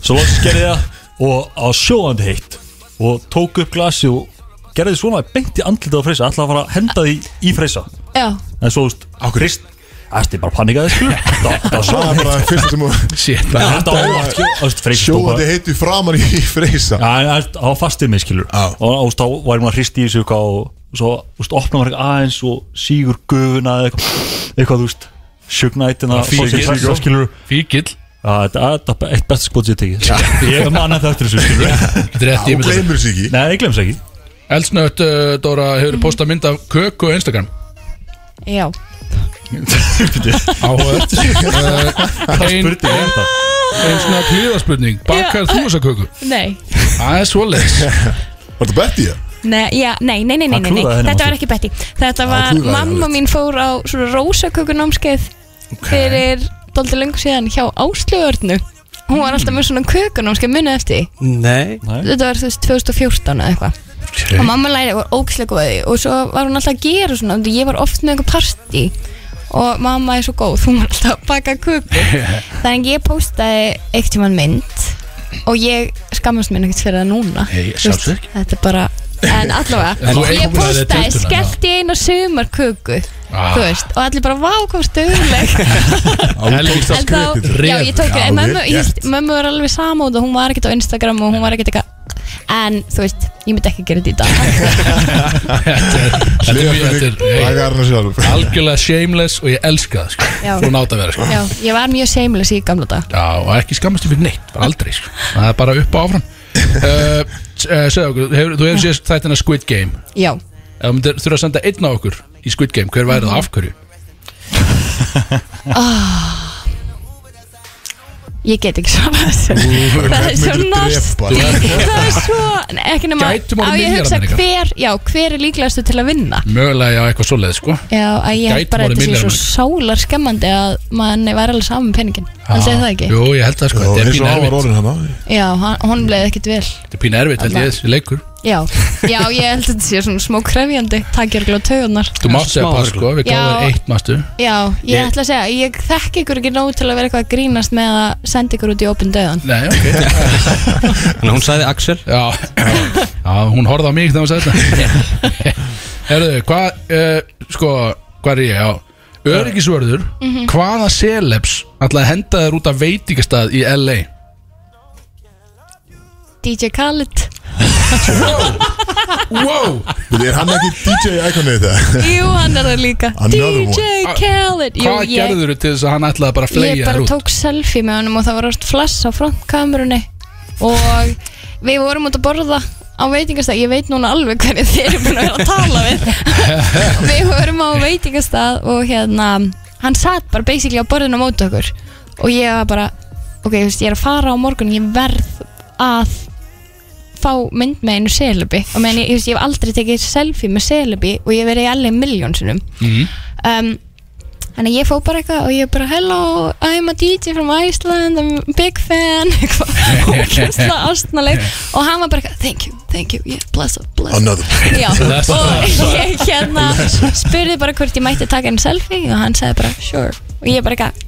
[SPEAKER 5] svo loks gerði ég það og á sjóðandi heitt og tók upp glasið og gerði svona beint í andlitið á freysa, alltaf að fara að henda því í freysa
[SPEAKER 7] Já,
[SPEAKER 5] en svo, úst, okkur rist Það er bara panikaði sko Það var
[SPEAKER 2] Það er
[SPEAKER 5] sjóðandi heitt
[SPEAKER 2] bara fyrst sem að
[SPEAKER 4] shit, það
[SPEAKER 5] Þetta var óvart sko Þú veist, Freysa stóð bara-
[SPEAKER 2] sjóðandi heiti framan í freysa
[SPEAKER 5] Já, en það var fastið mig, skilur
[SPEAKER 2] Já.
[SPEAKER 5] Og þú veist, þá væri maður að hristi í þessu eitthvað og svo, þú veist, opna maður eitthvað aðeins og sígur gufuna eða eitthvað, eitthvað, þú veist hérna, sjögnætina,
[SPEAKER 4] fíkir, sko.
[SPEAKER 5] skilur
[SPEAKER 4] fíkil
[SPEAKER 5] Já, Ah, þetta þetta er bara eitt besta skot sem ég hef tekið Ég man þetta eftir þessu, skilur
[SPEAKER 4] rétt, ég
[SPEAKER 2] Og
[SPEAKER 4] myndi það.
[SPEAKER 2] gleymur sér ekki
[SPEAKER 5] Nei, ég glems ekki
[SPEAKER 4] Elsnött, uh, Dóra, hefur postað mynd af köku á Instagram
[SPEAKER 7] já
[SPEAKER 5] Bíddu,
[SPEAKER 4] áhört
[SPEAKER 5] Hvað spurning er þetta?
[SPEAKER 4] einn Uh, svona klíðarspurning Bakar
[SPEAKER 7] Já.
[SPEAKER 4] þú þessa köku?
[SPEAKER 7] Nei,
[SPEAKER 4] Það er svoleiðis
[SPEAKER 2] Var þetta betti ég?
[SPEAKER 7] nei, já, nei, nei, nei, nei,
[SPEAKER 5] Hann
[SPEAKER 7] nei, nei.
[SPEAKER 5] klúðraði henni,
[SPEAKER 7] Þetta var
[SPEAKER 5] manstu?
[SPEAKER 7] ekki Betty Þetta
[SPEAKER 2] Hann
[SPEAKER 7] var,
[SPEAKER 2] klúðraði henni
[SPEAKER 7] mamma
[SPEAKER 2] alveg.
[SPEAKER 7] mín fór á svona rósakökunámskeið fyrir dóldi lengur síðan hjá Áslöðurnu Hún var alltaf með svona kökunámskeið munið eftir því.
[SPEAKER 3] Nei
[SPEAKER 7] Þetta var þú veist 2014 eða eitthvað og mamma læri var ógislega góði og svo var hún alltaf að gera svona og ég var oft með einhver partí og mamma er svo góð, hún var alltaf að baka kuku þannig að ég postaði eitt tíman mynd og ég skammast mér ekkert fyrir það núna
[SPEAKER 4] Nei,
[SPEAKER 7] Þú veist,
[SPEAKER 4] sjálfsagt.
[SPEAKER 7] þetta er bara En allavega,
[SPEAKER 4] En þú
[SPEAKER 7] ég
[SPEAKER 4] einangraði þig
[SPEAKER 7] postaði,
[SPEAKER 4] tiltöluna, já.
[SPEAKER 7] skellti einu sumarköku
[SPEAKER 4] Ah.
[SPEAKER 7] Þú veist, og allir bara, vá, hvað stöðuleg
[SPEAKER 4] Helgi
[SPEAKER 7] En þá,
[SPEAKER 4] Ref.
[SPEAKER 7] já, ég tók
[SPEAKER 2] Já,
[SPEAKER 7] en mömmu,
[SPEAKER 2] vel gert.
[SPEAKER 7] ég veist, mömmu var alveg sama út og hún var ekkert á Instagram og hún var ekkert eitthvað En, þú veist, ég myndi ekki gera þetta í dag
[SPEAKER 4] Þetta er- þetta er mjög-
[SPEAKER 2] Hliðarspurning,
[SPEAKER 4] þetta er hey,
[SPEAKER 2] lagar hana sjálf
[SPEAKER 4] algjörlega shameless og ég elska það sko.
[SPEAKER 7] Já.
[SPEAKER 4] og nátt að vera sko.
[SPEAKER 7] Já, ég var mjög seimlis í gamla dag
[SPEAKER 4] Já, og ekki skammast yfir neitt, bara aldrei sko. það er bara upp og áfram uh, uh, Segðu okkur, hefur, þú hefur séð þættina Squid Game
[SPEAKER 7] Já,
[SPEAKER 4] Ef þú myndir þurfa að senda einn á okkur í Squid Game, hver væri
[SPEAKER 7] Mhm.
[SPEAKER 4] það af hverju?
[SPEAKER 7] ég get ekki svara þessu Það er svo
[SPEAKER 2] drepa.
[SPEAKER 7] nostík Það er svo, nei, ekki nema
[SPEAKER 4] Gætum
[SPEAKER 7] Á
[SPEAKER 4] orðið
[SPEAKER 7] ég að hugsa
[SPEAKER 4] milljarðar,
[SPEAKER 7] hver, já, hver er líklegastu til að vinna
[SPEAKER 4] Mögulega já, eitthvað svoleið sko.
[SPEAKER 7] Já, að ég held
[SPEAKER 4] Gætum
[SPEAKER 7] bara að
[SPEAKER 4] orðið
[SPEAKER 7] þetta sé svo
[SPEAKER 4] milljarðar,
[SPEAKER 7] sálar skemmandi að manni væri alveg um saman peningin Haldið þið það ekki?
[SPEAKER 4] Jú, ég held það sko,
[SPEAKER 2] Það
[SPEAKER 4] þetta
[SPEAKER 2] er
[SPEAKER 4] er
[SPEAKER 2] eins og
[SPEAKER 4] pínu
[SPEAKER 2] hann var
[SPEAKER 4] erfitt
[SPEAKER 2] orðin hann
[SPEAKER 7] Já, hann- honum bleið ekkit vel
[SPEAKER 4] Þetta er pínu erfitt, held ég þessi leikur
[SPEAKER 7] Já, já, ég held að þetta sé svona smó krefjandi Takk ég örgulega taugunar
[SPEAKER 4] Þú mátt segja
[SPEAKER 3] smá
[SPEAKER 4] pass
[SPEAKER 3] örgla.
[SPEAKER 4] sko, við gáðum
[SPEAKER 7] Já.
[SPEAKER 4] þér eitt mástu
[SPEAKER 7] Já, ég,
[SPEAKER 3] Ég-
[SPEAKER 7] ætla að segja, ég þekki ykkur ekki nóg til að vera eitthvað að grínast með að senda ykkur út í opin döðan
[SPEAKER 4] Nei, ok
[SPEAKER 3] Þannig að hún sagði Axel
[SPEAKER 4] Já, já hún horfði á mig þegar hún sagði þetta Herðu, hvað, uh, sko, hvað er ég, já Öryggisvörður,
[SPEAKER 7] Mhm.
[SPEAKER 4] hvaða celebs ætlaði að henda þér út af veitingastað í LA?
[SPEAKER 7] DJ Khaled
[SPEAKER 4] Wow,
[SPEAKER 2] Er hann ekki DJ ikonið þetta?
[SPEAKER 7] Jú, hann er það líka
[SPEAKER 2] Another
[SPEAKER 7] DJ Khaled Jú,
[SPEAKER 4] hvað
[SPEAKER 7] ég,
[SPEAKER 4] gerður til þess að hann ætlaði bara að
[SPEAKER 7] ég
[SPEAKER 4] fleia þér
[SPEAKER 7] bara
[SPEAKER 4] út?
[SPEAKER 7] tók selfie með honum og það var oft flass á frontkamerunni og við vorum út að borða á veitingastað, ég veit núna alveg hvernig þeir eru búin að vera að tala við við vorum á veitingastað og hérna, hann satt bara basically á borðinu á móti okkur og ég var bara, ok, þú veist, ég er að fara á morgun ég verð að fá mynd með einu selubi og meðan ég, ég, veist, ég hef aldrei tekið selfie með selubi og ég hef verið í allir miljónsinum
[SPEAKER 4] Mhm.
[SPEAKER 7] um, Þannig að ég fór bara eitthvað og ég bara Hello, I'm a DJ from Iceland I'm a big fan eitthvað ógeðslega ástnalegt og hann var bara eitthvað, thank you, thank you yeah, bless up, bless up
[SPEAKER 2] Another
[SPEAKER 7] Já, og ég hérna spurði bara hvort ég mætti taka einn selfie og hann sagði bara, sure og ég bara eitthvað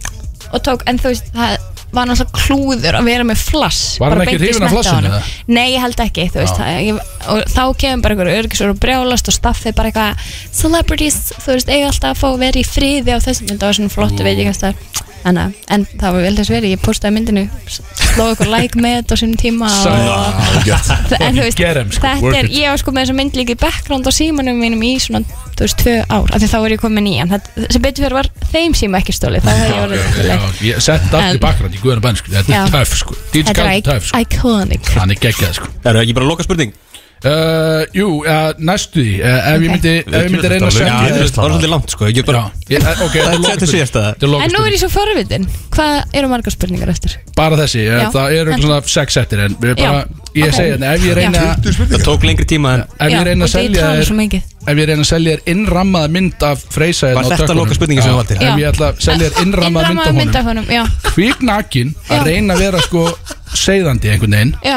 [SPEAKER 7] og tók, en þú veist, það var náttúrulega klúður að vera með flass
[SPEAKER 4] Var hann
[SPEAKER 7] bara
[SPEAKER 4] ekki
[SPEAKER 7] beint í
[SPEAKER 4] hrifinn af
[SPEAKER 7] smetti á
[SPEAKER 4] flassinu,
[SPEAKER 7] honum. Nei, ég held ekki, þú veist
[SPEAKER 4] Já.
[SPEAKER 7] það, ég, og þá kemur bara einhver örgisur og brjálast og staffið bara eitthvað celebrities, þú veist, eiga alltaf að fá að vera í friði á þessum, þetta var svona flott veit ég hvað það En, en það var vel þess verið, ég postaði myndinu sló ykkur like með þetta á sinni tíma og,
[SPEAKER 2] Ágætt
[SPEAKER 7] en þú veist,
[SPEAKER 4] Gerem, sko,
[SPEAKER 7] þetta
[SPEAKER 4] work
[SPEAKER 7] er,
[SPEAKER 4] it.
[SPEAKER 7] ég var sko með þessa mynd líka í background á símanum mínum í svona, þú veist, tvö ár af því þá var ég komin í hann, þetta- sem betur fyrir var þeim síma ekki stólið, þá hefði ég
[SPEAKER 4] Já,
[SPEAKER 7] var
[SPEAKER 4] já, já, ég sett allt í
[SPEAKER 7] En-
[SPEAKER 4] bakgrann í guðan bæn, sko, þetta
[SPEAKER 7] Já.
[SPEAKER 4] er töff, sko DJ
[SPEAKER 7] þetta
[SPEAKER 4] Khaled er töff, sko,
[SPEAKER 7] er iconic
[SPEAKER 4] hann er geggjað, sko
[SPEAKER 3] Er það ekki bara loka spurning?
[SPEAKER 4] Uh, jú, uh, næstu því uh, ef, ég
[SPEAKER 7] Ok.
[SPEAKER 4] myndi, ef ég myndi reyna að
[SPEAKER 5] Já,
[SPEAKER 4] senda
[SPEAKER 5] ég
[SPEAKER 3] það
[SPEAKER 5] veist
[SPEAKER 3] var
[SPEAKER 5] það.
[SPEAKER 3] svolítið langt sko Ég get
[SPEAKER 4] Já,
[SPEAKER 3] bara
[SPEAKER 4] ég, eh, ok,
[SPEAKER 3] Þetta
[SPEAKER 4] þetta
[SPEAKER 3] er
[SPEAKER 4] er
[SPEAKER 3] síðasta.
[SPEAKER 4] lokaspurning. Þetta er
[SPEAKER 7] en nú er
[SPEAKER 4] lokaspurning
[SPEAKER 7] ég svo forvitin, hvað eru margar spurningar eftir?
[SPEAKER 4] Bara þessi, eh,
[SPEAKER 7] Já.
[SPEAKER 4] það eru svona sex eftir En við bara,
[SPEAKER 7] Já,
[SPEAKER 4] ég
[SPEAKER 7] ok.
[SPEAKER 4] segi hérna Ef ég reyna,
[SPEAKER 7] Já.
[SPEAKER 2] Þú
[SPEAKER 3] Það
[SPEAKER 2] spurningar
[SPEAKER 3] tók lengri tíma en
[SPEAKER 4] ef ég reyna að selja
[SPEAKER 7] þér
[SPEAKER 4] þér Ef ég reyna að selja þér innrammaða mynd af Freysa hérna
[SPEAKER 3] Var
[SPEAKER 4] á
[SPEAKER 3] þetta
[SPEAKER 4] tökkunum.
[SPEAKER 3] lokaspurningin sem
[SPEAKER 4] Já,
[SPEAKER 3] þú valdir?
[SPEAKER 4] Ef ég ætla að selja þér innrammaða mynd af honum
[SPEAKER 7] af honum já,
[SPEAKER 4] Kviknakin
[SPEAKER 7] Já.
[SPEAKER 4] að reyna að vera sko Seiðandi einhvern veginn
[SPEAKER 7] já,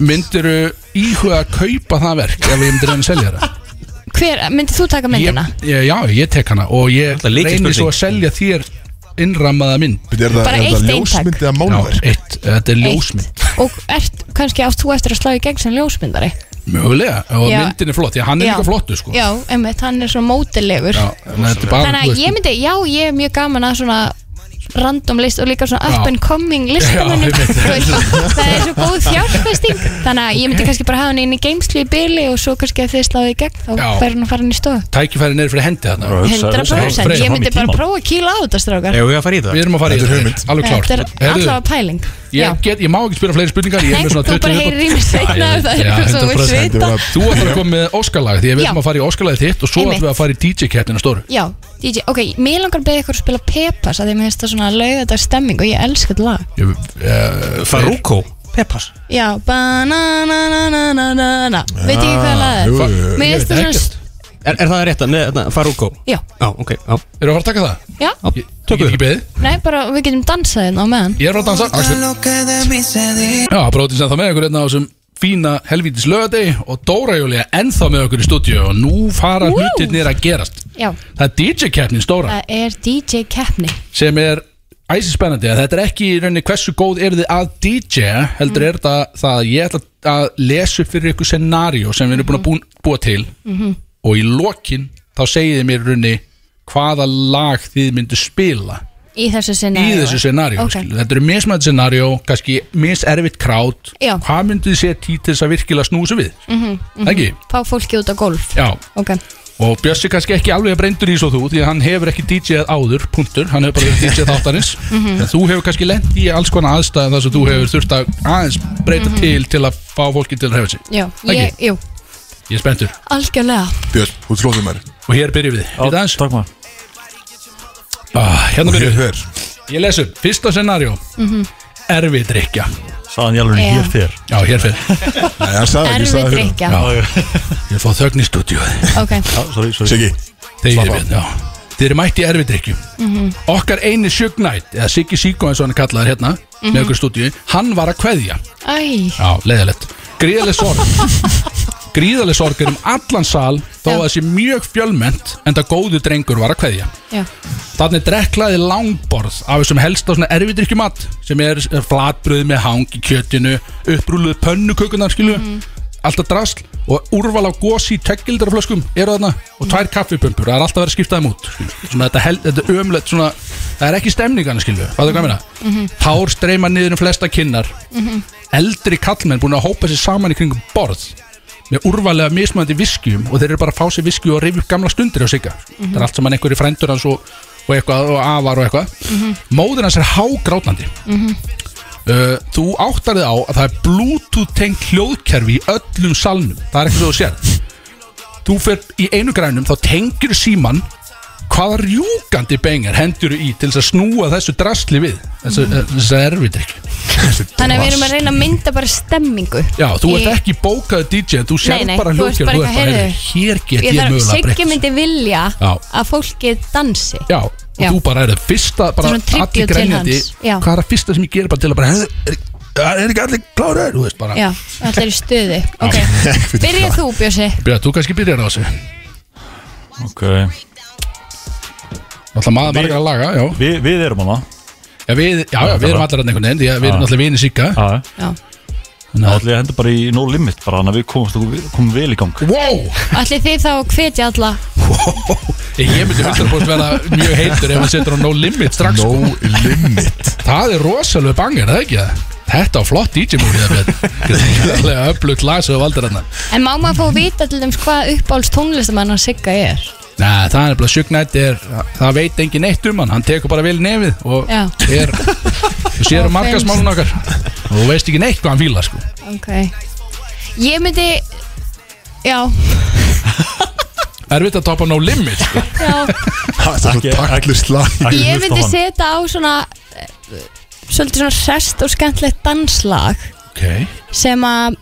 [SPEAKER 4] Myndiru íhuga að kaupa það verk Ef ég myndi reyna að selja það
[SPEAKER 7] hver, myndið þú taka
[SPEAKER 4] ég,
[SPEAKER 7] myndina?
[SPEAKER 4] ég, Já, ég tek hana Og ég
[SPEAKER 3] Þetta er lykilspurning.
[SPEAKER 4] reyni svo að selja þér innrammaða mynd
[SPEAKER 2] Er það-
[SPEAKER 7] Bara
[SPEAKER 2] er
[SPEAKER 7] eitt
[SPEAKER 2] það
[SPEAKER 7] eintak.
[SPEAKER 2] ljósmynd eða
[SPEAKER 4] Já,
[SPEAKER 2] málverk?
[SPEAKER 4] eitt, eh, þetta er ljósmynd
[SPEAKER 7] Eitt. og ert, kannski átt þú eftir að slá í gegn sem ljósmyndari
[SPEAKER 4] Mögulega, og
[SPEAKER 7] Já.
[SPEAKER 4] myndin er flott Því að hann er
[SPEAKER 7] Já.
[SPEAKER 4] líka flottu sko
[SPEAKER 7] já, einmitt, hann er svona mótilegur
[SPEAKER 4] Já, en þetta er bara,
[SPEAKER 7] Þannig
[SPEAKER 4] þú
[SPEAKER 7] að
[SPEAKER 4] veist,
[SPEAKER 7] ég myndi, já, ég er mjög gaman að svona random list og líka svona up
[SPEAKER 4] Já.
[SPEAKER 7] and coming
[SPEAKER 4] Já,
[SPEAKER 7] listamönnum
[SPEAKER 4] ég veit það.
[SPEAKER 7] Þú veist, það er svo góð sting þannig að ég myndi kannski bara hafa hann inn í geimslu í byli og svo kannski að þið sláðu í gegn þá
[SPEAKER 4] Já.
[SPEAKER 7] fer hann að fara hann í stofu
[SPEAKER 4] Tækifæri niður fyrir hendi þarna hugsa-
[SPEAKER 7] 100% ég myndi bara
[SPEAKER 5] prófa
[SPEAKER 7] prófa að kýla á þetta strákar
[SPEAKER 3] Eða við að fara í
[SPEAKER 4] Við
[SPEAKER 3] það
[SPEAKER 4] erum að fara í
[SPEAKER 2] Þetta er hugmynd.
[SPEAKER 4] Alveg klárt
[SPEAKER 7] þetta er
[SPEAKER 4] Heyrðu,
[SPEAKER 7] allavega pæling Já.
[SPEAKER 4] ég, get, ég má ekki spila fleiri spurningar Ég er
[SPEAKER 7] Nei,
[SPEAKER 4] með
[SPEAKER 7] þú
[SPEAKER 4] svona 20
[SPEAKER 7] bara heyrir í mér sveitna ef það er
[SPEAKER 4] Já,
[SPEAKER 7] eitthvað sem þú vilt
[SPEAKER 4] 100%.
[SPEAKER 7] vita
[SPEAKER 4] Þú ætlar að koma með Óskarlag Því að við
[SPEAKER 7] Já.
[SPEAKER 4] ætlum að fara í Óskarlagið þitt Og svo
[SPEAKER 7] Einmitt.
[SPEAKER 4] ætlum við að fara í DJ-keppnina stóru
[SPEAKER 7] Já, DJ, ok, mér langar að beða ykkur að spila Pepas að því mér finnst það svona laugadag stemming og ég elska þetta lag
[SPEAKER 4] Ég- eh,
[SPEAKER 3] Farúko Peppas
[SPEAKER 7] Já, banananananana veit ekki hvað lag
[SPEAKER 4] Ah,
[SPEAKER 7] það
[SPEAKER 2] jú,
[SPEAKER 7] er
[SPEAKER 2] jú, jú.
[SPEAKER 7] Mér
[SPEAKER 4] ég veit
[SPEAKER 7] finnst það svona,
[SPEAKER 4] ekkert.
[SPEAKER 7] s-
[SPEAKER 3] Er, er það rétt að neða Farúko?
[SPEAKER 7] já,
[SPEAKER 3] Já, ok, já,
[SPEAKER 4] Erum við að fara að taka það?
[SPEAKER 7] já
[SPEAKER 3] já
[SPEAKER 4] Ég- Ég
[SPEAKER 3] Tökum
[SPEAKER 4] get
[SPEAKER 3] við
[SPEAKER 4] ekki beðið
[SPEAKER 7] Nei, bara við getum dansað hérna á meðan
[SPEAKER 4] Ég er að fara að dansa Axel. Já, brótins að það með ykkur hérna á þessum fína helvítis lögadei og Dóra Júlia ennþá með okkur í stúdíu og nú fara
[SPEAKER 7] Wow.
[SPEAKER 4] hlutirnir að gerast
[SPEAKER 7] Já,
[SPEAKER 4] Það er DJ-keppnin stóra
[SPEAKER 7] það er DJ keppni
[SPEAKER 4] sem er æsispennandi að þetta er ekki í rauninni hversu góð er þið að DJ heldur er þetta það að ég ætla að lesa upp fyrir ykkur scenario sem við erum búin að búin, búa til og í lokin þá segið þið mér í rauninni hvaða lag þið myndu spila
[SPEAKER 7] í þessu sinni
[SPEAKER 4] í þessu scenaríu
[SPEAKER 7] Ok.
[SPEAKER 4] okay. þetta eru mismætt scenaríu, kannski miservitt krát,
[SPEAKER 7] Já. Mhm,
[SPEAKER 4] hvað myndið þið setja í til þess að virkilega snúsa við mm ekki,
[SPEAKER 7] Fá fólki út á golf
[SPEAKER 4] já,
[SPEAKER 7] Ok,
[SPEAKER 4] og Bjössi kannski ekki alveg að breyndur í svo þú, því að hann hefur ekki DJ-að áður, punktur, hann hefur bara verið DJ þáttarins, en þú hefur kannski lent í alls konar aðstæðan þar sem þú hefur þurft að aðeins breyta til til að fá fólki til að hefa sig,
[SPEAKER 7] já,
[SPEAKER 4] Ekki?
[SPEAKER 7] ég, jú
[SPEAKER 4] ég er spenntur
[SPEAKER 7] Algjörlega
[SPEAKER 2] Björn, þú slóðum mér
[SPEAKER 4] og hér byrjum við, við aðeins
[SPEAKER 5] Takk maður
[SPEAKER 4] ah, hérna
[SPEAKER 2] Og hér
[SPEAKER 4] byrjum við,
[SPEAKER 2] fer
[SPEAKER 4] ég lesum, fyrsta scenaríu mm drikja,
[SPEAKER 5] Saðan ég alveg
[SPEAKER 7] Já.
[SPEAKER 5] hér fyrir
[SPEAKER 4] já, hér fyrir
[SPEAKER 2] Nei, hann sagði ekki
[SPEAKER 7] Erfið
[SPEAKER 2] sagði fyrir
[SPEAKER 7] drikja
[SPEAKER 4] Já. ég fá þögn í stúdíu
[SPEAKER 7] Ok,
[SPEAKER 5] Sorry,
[SPEAKER 2] hann.
[SPEAKER 5] sorry
[SPEAKER 2] Siggi,
[SPEAKER 4] Þegar við, já Þeir eru mætt í erfidrykju Okkar eini sjögnætt, eða Siggi Sýko eins og hann er kallaður hérna með okkur stúdíu, hann var að kveðja
[SPEAKER 7] æ,
[SPEAKER 4] Já, leiðilegt Gríðaleg sorg Gríðaleg sorg er um allan sal þó
[SPEAKER 7] Já.
[SPEAKER 4] að það sé mjög fjölmennt en það góðu drengur var að kveðja
[SPEAKER 7] já,
[SPEAKER 4] Þannig dreklaði langborð af þessum helsta svona erfidrykkjumat sem er flatbröð með hang í kjötinu upprúluð pönnukökunar skilu alltaf drasl og úrval á gósi tökildarflöskum eru þarna og tvær kaffipömpur, það er alltaf verið að skipta þeim út skilu. svona þetta, hel, þetta ömlegt svona það er ekki stemningana skilu, hvað er hvað meina tár streyma niður um flesta kinnar eldri kallmenn búin að hópa sér saman í kringum borð með úrvalega mismöndi viskjum og þeir eru bara að fá sér viskju og rifja upp gamla stundir á sigga það er allt saman einhverju frændur hans og, og eitthvað og afar og eitthvað móðir hans er hágrátnandi uh, þú áttar þið á að það er bluetooth tengt hljóðkerfi í öllum salnum það er eitthvað sem þú sér þú fer í einu grænum þá tengir síman hvaða rjúkandi bengar hendur í til þess að snúa þessu drasli við þessu, mm -hmm. þessu erfidrykk
[SPEAKER 7] þannig að við erum að reyna að mynda bara stemmingu
[SPEAKER 4] Já, þú
[SPEAKER 7] Í-
[SPEAKER 4] ert ekki bókaður DJ en þú sér
[SPEAKER 7] Nei, nei,
[SPEAKER 4] bara
[SPEAKER 7] þú ert
[SPEAKER 4] hljóðkjör
[SPEAKER 7] bara
[SPEAKER 4] þú
[SPEAKER 7] eitthvað,
[SPEAKER 4] ert bara,
[SPEAKER 7] heyrðu,
[SPEAKER 4] heyrðu, hér get
[SPEAKER 7] Ég
[SPEAKER 4] ég,
[SPEAKER 7] þarf,
[SPEAKER 4] mögulega
[SPEAKER 7] Siggi
[SPEAKER 4] breytt
[SPEAKER 7] myndi vilja
[SPEAKER 4] Já.
[SPEAKER 7] að fólkið dansi
[SPEAKER 4] Já, og
[SPEAKER 7] Já.
[SPEAKER 4] þú bara er það fyrsta bara
[SPEAKER 7] Svona tribute
[SPEAKER 4] allir
[SPEAKER 7] til
[SPEAKER 4] grænjandi,
[SPEAKER 7] hans, já.
[SPEAKER 4] hvað er það fyrsta sem ég gerir bara til að bara, heyrðu, er, er, er ekki allir kláraður, þú veist bara
[SPEAKER 7] Já, allir í stuði Ok, byrja þú Bjössi
[SPEAKER 4] Björn, þú kannski byrjar á þessu
[SPEAKER 5] Ok
[SPEAKER 4] Náttúrulega maður margar að laga, já
[SPEAKER 5] Vi, Við erum hana
[SPEAKER 4] Já, við, já, já, við erum allar hann einhvern veginn, því að við erum náttúrulega vinir sigga
[SPEAKER 5] Já
[SPEAKER 7] Já.
[SPEAKER 5] Þannig að allir hendur bara í no limit bara Þannig að við komumst okkur komum vel í gang
[SPEAKER 4] Wow,
[SPEAKER 7] Allir þið þá að hvetja alla
[SPEAKER 4] ég ég myndi 100% vera mjög heitur ef hann setur á no limit strax
[SPEAKER 2] no
[SPEAKER 4] sko.
[SPEAKER 2] limit
[SPEAKER 4] Það er rosalega bangir, það ekki það? Þetta var flott DJ-múli það hérna, Björn Það er öflugt lag sem við hérna. valdir hann
[SPEAKER 7] En má maður fá að vita til þeim hvað uppáhalds tónlistamann að Sigga er
[SPEAKER 4] Nei, það er nefnilega sjögnætt er, það veit engin neitt um hann, hann tekur bara vel í nefið og
[SPEAKER 7] Já.
[SPEAKER 4] er þú sér um markasmálun okkar og þú veist ekki neitt hvað hann fílar sko.
[SPEAKER 7] Ok Ég myndi Já,
[SPEAKER 4] Erfitt að topa no limit sko.
[SPEAKER 7] já
[SPEAKER 2] Það er svo
[SPEAKER 5] Ekki-
[SPEAKER 2] taktlur slag
[SPEAKER 5] ekki hlusta
[SPEAKER 7] Ég
[SPEAKER 5] á
[SPEAKER 7] myndi
[SPEAKER 5] hann.
[SPEAKER 7] setja á svona eh, Svolítið svona sest og skemmtlegt danslag
[SPEAKER 4] okay.
[SPEAKER 7] sem að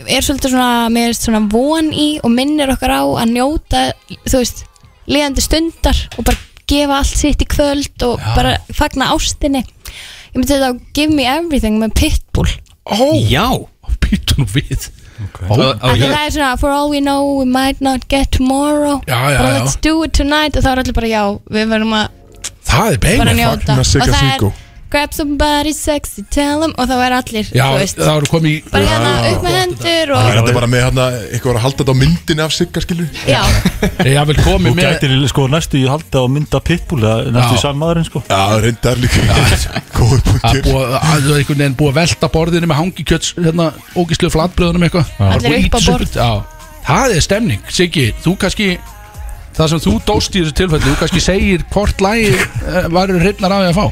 [SPEAKER 7] er svolítið svona, mér er svona von í og minnir okkar á að njóta þú veist, liðandi stundar og bara gefa allt sitt í kvöld og bara fagna ástinni ég myndi þetta á Give Me Everything með Pitbull
[SPEAKER 4] Ó,
[SPEAKER 3] Já
[SPEAKER 4] pýttu nú við
[SPEAKER 3] Á,
[SPEAKER 4] Ó,
[SPEAKER 7] af því
[SPEAKER 3] ég-
[SPEAKER 7] það er svona For all we know we might not get tomorrow
[SPEAKER 4] Já, já,
[SPEAKER 7] bara
[SPEAKER 4] já.
[SPEAKER 7] let's do it tonight og þá er allir bara já, við verðum að
[SPEAKER 4] Það er
[SPEAKER 7] bara
[SPEAKER 4] beinar
[SPEAKER 7] njóta
[SPEAKER 2] fagna
[SPEAKER 7] og
[SPEAKER 2] Sigga
[SPEAKER 7] það er
[SPEAKER 2] Siggo.
[SPEAKER 7] grab somebody sexy, tell them og þá er allir,
[SPEAKER 4] Já,
[SPEAKER 7] þú veist
[SPEAKER 4] það voru komið í
[SPEAKER 7] bara hérna upp með hendur
[SPEAKER 2] Það
[SPEAKER 7] og
[SPEAKER 2] er þetta bara með hérna, eitthvað var að halda þetta á myndinni af sigga skilur
[SPEAKER 7] já,
[SPEAKER 4] Já, vel komið
[SPEAKER 5] Þú
[SPEAKER 4] með
[SPEAKER 5] gætir sko næstu í halda og mynda pitbull eða næstu
[SPEAKER 4] Já.
[SPEAKER 5] í sammaðurinn sko
[SPEAKER 2] Já, reyndar líka Góður
[SPEAKER 4] að
[SPEAKER 2] punktur
[SPEAKER 4] búa, að það er einhvern veginn búið að velta borðinu með hangi kjöts, hérna, ógíslu flatbröðunum eitthvað
[SPEAKER 7] Allir
[SPEAKER 4] Búið að
[SPEAKER 7] upp á
[SPEAKER 4] ýta
[SPEAKER 7] borð.
[SPEAKER 4] upp- Já, það er stemning, Siggi, þú kannski það sem þú dóst í þessu tilfellu, þú kannski segir hvort lagi eh, varir hrifnar af því að fá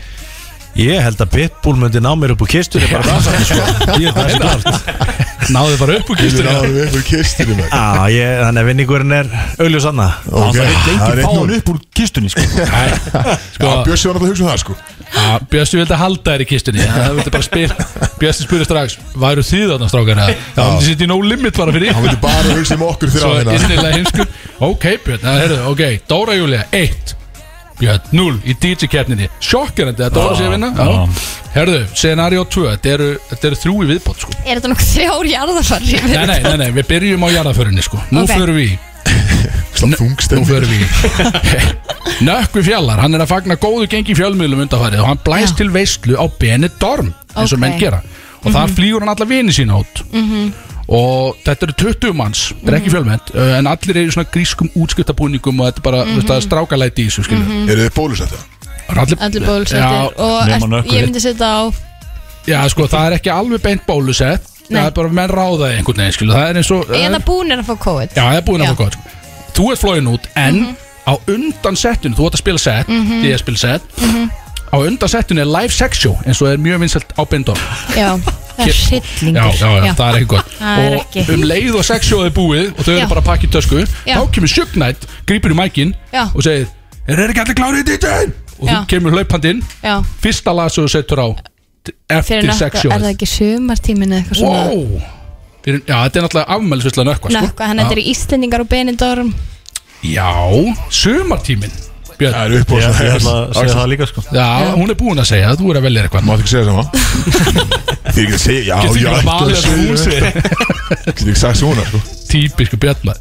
[SPEAKER 8] Ég held að Bitbull myndi ná mér upp úr kistunni bara dansandi sko Ég held að það sé klart
[SPEAKER 4] Náðu bara upp úr
[SPEAKER 2] Þú
[SPEAKER 4] kistunni
[SPEAKER 2] náður við upp úr kistunni með
[SPEAKER 8] Á,
[SPEAKER 5] Ah,
[SPEAKER 8] ég, þannig að vinningurinn er augljós annað
[SPEAKER 2] Ok,
[SPEAKER 5] Það
[SPEAKER 2] það er
[SPEAKER 5] er lengi
[SPEAKER 2] eitt
[SPEAKER 5] fáan
[SPEAKER 2] núll.
[SPEAKER 5] upp úr kistunni sko
[SPEAKER 2] Já, Bjössi var náttúrulega að hugsa um það sko
[SPEAKER 4] Já, Bjössi vildi halda þér í kistunni Það vildi bara spyr Bjössi spyrir strax Væru þið þarna strákar eða? Já, hann sitt í no limit bara fyrir
[SPEAKER 2] Hann
[SPEAKER 4] ykkur
[SPEAKER 2] vildi bara hugsa um okkur
[SPEAKER 4] Svo
[SPEAKER 2] þegar að hérna
[SPEAKER 4] innilega heimskur Ok Björn, það herðu, ok Dóra Júlia, 1 Björn, 0 í DJ-keppninni Sjokkerandi að Dóra sé að vinna Já. Herðu, scenario 2 Þetta eru, þetta eru þrjú í viðbót sko
[SPEAKER 7] er þetta nokkuð þrjár jarðarfar ég
[SPEAKER 4] Nei,
[SPEAKER 7] veit
[SPEAKER 4] nei, nei, nei, við byrjum á jarðaförinni sko Nú
[SPEAKER 7] Ok.
[SPEAKER 4] förum við í
[SPEAKER 2] Slapp
[SPEAKER 4] Nú
[SPEAKER 2] þungstemning
[SPEAKER 4] förum við í Nökkvi Fjallar, hann er að fagna góðu gengi í fjölmiðlum undanfarið og hann blæst til veistlu á Benidorm eins og
[SPEAKER 7] Ok. Mhm.
[SPEAKER 4] menn gera og þar flýgur hann alla vini sína út og þetta eru 20 manns þetta
[SPEAKER 7] Mhm.
[SPEAKER 4] er ekki fjölmennt, uh, en allir eru í svona grískum útskiptabúningum og þetta er bara mm -hmm.
[SPEAKER 7] Mhm.
[SPEAKER 4] strákalæti í þessu skilur mm
[SPEAKER 2] Eru þið bólusett það?
[SPEAKER 4] -hmm.
[SPEAKER 7] allir bólusettir og
[SPEAKER 5] nema
[SPEAKER 7] ert-
[SPEAKER 5] nökkvi.
[SPEAKER 7] ég myndi setja á
[SPEAKER 4] Já, sko, það er ekki alveg beint bólusett
[SPEAKER 7] Nei.
[SPEAKER 4] það er bara menn ráðaði einhvern veginn skilur það er eins og eh,
[SPEAKER 7] eða búnir hérna að fá COVID
[SPEAKER 4] Já, það er búin að
[SPEAKER 7] Já. Mhm.
[SPEAKER 4] fá gott sko. Þú ert flóin út, en á undan settinu, þú ert að spila set mm -hmm. ég er að spila set
[SPEAKER 7] Mhm.
[SPEAKER 4] á undan settinu er live sex show eins og er mjög vinsalt á bindum
[SPEAKER 7] já, það er
[SPEAKER 4] já,
[SPEAKER 7] hryllingur
[SPEAKER 4] já, já, það er ekki gott
[SPEAKER 7] Það er
[SPEAKER 4] og
[SPEAKER 7] ekki.
[SPEAKER 4] um leið og sex show er búið og þau eru
[SPEAKER 7] Já.
[SPEAKER 4] bara að pakka í tösku
[SPEAKER 7] Já.
[SPEAKER 4] þá kemur sjögnætt, grýpur í mækin
[SPEAKER 7] Já.
[SPEAKER 4] og segir, er þeir ekki allir klárið í DJ-n? og
[SPEAKER 7] Já.
[SPEAKER 4] þú kemur hlaupandi inn
[SPEAKER 7] Já.
[SPEAKER 4] fyrsta lag sem þú setur á t-
[SPEAKER 7] fyrir
[SPEAKER 4] eftir sex
[SPEAKER 7] nökkva,
[SPEAKER 4] show
[SPEAKER 7] er það ekki sumartímin eða eitthvað svona
[SPEAKER 4] wow Fyrir- Já, þetta er náttúrulega afmælisvisla nökkva sko.
[SPEAKER 7] nökkva, þannig að
[SPEAKER 4] Já.
[SPEAKER 7] þetta eru Íslendingar og Benidorm
[SPEAKER 4] Já, sumartíminn Björn,
[SPEAKER 2] Það eru upp á
[SPEAKER 5] Ég
[SPEAKER 2] svona
[SPEAKER 5] ég ætla að segja
[SPEAKER 2] Axel,
[SPEAKER 5] það líka sko
[SPEAKER 4] já, hún er búin að segja að þú er að velja þér eitthvað
[SPEAKER 2] Máttu ekki segja það maður? Þið er ekki að segja, já,
[SPEAKER 4] Getur ekki
[SPEAKER 2] já,
[SPEAKER 4] bara valið það sem hún
[SPEAKER 2] Þið er ekki sagt svona sko
[SPEAKER 4] Típisku björnmað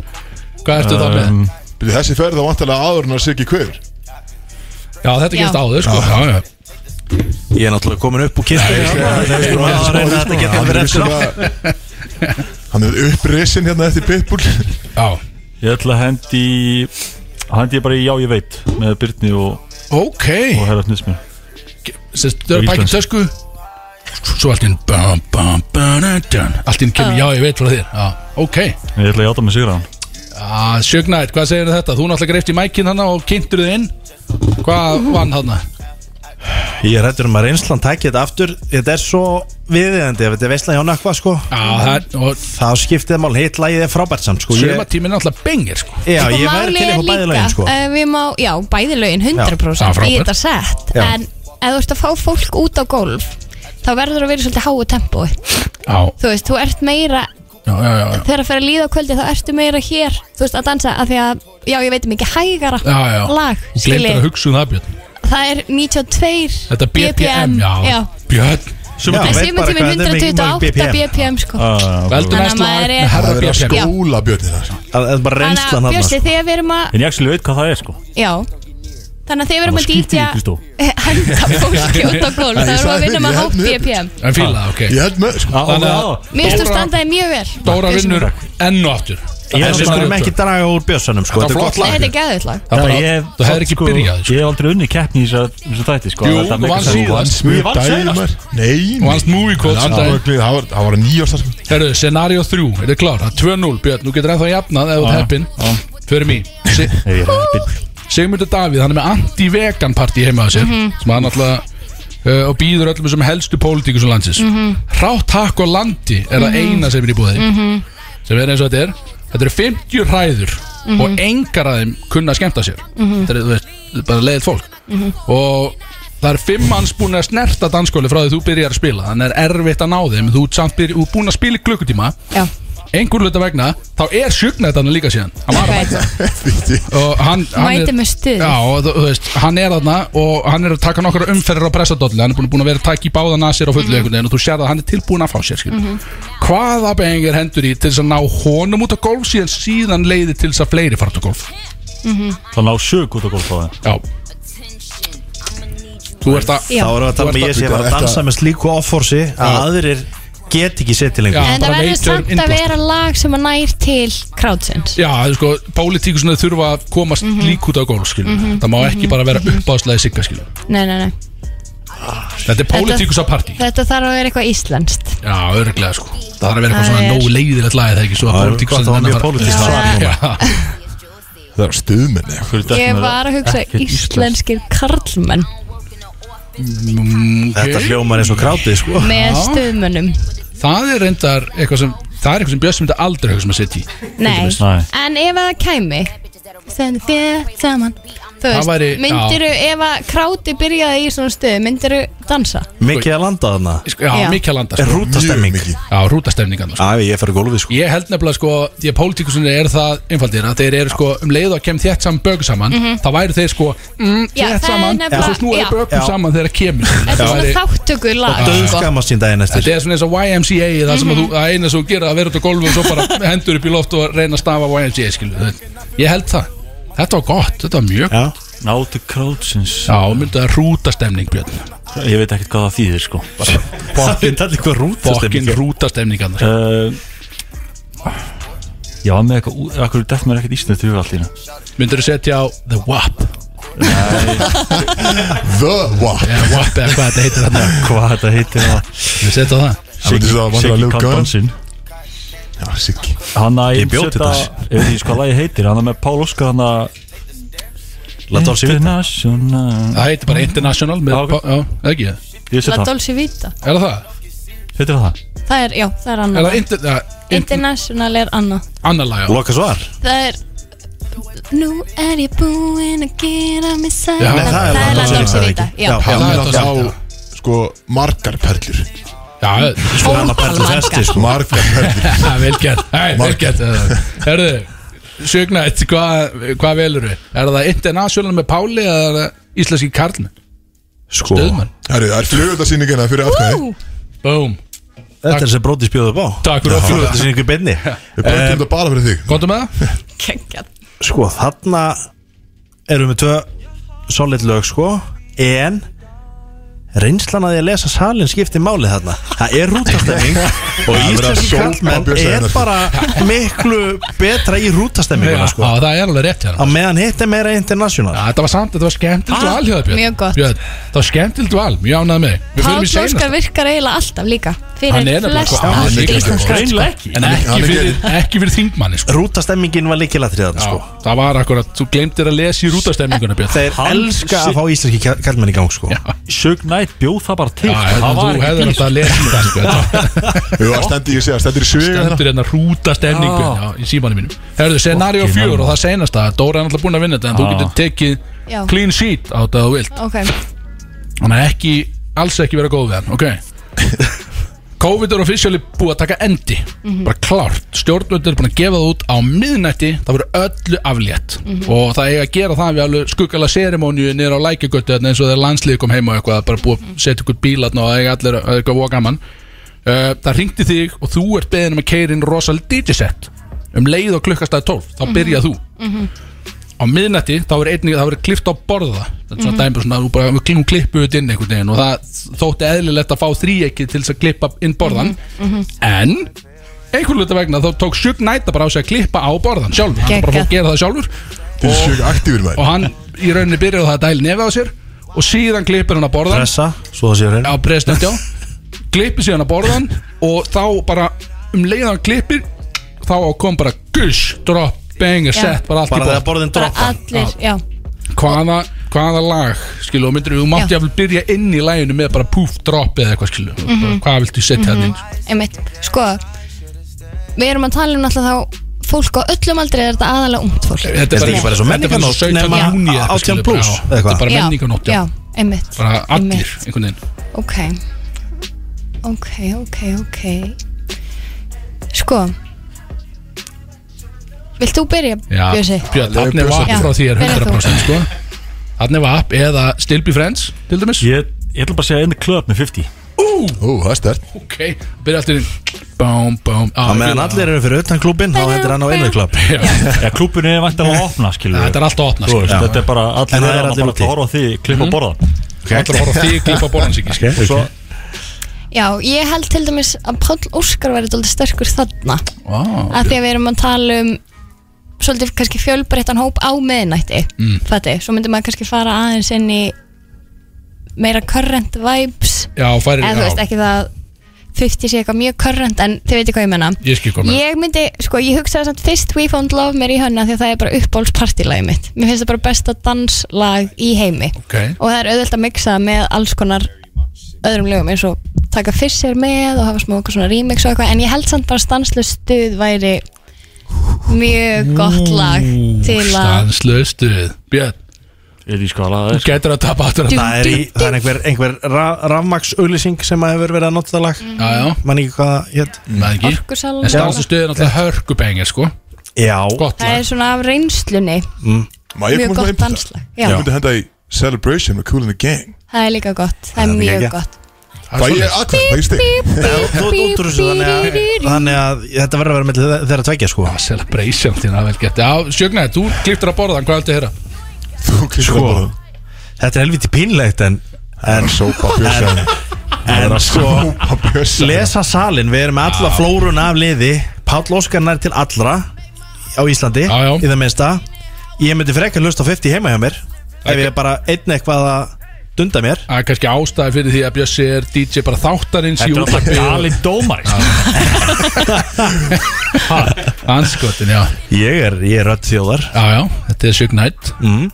[SPEAKER 4] Hvað ertu það með?
[SPEAKER 5] Um,
[SPEAKER 2] Byrju, Þessi ferð á vantarlega áður en að sigja kveður
[SPEAKER 4] Já, þetta
[SPEAKER 7] Já.
[SPEAKER 4] gerist áður sko já, já.
[SPEAKER 8] Ég er náttúrulega komin upp úr kistunni sko.
[SPEAKER 2] Hann er svona Hann er upprisin hérna eftir Pitbull
[SPEAKER 4] já.
[SPEAKER 5] Ég ætla að hendi hendi ég bara í Já ég veit með Byrni og,
[SPEAKER 4] Ok
[SPEAKER 5] og Herra Knusmi
[SPEAKER 4] Sest, Þau eru
[SPEAKER 5] Og
[SPEAKER 4] pakkin
[SPEAKER 5] íslensku.
[SPEAKER 4] tösku Svo allt inn bam, bam, bam, dun. Allt inn kemur, já ég veit frá þér já, Ok,
[SPEAKER 5] Ég ætla að játa með sigraðan
[SPEAKER 4] já, sjögnætt, hvað segir þetta? Þú náttúrulega greift í mækin hana og kynntur þið inn Hvað vann hana?
[SPEAKER 8] Ég er hættur um að reynslan tækja þetta aftur Þetta er svo viðiðandi ef þetta er veistlan hjá nakva sko
[SPEAKER 4] Já, það, og
[SPEAKER 8] Það skiptið mál, hitt lagið er frábært samt sko Ég-
[SPEAKER 4] sömatímin er náttúrulega bengir sko
[SPEAKER 8] Já,
[SPEAKER 7] Og
[SPEAKER 8] ég væri
[SPEAKER 7] málið
[SPEAKER 8] til
[SPEAKER 7] er
[SPEAKER 8] eitthvað bæði lagin sko
[SPEAKER 7] eh, við má, já, bæði lögin
[SPEAKER 4] Já,
[SPEAKER 7] 100%
[SPEAKER 4] frábært.
[SPEAKER 7] í þetta sett
[SPEAKER 8] Já.
[SPEAKER 7] en ef þú ert að fá fólk út á gólf þá verður að vera í svolítið háu tempói
[SPEAKER 4] Já,
[SPEAKER 7] þú veist, þú ert meira
[SPEAKER 4] já, já, já, já.
[SPEAKER 7] þegar að fyrir að líða á kvöldi þá ertu meira hér þú veist, að dansa af því að já, ég veit mikið hægara
[SPEAKER 4] Já, já.
[SPEAKER 7] lag
[SPEAKER 4] Þú
[SPEAKER 7] skilji.
[SPEAKER 4] glemtir að hugsa um það Björn
[SPEAKER 7] það er 92
[SPEAKER 4] Þetta er BPM, já.
[SPEAKER 7] já.
[SPEAKER 4] Björn
[SPEAKER 8] Já,
[SPEAKER 7] en
[SPEAKER 8] veit bara
[SPEAKER 7] sumartíminn
[SPEAKER 8] hvað þetta er mikið mörg
[SPEAKER 7] 128 BPM sko
[SPEAKER 4] Veldu næst
[SPEAKER 7] Þannig að
[SPEAKER 4] lag
[SPEAKER 7] maður er-
[SPEAKER 4] með herra
[SPEAKER 2] Það er að
[SPEAKER 4] BPM
[SPEAKER 2] skóla björnina sko.
[SPEAKER 8] Það er bara
[SPEAKER 7] þannig
[SPEAKER 8] reynslan
[SPEAKER 7] að
[SPEAKER 8] hann
[SPEAKER 7] Björsi,
[SPEAKER 8] sko.
[SPEAKER 7] þegar við erum að
[SPEAKER 5] En ég actually veit hvað það er sko
[SPEAKER 7] já, þannig að þegar við
[SPEAKER 5] Það
[SPEAKER 7] erum að
[SPEAKER 5] var skítið í Kristó.
[SPEAKER 7] dítja henda fólki út á gólf
[SPEAKER 2] Ég
[SPEAKER 7] þá erum við
[SPEAKER 2] sagði
[SPEAKER 7] að vinna
[SPEAKER 2] þér,
[SPEAKER 7] með
[SPEAKER 2] ég
[SPEAKER 7] hátt
[SPEAKER 2] held mér.
[SPEAKER 7] BPM
[SPEAKER 4] En fíla, ok
[SPEAKER 2] Ég held með sko
[SPEAKER 4] Þannig að-
[SPEAKER 7] Mér finnst þú
[SPEAKER 4] Dóra-
[SPEAKER 7] standaði mjög vel
[SPEAKER 4] Dóra
[SPEAKER 7] Bjössi
[SPEAKER 4] vinnur
[SPEAKER 7] minn.
[SPEAKER 4] enn og aftur
[SPEAKER 8] Ég
[SPEAKER 4] Það er
[SPEAKER 8] við
[SPEAKER 4] bara-
[SPEAKER 8] skulum ekki draga úr bjössanum sko
[SPEAKER 4] Þetta er flott
[SPEAKER 7] Nei,
[SPEAKER 4] lag
[SPEAKER 7] þetta er gæðið lag
[SPEAKER 4] Það er bara-
[SPEAKER 5] ég-
[SPEAKER 4] Þú hefðir ekki
[SPEAKER 5] sko,
[SPEAKER 4] byrjað sko.
[SPEAKER 5] Ég hef aldrei unni keppni í þessu- þessu þætti sko
[SPEAKER 4] Jú,
[SPEAKER 5] Þetta
[SPEAKER 4] þú
[SPEAKER 5] make
[SPEAKER 4] vannst
[SPEAKER 5] sense.
[SPEAKER 4] síðast.
[SPEAKER 2] Vannst
[SPEAKER 5] Ég
[SPEAKER 2] mjög
[SPEAKER 5] vann
[SPEAKER 2] dægin
[SPEAKER 5] síðast.
[SPEAKER 2] maður Nei
[SPEAKER 4] Þú vannst movie quotes um
[SPEAKER 2] Það
[SPEAKER 4] daginn.
[SPEAKER 2] var- það var- það var nýjast sko
[SPEAKER 4] Herru, scenario 3, er þetta klár? Það er 2-0, Björn, nú getur ennþá jafnað ef þú ert heppin Fyrir mig
[SPEAKER 5] Nei, ég er heppinn.
[SPEAKER 4] Sigmundur Davíð, hann er með anti-vegan partí heima á sér sem hann alltaf uh, og býður öllum sem helstu pólitíkus og landsins mm Rátt hakk og landi er það eina sem er í búði sem er eins og þetta er Þetta eru 50 ræður og
[SPEAKER 7] Mhm.
[SPEAKER 4] engar af þeim kunna að skemmta sér Þetta er, þú veist, þetta er bara leiðið fólk
[SPEAKER 7] Mhm.
[SPEAKER 4] og það er fimm manns búin að snerta danskóli frá því þú byrjar að spila þannig er erfitt að ná þeim þú ert samt byrj, þú ert búin að spila í klukkutíma
[SPEAKER 7] Já,
[SPEAKER 4] einhver hluta vegna, þá er sjögnættan líka síðan hann var að
[SPEAKER 7] Ok.
[SPEAKER 4] mæta og hann, hann
[SPEAKER 7] Mæti
[SPEAKER 4] er-
[SPEAKER 7] með stuð.
[SPEAKER 4] já, og þú, þú veist, hann er þarna og hann er að taka nokkra umferðir á pressadolli hann er búin, búin að vera að taka í báða nasir á
[SPEAKER 7] Mhm.
[SPEAKER 4] fullu einhvern veginn og þú sér að hann er tilbúin að fá sér mm -hmm. hvaða bengir hendur í til þess að ná honum út á golf síðan síðan leiði til þess að fleiri fara út á golf
[SPEAKER 5] Það ná sög út á gólf á það
[SPEAKER 4] já, Þú ert að
[SPEAKER 7] Já.
[SPEAKER 8] Þá erum við að tala um að ég sé að fara að dansa með slíku offorsi að aðrir get ekki setið
[SPEAKER 4] Já.
[SPEAKER 8] lengur
[SPEAKER 7] En það
[SPEAKER 4] bara
[SPEAKER 7] verður
[SPEAKER 4] nature
[SPEAKER 7] samt að
[SPEAKER 4] innblástur.
[SPEAKER 7] vera lag sem að nær til krátsins
[SPEAKER 4] Já, það er sko, pólitíkusinu þurfa að komast
[SPEAKER 7] Mhm.
[SPEAKER 4] lík út á gól, skilur Það má ekki bara vera uppáðslega sigga, skilur
[SPEAKER 7] Nei, nei, nei
[SPEAKER 4] Þetta er pólitíkus að partí
[SPEAKER 7] Þetta þarf að vera eitthvað íslenskt
[SPEAKER 4] Já, örglega, sko Það þarf að vera eitthvað
[SPEAKER 7] Það
[SPEAKER 4] svona
[SPEAKER 7] er-
[SPEAKER 4] nógu leiðilegt lag, er það ekki Svo að
[SPEAKER 8] Það er
[SPEAKER 4] pólitíkusinu
[SPEAKER 8] gott að það var
[SPEAKER 4] nenna
[SPEAKER 8] mjög
[SPEAKER 4] fara-
[SPEAKER 8] pólitískt
[SPEAKER 4] Já.
[SPEAKER 8] svar núna.
[SPEAKER 4] Já,
[SPEAKER 2] Það er stuðmenni
[SPEAKER 7] Ég var að hugsa íslenskir karlmenn
[SPEAKER 4] mm, ok.
[SPEAKER 8] Þetta hljómar eins og krátið sko
[SPEAKER 7] með stuðmönnum
[SPEAKER 4] Það er reyndar eitthvað sem Það er eitthvað sem Björn sem þetta aldrei hugsa með sitt í
[SPEAKER 7] Nei,
[SPEAKER 5] Nei.
[SPEAKER 7] en ef að það kæmi Sendu þér saman Þú
[SPEAKER 4] Það
[SPEAKER 7] veist, væri,
[SPEAKER 4] væri- já.
[SPEAKER 7] myndiru ef að kráti byrjaði í svona stuð Myndiru dansa
[SPEAKER 8] Mikið að landa þarna
[SPEAKER 4] Sko, Já,
[SPEAKER 7] Já.
[SPEAKER 4] mikið að landa
[SPEAKER 8] Er
[SPEAKER 4] sko.
[SPEAKER 8] rútastemming
[SPEAKER 2] mikið.
[SPEAKER 4] Já, rútastemningan sko.
[SPEAKER 8] Æ, ég fer að gólfið sko
[SPEAKER 4] Ég held nefnilega sko Því að pólitíkusinu er það einfaldir Að þeir eru sko um leið og að kem þétt saman bögu saman þá væri þeir sko mm,
[SPEAKER 7] Mhm. Já,
[SPEAKER 4] Þétt
[SPEAKER 7] það er
[SPEAKER 4] saman
[SPEAKER 7] nefnilega-
[SPEAKER 4] Og svo snúið
[SPEAKER 7] já.
[SPEAKER 4] bögum
[SPEAKER 8] Já.
[SPEAKER 4] saman þegar það kemur
[SPEAKER 7] Þetta
[SPEAKER 4] Það
[SPEAKER 7] er
[SPEAKER 4] væri-
[SPEAKER 7] svona þáttöku lag
[SPEAKER 8] Döðskammast sín daginn eftir
[SPEAKER 4] Þetta er svona eins og YMCA Það sem að þú, að eina sem þú gerir að vera út á gólfu og svo bara hendur upp í loft og reyna að stafa YMCA skilu Ég held það Þetta var gott, þetta var mjög
[SPEAKER 8] Já,
[SPEAKER 5] Náti Krátsins
[SPEAKER 4] Já, myndið að rútastemning Björn
[SPEAKER 5] Ég veit ekkert hvað það þýðir sko
[SPEAKER 8] það er allir
[SPEAKER 4] Fokkin
[SPEAKER 8] hvað rútastemming
[SPEAKER 4] rútastemningan
[SPEAKER 5] uh, Já, með eitthvað ú- Akkur dætt mér ekkert ísnöð til allir
[SPEAKER 4] Myndir þú setja á The WAP
[SPEAKER 2] The what?
[SPEAKER 4] eða WAP eða hvað þetta heitir þarna
[SPEAKER 5] Hvað þetta heitir það?
[SPEAKER 4] Við setja á það
[SPEAKER 2] Það myndi það að vandra að
[SPEAKER 5] Siggi
[SPEAKER 2] ljóka
[SPEAKER 5] Kalbansinn
[SPEAKER 2] Já, Siggi
[SPEAKER 5] Hann að
[SPEAKER 8] Ég bjó til
[SPEAKER 5] setja-
[SPEAKER 8] þetta.
[SPEAKER 5] Ég veit ekki hvað lagi sko, heitir Hann að með Pál Óskar hann að
[SPEAKER 8] Láta á sig vita
[SPEAKER 5] International
[SPEAKER 4] Það heitir bara International með,
[SPEAKER 5] Já, ok.
[SPEAKER 4] Já, eða ekki
[SPEAKER 5] Ég set
[SPEAKER 7] La
[SPEAKER 5] það
[SPEAKER 7] Dolce Vita
[SPEAKER 4] Er það það?
[SPEAKER 5] Heitir það það?
[SPEAKER 7] Það er, já, það er
[SPEAKER 4] Er
[SPEAKER 7] annað
[SPEAKER 4] það inter, ja, inter,
[SPEAKER 7] International er annað
[SPEAKER 4] annar lag já.
[SPEAKER 8] Loka svar
[SPEAKER 7] Það er Nú er ég búin að gera mig sæl
[SPEAKER 4] Já,
[SPEAKER 8] Nei, það er
[SPEAKER 7] La
[SPEAKER 8] Dolce
[SPEAKER 7] Dolce
[SPEAKER 8] Vita,
[SPEAKER 7] Vita
[SPEAKER 8] ekki?
[SPEAKER 7] Já,
[SPEAKER 8] Já,
[SPEAKER 4] Það er
[SPEAKER 2] Hann
[SPEAKER 4] það
[SPEAKER 2] á,
[SPEAKER 4] samt,
[SPEAKER 2] sko, margar perlur
[SPEAKER 4] Já,
[SPEAKER 8] Svo hann að
[SPEAKER 7] oh
[SPEAKER 8] perla festi sko
[SPEAKER 2] Margar perlur
[SPEAKER 4] ja, Ah, vel gert Hei, vel
[SPEAKER 2] Mark.
[SPEAKER 4] gert Herðu, sögnætt, hvað hva velur við? Er það International með Páli eða er það íslenski Karln?
[SPEAKER 8] Sko
[SPEAKER 4] Döðmann
[SPEAKER 2] Herru, það er flugöldarsýningina fyrir atkvæði
[SPEAKER 4] Búm,
[SPEAKER 8] Þetta er sem brótis bjóðu upp á
[SPEAKER 4] Takk fyrir okkur.
[SPEAKER 8] Þetta er einhver beinni
[SPEAKER 2] Við bætum þetta bara fyrir þig
[SPEAKER 4] komdu með það?
[SPEAKER 7] geggjað
[SPEAKER 8] Sko, þarna erum við tvö solid lög sko En reynslan að ég lesa salin skipti máli þarna Það er rútastemming
[SPEAKER 2] er
[SPEAKER 8] og
[SPEAKER 2] verið að
[SPEAKER 8] íslenski
[SPEAKER 2] sjópa á
[SPEAKER 8] kallmenn
[SPEAKER 2] Bjössa
[SPEAKER 8] er
[SPEAKER 2] hérna, sko.
[SPEAKER 8] bara miklu betra í
[SPEAKER 4] Já,
[SPEAKER 8] rútastemminguna sko
[SPEAKER 4] á, það er alveg rétt hérna
[SPEAKER 8] Að meðan hitt er meira international
[SPEAKER 4] Já, þetta var samt, þetta var skemmtild val hjá það Björn
[SPEAKER 7] Ah, Mjög gott.
[SPEAKER 4] Björn, Það var skemmtild val, mjög ánægð með þig. Við
[SPEAKER 7] Páll
[SPEAKER 4] fyrir í seinasta
[SPEAKER 7] Óskar virkar eiginlega alltaf líka
[SPEAKER 4] Hann er
[SPEAKER 7] Fyrir
[SPEAKER 4] nefnilega
[SPEAKER 7] flest
[SPEAKER 4] sko- hann er
[SPEAKER 7] allt
[SPEAKER 4] líka-
[SPEAKER 7] íslenskar
[SPEAKER 5] Greinlega ekki
[SPEAKER 4] En ekki
[SPEAKER 2] hann er
[SPEAKER 4] fyrir, ekki fyrir þingmanni sko.
[SPEAKER 8] Rútastemmingin var líkilatrið þarna
[SPEAKER 4] Já,
[SPEAKER 8] sko
[SPEAKER 4] Það var akkurat, þú glemtir að lesa í rútastemminguna Björn
[SPEAKER 8] Þeir
[SPEAKER 5] Hann
[SPEAKER 8] elska
[SPEAKER 5] sé-
[SPEAKER 8] að fá íslenski kall- kallmenn í gang sko
[SPEAKER 4] Já.
[SPEAKER 5] Sög nætt bjóð það bara til
[SPEAKER 4] Já,
[SPEAKER 5] sko.
[SPEAKER 4] hérna,
[SPEAKER 5] Það
[SPEAKER 4] þú
[SPEAKER 5] var ekki
[SPEAKER 4] hefur
[SPEAKER 5] bíl,
[SPEAKER 4] þetta að lesa í það sko.
[SPEAKER 2] Jú, það stendur, ég segja, stendur í sviga hérna
[SPEAKER 4] Stendur hérna rútastemning
[SPEAKER 5] Já.
[SPEAKER 4] Björn, já, í símanum mínum Herðu, scenario
[SPEAKER 5] Fokkin
[SPEAKER 4] 4 og
[SPEAKER 5] alveg.
[SPEAKER 4] það senast að Dóra er alltaf búin að vinna þetta En þú
[SPEAKER 5] Já.
[SPEAKER 4] getur tekið
[SPEAKER 7] Já.
[SPEAKER 4] clean sheet á þetta að þú vilt
[SPEAKER 7] Ok,
[SPEAKER 4] Þannig að ekki, alls ekki vera góð við hann, ok COVID er officially búið að taka endi bara klárt, stjórnvöldur er búin að gefa það út á miðnætti, það verður öllu aflétt og það eiga að gera það við alveg skuggala serimóniu niður á lækjagötu þarna eins og þegar landslíði kom heim og eitthvað bara búið að setja ykkur bílarn og það eiga allir að- eitthvað voga gaman uh, það ringdi þig og þú ert beðin um að keyra inn rosal DJ set um leið og klukkastæði 12, þá byrjað þú á miðnætti þá er einnig það verið klift á borða þetta er svona dæmi um svona þú bara klingum klippu þetta inn einhvern veginn og það þótti eðlilegt að fá þríekið til þess að klippa inn borðan en einhvern veit vegna þá tók Sjök Næta bara á sig að klippa á borðan sjálfur hann bara fór að
[SPEAKER 7] Geggjað.
[SPEAKER 4] gera það sjálfur
[SPEAKER 2] Til sjöga aktífur
[SPEAKER 4] og
[SPEAKER 2] maður
[SPEAKER 4] hann í rauninni byrjaði á það að dæli nefið á sér og síðan klippir hann á borðan
[SPEAKER 8] Pressa, svo það séu hérna
[SPEAKER 4] á president já klippir síðan að borðan og þá bara um leiðan klippir þá kom bara gush, drop, bang, set bara allt í
[SPEAKER 8] Bara
[SPEAKER 4] borð
[SPEAKER 8] þegar borðin
[SPEAKER 7] bara
[SPEAKER 8] droppa
[SPEAKER 7] allir, já
[SPEAKER 4] hvaða, hvaða lag skilu, og myndir við, þú mátti
[SPEAKER 7] Já.
[SPEAKER 4] jafnvel byrja inn í læginu með bara poof, drop eða eitthvað skilu bara, hvað viltu setja mm -hmm.
[SPEAKER 7] einmitt, sko við erum að tala um náttúrulega þá fólk á öllum aldrei er þetta aðalega ungt fólk
[SPEAKER 4] þetta
[SPEAKER 8] Þetta er ekki bara svo menningarnótt,
[SPEAKER 4] 17.
[SPEAKER 8] nema
[SPEAKER 4] júní eða eitthvað,
[SPEAKER 8] 18
[SPEAKER 4] skilur,
[SPEAKER 8] plús,
[SPEAKER 4] já.
[SPEAKER 8] eða
[SPEAKER 4] þetta
[SPEAKER 8] hvað?
[SPEAKER 4] er bara
[SPEAKER 7] Já,
[SPEAKER 4] menningarnótt
[SPEAKER 7] já,
[SPEAKER 4] já.
[SPEAKER 7] einmitt
[SPEAKER 4] bara allir,
[SPEAKER 7] einmitt.
[SPEAKER 4] einhvern veginn
[SPEAKER 7] ok, ok, ok, ok sko vilt þú byrja,
[SPEAKER 4] Já,
[SPEAKER 7] Bjössi?
[SPEAKER 4] Björn,
[SPEAKER 2] Leyfðu
[SPEAKER 4] hann er
[SPEAKER 2] Bjössa
[SPEAKER 4] vapp
[SPEAKER 7] til.
[SPEAKER 4] frá því er
[SPEAKER 7] Já, byrja þú.
[SPEAKER 4] 100% sko hann er vapp eða Stilby Friends til dæmis
[SPEAKER 5] Ég ég ætla bara að segja In the club með 50
[SPEAKER 2] Ú, það er stert
[SPEAKER 4] ok, byrja allir inn bám, bám á,
[SPEAKER 8] Á meðan allir eru fyrir utan klubin þá hendur hann á einu klubb
[SPEAKER 5] Já, klúbunni er vantan að opna skilur
[SPEAKER 4] þetta er allt að opna
[SPEAKER 5] Þú
[SPEAKER 4] sko
[SPEAKER 5] veist, Þetta er bara
[SPEAKER 8] En
[SPEAKER 5] allir
[SPEAKER 8] það er
[SPEAKER 5] er
[SPEAKER 8] allir
[SPEAKER 5] bara
[SPEAKER 8] úti.
[SPEAKER 5] að horfa á því Klippa á borðan
[SPEAKER 4] Það ætlar að horfa á þig klippa sko. bólan sig
[SPEAKER 8] Ok,
[SPEAKER 5] Svo,
[SPEAKER 8] ok.
[SPEAKER 7] Já, ég held til dæmis að Páll Óskar var eitthvað sterkur þarna
[SPEAKER 4] Vá,
[SPEAKER 7] að því að við erum að tala um svolítið kannski fjölbreyttan hóp á meðinætti mm. fætti, svo myndum maður kannski fara aðeins inn í meira current vibes
[SPEAKER 4] Já, færir
[SPEAKER 7] eða þú veist
[SPEAKER 4] já,
[SPEAKER 7] ekki það að 50 sé eitthvað mjög current en þið veitir hvað ég menna
[SPEAKER 4] Ég skil komið
[SPEAKER 7] Ég myndi, sko, ég hugsaði samt fyrst We Found Love mér í hönna því að það er bara uppbóls partylagið mitt. Mér finnst það bara besta danslag í heimi
[SPEAKER 4] Ok,
[SPEAKER 7] og það er auðvelt að mixa með alls konar öðrum lögum eins og taka fyrst sér með og hafa smá okkur svona remix og eitthvað en ég held samt bara stanslu stuð væri mjög gott lag til að
[SPEAKER 4] stanslöð stuð Björn,
[SPEAKER 5] ég veit ekki hvað að það er
[SPEAKER 4] getur að tapa aftur að
[SPEAKER 7] Djú.
[SPEAKER 8] Það er, í, það er einhver, einhver ra, rafmaksauðlýsing sem að hefur verið að nota það lag
[SPEAKER 4] Já, já,
[SPEAKER 8] Man ekki hvað hétt
[SPEAKER 4] maður ekki
[SPEAKER 7] orkusalun
[SPEAKER 4] En stanslöð stuð er náttúrulega hörkubengir, sko
[SPEAKER 8] Já,
[SPEAKER 4] Gott
[SPEAKER 7] það
[SPEAKER 4] lag
[SPEAKER 7] er svona af reynslunni
[SPEAKER 2] Má ég
[SPEAKER 7] mjög
[SPEAKER 2] koma svona
[SPEAKER 7] gott
[SPEAKER 2] inn på
[SPEAKER 7] danslag
[SPEAKER 2] það?
[SPEAKER 7] Já,
[SPEAKER 2] Ég myndi henda í Celebration með Cool in the Gang
[SPEAKER 7] það er líka gott, það
[SPEAKER 8] Það
[SPEAKER 7] er
[SPEAKER 8] er
[SPEAKER 7] mjög
[SPEAKER 8] geggjað.
[SPEAKER 4] Það
[SPEAKER 7] gott
[SPEAKER 4] er
[SPEAKER 2] Fæ ég
[SPEAKER 4] svoleiðis.
[SPEAKER 2] aðkvæm, fæ ég stig
[SPEAKER 8] þú ert út úr þessu þannig að, þannig að þetta verður að vera með þeirra tveggja sko
[SPEAKER 4] Það er celebration þín, það er vel gett Já, sjögnaði, þú kliptir að borðan, hvað heldur þér að?
[SPEAKER 2] Þú klikkar
[SPEAKER 8] Sko.
[SPEAKER 2] bara það.
[SPEAKER 8] Þetta er helviti pínlegt en, en,
[SPEAKER 2] Sópa bjössan
[SPEAKER 8] en sko
[SPEAKER 2] Sópa bjössan
[SPEAKER 8] Lesa salin, við erum með alla flórun af liði Páll Óskar nær til allra á Íslandi
[SPEAKER 4] Já, já.
[SPEAKER 8] í það minnsta Ég myndi frekar hlust á 50 heima hjá mér ef ég bara einn eitthvað að dunda mér
[SPEAKER 4] Það er kannski ástæði fyrir því að Bjössi er DJ bara þáttarins í
[SPEAKER 5] Þetta er alltaf sko.
[SPEAKER 4] útvarpi og-
[SPEAKER 5] galið dómar
[SPEAKER 4] Anskotin, já
[SPEAKER 8] Ég er, ég er rödd þjóðar
[SPEAKER 4] Já, já, þetta er sjögnætt
[SPEAKER 2] Mhm.
[SPEAKER 8] mm.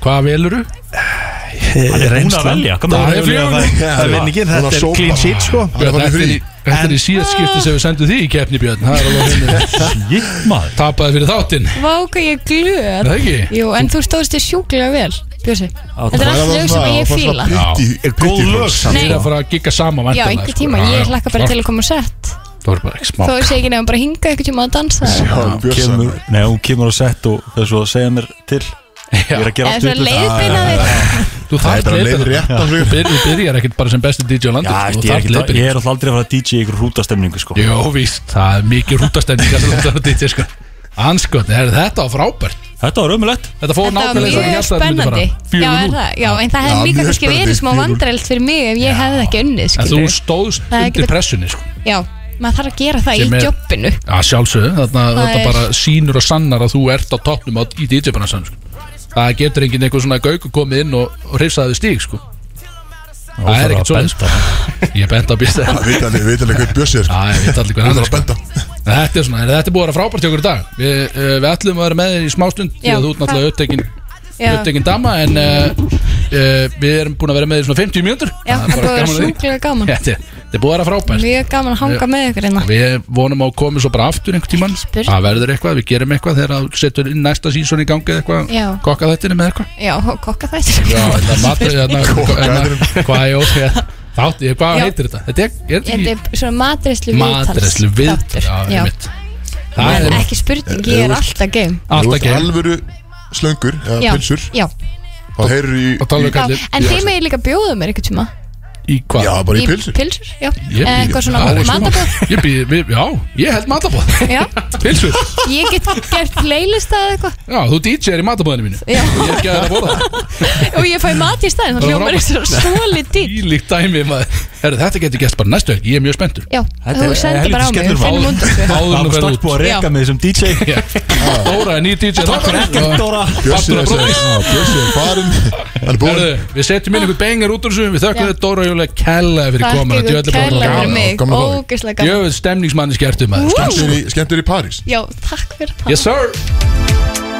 [SPEAKER 4] Hvað velur þú?
[SPEAKER 8] Hann er
[SPEAKER 5] Hún að velja, kom
[SPEAKER 4] Það er
[SPEAKER 5] að velja
[SPEAKER 4] fljóðan
[SPEAKER 8] Það er vinningin, þetta er clean sheet sko
[SPEAKER 2] Hann er
[SPEAKER 4] Þetta
[SPEAKER 2] farinn í
[SPEAKER 4] er,
[SPEAKER 2] frí.
[SPEAKER 4] þetta er í síðast skipti sem við sendum því í keppni Björn Það er alveg henni
[SPEAKER 5] Shit maður
[SPEAKER 4] Tapaði fyrir þáttinn Er
[SPEAKER 7] Vá, hvað ég er glöð
[SPEAKER 4] það ekki?
[SPEAKER 7] Jú, en þú stóðst þér sjúklega vel Bjössi, þetta
[SPEAKER 2] Það
[SPEAKER 7] er allt
[SPEAKER 2] var
[SPEAKER 7] lög sem
[SPEAKER 2] svona-
[SPEAKER 7] ég
[SPEAKER 2] það var svona
[SPEAKER 7] fíla
[SPEAKER 2] pretty- pretty
[SPEAKER 8] Góð lög
[SPEAKER 2] rose.
[SPEAKER 8] samt
[SPEAKER 4] Við erum
[SPEAKER 7] Nei,
[SPEAKER 4] að fara að gigga saman
[SPEAKER 7] já,
[SPEAKER 4] væntanlega,
[SPEAKER 7] einhver
[SPEAKER 4] sko.
[SPEAKER 7] tíma,
[SPEAKER 4] Já,
[SPEAKER 7] ég
[SPEAKER 4] já,
[SPEAKER 7] hlakka bara
[SPEAKER 4] klárt.
[SPEAKER 7] til að koma sett
[SPEAKER 4] Það voru bara ekki smá
[SPEAKER 7] Þó ég sé ekki nefnum bara hinga einhver tíma að dansa
[SPEAKER 2] Já, bjössan
[SPEAKER 5] kemur, Nei, hún kemur á sett og þessu að segja mér til Ég er að gera
[SPEAKER 7] Eða
[SPEAKER 5] allt
[SPEAKER 7] svona
[SPEAKER 5] vitlaust.
[SPEAKER 7] leiðbeina þig
[SPEAKER 4] Þú
[SPEAKER 2] Það er
[SPEAKER 4] þarf
[SPEAKER 2] bara leið
[SPEAKER 4] leiðbyrð
[SPEAKER 2] rétt á
[SPEAKER 4] Þú
[SPEAKER 2] hlug
[SPEAKER 4] byrjar- þú byrjar ekkert bara sem besti DJ á
[SPEAKER 5] Já,
[SPEAKER 4] landinu sko.
[SPEAKER 5] eftir,
[SPEAKER 4] Þú
[SPEAKER 5] ég, er
[SPEAKER 4] þarf
[SPEAKER 5] ekki, ég
[SPEAKER 4] leiðbyrð
[SPEAKER 5] er alltaf aldrei að fara að DJ í ykkur hútastemningu sko.
[SPEAKER 4] Jó, víst, það er mikið rútastemning að þú þarf DJ sko Anskotin, er þetta var frábært
[SPEAKER 5] Þetta var ömulegt
[SPEAKER 4] Þetta fór
[SPEAKER 7] Þetta var
[SPEAKER 4] nákvæmlega eins og ég
[SPEAKER 7] mjög
[SPEAKER 4] hélt að þetta myndi
[SPEAKER 7] spennandi
[SPEAKER 4] fara.
[SPEAKER 7] Já,
[SPEAKER 4] 4-0.
[SPEAKER 7] er það, já, en það
[SPEAKER 2] Já,
[SPEAKER 7] hefði líka
[SPEAKER 2] mjög
[SPEAKER 7] kannski
[SPEAKER 2] spennandi,
[SPEAKER 7] verið smá
[SPEAKER 2] 4-0.
[SPEAKER 7] vandrælt fyrir mig ef ég hefði ekki
[SPEAKER 4] En
[SPEAKER 7] unnið,
[SPEAKER 4] þú
[SPEAKER 7] skilur
[SPEAKER 4] stóðst
[SPEAKER 7] Það er
[SPEAKER 4] undir
[SPEAKER 7] ekki-
[SPEAKER 4] pressunni sko
[SPEAKER 7] Já, maður þarf að gera það
[SPEAKER 4] Sem
[SPEAKER 7] í
[SPEAKER 4] er-
[SPEAKER 7] jobbinu
[SPEAKER 4] Já, sjálfsögðu, þarna
[SPEAKER 7] Það
[SPEAKER 4] þetta
[SPEAKER 7] er-
[SPEAKER 4] bara sýnur og sannar að þú ert á toppnum á, í DJ-bransan sko. Það getur enginn einhver svona gauk og komið inn og, og hrifsaði stík sko. Það er ekkert svona sko. Ég er bent á bjösta Já,
[SPEAKER 2] Við veitum alveg hvað bjössi er sko.
[SPEAKER 4] ég veit allir
[SPEAKER 2] Þú
[SPEAKER 4] hvað hann
[SPEAKER 2] þarf
[SPEAKER 4] er
[SPEAKER 2] að
[SPEAKER 4] sko.
[SPEAKER 2] benda
[SPEAKER 4] En Þetta er svona, en þetta er búið að vera frábært hjá okkur í dag Við, uh, við ætlum að vera með þér í smástund Því
[SPEAKER 7] Já.
[SPEAKER 4] að þú ert náttúrulega upptekinn
[SPEAKER 7] Já,
[SPEAKER 4] upptekin dama En uh, uh, við erum búin að vera með þér í svona 50 mjöndur
[SPEAKER 7] já, það búið að vera sjúklega gaman
[SPEAKER 4] Þetta er þetta er búið að vera frábært
[SPEAKER 7] Mjög gaman að hanga með ykkur hérna. innan
[SPEAKER 4] Við vonum að koma svo bara aftur einhvern tíman
[SPEAKER 7] Spurt.
[SPEAKER 4] Það verður eitthvað, við gerum eitthvað þegar þú setur inn næsta sísón í gangi eða
[SPEAKER 7] Já.
[SPEAKER 4] eitthvað Kokka þættinu með eitthvað
[SPEAKER 7] Já, kokka þættir
[SPEAKER 4] Já, þetta er matur hérna, hérna, Hvað er ótt Þátt, ég- hvað
[SPEAKER 7] Já.
[SPEAKER 4] heitir þetta? Þetta er, er þetta
[SPEAKER 7] Þetta
[SPEAKER 4] ekki
[SPEAKER 7] er svona matreislu
[SPEAKER 4] matreslu við
[SPEAKER 7] Já,
[SPEAKER 4] Já,
[SPEAKER 7] já.
[SPEAKER 4] einmitt. Það
[SPEAKER 7] En
[SPEAKER 4] er
[SPEAKER 7] ekki spurning, ég er alltaf game
[SPEAKER 2] Þú
[SPEAKER 4] alltaf
[SPEAKER 2] ert
[SPEAKER 4] gegn
[SPEAKER 2] alvöru slöngur eða
[SPEAKER 7] Já,
[SPEAKER 2] pilsur
[SPEAKER 7] já,
[SPEAKER 2] þá heyrur í
[SPEAKER 4] Og tala um
[SPEAKER 7] já.
[SPEAKER 4] kallir
[SPEAKER 7] En þið megið líka bjóða mér eitthvað tíma
[SPEAKER 4] Í hvað?
[SPEAKER 2] Já, bara í pilsur
[SPEAKER 7] Pilsur, já
[SPEAKER 4] Ég-
[SPEAKER 7] Eða Eh, Eitthvað svona
[SPEAKER 4] Já,
[SPEAKER 7] matabóð
[SPEAKER 4] Ég býð, við- já, ég held matabóð
[SPEAKER 7] Já,
[SPEAKER 4] Pilsur,
[SPEAKER 7] ég get gert playlist eða eitthvað
[SPEAKER 4] já, þú DJ er í matabóðinu mínu
[SPEAKER 7] Já.
[SPEAKER 4] Ég er ekki að borða það
[SPEAKER 7] Og ég fæ mat í staðinn,
[SPEAKER 4] Það
[SPEAKER 7] það
[SPEAKER 4] er
[SPEAKER 7] hljómar
[SPEAKER 4] frábært.
[SPEAKER 7] eitthvað svolít dýr
[SPEAKER 4] Ílíkt dæmi maður Herru, þetta getur gæst bara næstu helg, ég er mjög spenntur
[SPEAKER 7] Já,
[SPEAKER 5] Þetta
[SPEAKER 7] þú
[SPEAKER 5] er
[SPEAKER 7] sendir
[SPEAKER 5] helviti
[SPEAKER 7] bara á mig,
[SPEAKER 5] skemmtilegur
[SPEAKER 7] finnum
[SPEAKER 5] mál.
[SPEAKER 7] út af þessu.
[SPEAKER 5] Það
[SPEAKER 4] Áður en
[SPEAKER 5] var
[SPEAKER 4] þú ferð
[SPEAKER 5] strax
[SPEAKER 4] út
[SPEAKER 5] búið að
[SPEAKER 7] Já.
[SPEAKER 5] reka með þessum DJ
[SPEAKER 4] Já. Dóra er nýr DJ
[SPEAKER 5] Takk fyrir ekkert Dóra
[SPEAKER 2] Bjössi
[SPEAKER 4] Partur
[SPEAKER 2] er
[SPEAKER 4] af
[SPEAKER 2] þessi-
[SPEAKER 4] bróðis.
[SPEAKER 2] Já, Bjössi er farinn Hann er búinn
[SPEAKER 4] Herðu, við setjum inn einhver bengar út úr þessu Við þökkum
[SPEAKER 7] Já.
[SPEAKER 4] þér Dóra Júlega kærlega fyrir
[SPEAKER 7] Takk
[SPEAKER 4] komuna
[SPEAKER 7] ykkur kærlega fyrir mig,
[SPEAKER 2] Gaman að fá þig.
[SPEAKER 7] ógeðslega gaman
[SPEAKER 4] Jöfn stemningsmanni skertum maður
[SPEAKER 7] Woo!
[SPEAKER 2] Skemmtur í- Skemmtur í París
[SPEAKER 7] Já, takk fyrir það
[SPEAKER 4] Yes sir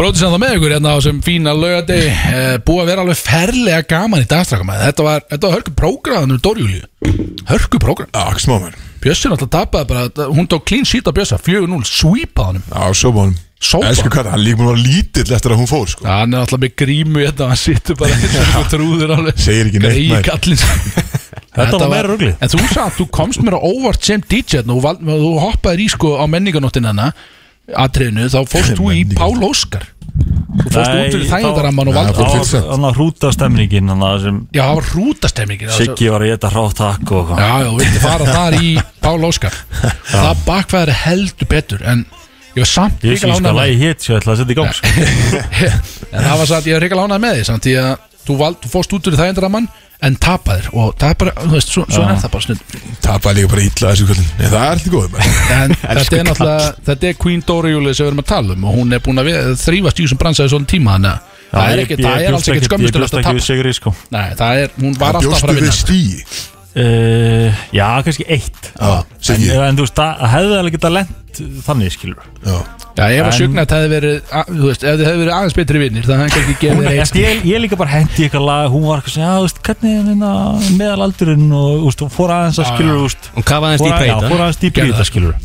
[SPEAKER 4] Bróðis að það með ykkur hérna á sem fína lögadei eh, Búið að vera alveg ferlega gaman í dagstrakamaði Þetta var, þetta var hörku prógraðanum Dóra Júliu Hörku prógrað
[SPEAKER 2] Já, ekki smá mér
[SPEAKER 4] Bjössin alltaf tapaði bara, hún tók clean sheet af Bjössa 4-0, sweepaðanum
[SPEAKER 2] Já, sóbánum
[SPEAKER 4] Sópa?
[SPEAKER 2] Elsku hvað, hann líka mér var lítill eftir að hún fór sko
[SPEAKER 4] Já, hann er alltaf með grímu hérna, hann sittur bara og trúður alveg
[SPEAKER 2] Segir ekki neitt,
[SPEAKER 4] Greyið
[SPEAKER 2] maður.
[SPEAKER 4] kallinn.
[SPEAKER 5] Þetta var meira ruglið.
[SPEAKER 4] En þú sagði að þú komst mér á óvart sem DJ og val, þú hoppaðir í sko á menninganóttin hana atriðinu, þá fórst þú í
[SPEAKER 2] Menningarnótt.
[SPEAKER 4] Pál Óskar Þú fórst sko, út fyrir þægindaramman og
[SPEAKER 2] Já,
[SPEAKER 4] valdur
[SPEAKER 2] fór fyrir
[SPEAKER 5] Þannig
[SPEAKER 2] sent.
[SPEAKER 5] að hrúta stemningin Þannig að sem
[SPEAKER 4] Já, það var rútastemmingin það var svo-
[SPEAKER 5] Siggi var að geta hrátt takk og
[SPEAKER 4] Já, já, þú vildi fara þar í Pál Óskar Það bakfæður heldur betur en Ég var samt
[SPEAKER 5] Ég veist
[SPEAKER 4] ríkala
[SPEAKER 5] ekki hvað
[SPEAKER 4] ánægð með
[SPEAKER 5] lagi hétt Svo ég ætla að setja í gang sko.
[SPEAKER 4] En það var satt, ég var ríkala ánægð með því Samt því að þú, vald, þú fórst út úr það endur að mann En tapaðir Og það er bara, þú veist, svo, svo er það bara snill
[SPEAKER 2] Tapa líka bara illa þessu kvöldin Nei, það er alltaf góð maður.
[SPEAKER 4] En þetta er náttúrulega, þetta er Queen Dóri Júlið sem við erum að tala um Og hún er búin að við- þrífast í þessum bransaði svona tíma Þannig að það er
[SPEAKER 5] ég-
[SPEAKER 4] ekki,
[SPEAKER 5] ég
[SPEAKER 4] það er
[SPEAKER 5] bjóst
[SPEAKER 4] alls ekkert
[SPEAKER 5] ekkert-
[SPEAKER 4] skömmustulegast
[SPEAKER 5] Ég
[SPEAKER 4] að
[SPEAKER 5] bjóst ekki
[SPEAKER 4] tapa
[SPEAKER 5] við sigri sko
[SPEAKER 4] Nei, það er, hún var alltaf að
[SPEAKER 2] Bjóstu
[SPEAKER 4] fara að
[SPEAKER 2] við
[SPEAKER 4] vinna
[SPEAKER 2] stíi
[SPEAKER 4] Eh,
[SPEAKER 5] Uh, já, kannski eitt
[SPEAKER 2] Já,
[SPEAKER 5] en, eh,
[SPEAKER 2] segi ég
[SPEAKER 5] en þú veist, það það hefði alveg geta lent þannig skilur
[SPEAKER 2] Já.
[SPEAKER 4] Já, ég var
[SPEAKER 5] En-
[SPEAKER 4] sjögn að það hefði verið, að- þú veist, ef þið hefði verið aðeins betri vinnir Það hefði kannski
[SPEAKER 5] Hún,
[SPEAKER 4] gefið þér eitt sko.
[SPEAKER 5] ég, ég, ég líka bara hendi eitthvað lag hún var eitthvað sem, já, þú veist, hvernig er hérna meðalaldurinn og úst, og fór aðeins að
[SPEAKER 4] Já,
[SPEAKER 5] skilur úst,
[SPEAKER 3] Hún kafaði aðeins
[SPEAKER 5] fór,
[SPEAKER 3] dýpra í
[SPEAKER 5] að, já,
[SPEAKER 3] þetta.
[SPEAKER 5] fór aðeins dýpra í
[SPEAKER 4] Gerðu
[SPEAKER 5] þetta
[SPEAKER 4] það.
[SPEAKER 5] skilur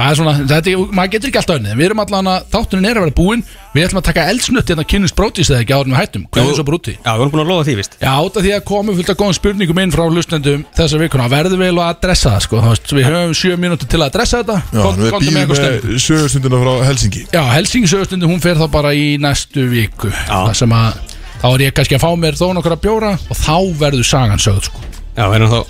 [SPEAKER 4] Það er svona, þetta, er- maður getur ekki alltaf unnið en Við erum allan að, þáttunin er að vera búinn Við ætlum að taka eldsnutt hérna kynins brótis eða ekki áður en við hættum Hvað er svo brúti?
[SPEAKER 3] Já, við erum búin að lofa því, víst
[SPEAKER 4] Já, út af því að komum fullt að góðum spurningum inn frá hlustendum þessa vikuna Verðum við að adressa það, sko Þú veist, Við höfum sjö mínútur til að adressa þetta
[SPEAKER 2] Já,
[SPEAKER 4] Kom-
[SPEAKER 2] nú er
[SPEAKER 4] komdu
[SPEAKER 2] bíl
[SPEAKER 4] eitthvað stemmu.
[SPEAKER 2] með sögustundina frá Helsingi
[SPEAKER 4] Já, Helsingsöðstundin hún fer þá bara í næstu viku Það sem að þá er ég kannski að fá mér þó nokkra bjóra og þá verður sagan sögð sko.
[SPEAKER 3] Já, við erum þá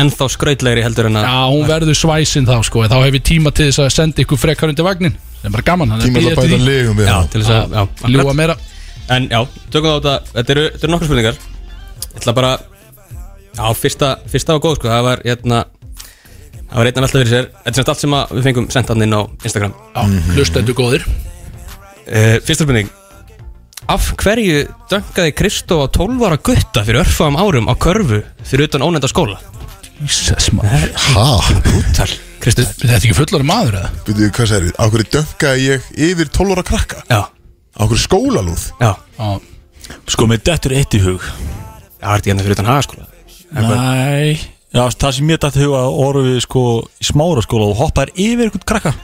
[SPEAKER 3] ennþá skrautlegri heldur en að
[SPEAKER 4] Já, hún verður svæsin þá sko, en þá hefur tíma til þess að senda ykkur frekar undir vagnin Það er bara gaman, hann er
[SPEAKER 2] Tíma til að bæta
[SPEAKER 4] því
[SPEAKER 2] legum við
[SPEAKER 3] Já,
[SPEAKER 2] hann
[SPEAKER 3] til þess að, já,
[SPEAKER 4] Ljúa
[SPEAKER 3] akkurat.
[SPEAKER 4] meira
[SPEAKER 3] En já, tökum þá þetta, þetta eru, þetta eru nokkra spurningar Ég ætla bara Já, fyrsta, fyrsta var góð, sko, það var hérna Það var einnig alltaf fyrir sér Þetta er semst allt sem að við fengum sendt hann inn á Instagram
[SPEAKER 4] Já,
[SPEAKER 2] Mhm.
[SPEAKER 4] hlustendur góðir
[SPEAKER 3] uh, Fyrsta spurning Af hverju döngaði Kristó á 12 ára gutta fyrir örfáum árum á körfu fyrir utan ónenda skóla?
[SPEAKER 4] Jesus, maður
[SPEAKER 3] Úttal Kristó
[SPEAKER 4] Þetta er ekki fullar maður eða?
[SPEAKER 2] Býtu, hvað segir við? Á hverju dönkaði ég yfir 12 ára krakka?
[SPEAKER 3] Já,
[SPEAKER 2] Á hverju skólalúð?
[SPEAKER 3] já
[SPEAKER 4] Já,
[SPEAKER 5] sko, með dettur eitt í hug
[SPEAKER 3] Já, það er þetta hérna fyrir utan hagaskóla
[SPEAKER 5] Næ Já, það sem mér dætti huga orðu við sko í smára skóla og hoppaðir yfir eitthvað krakka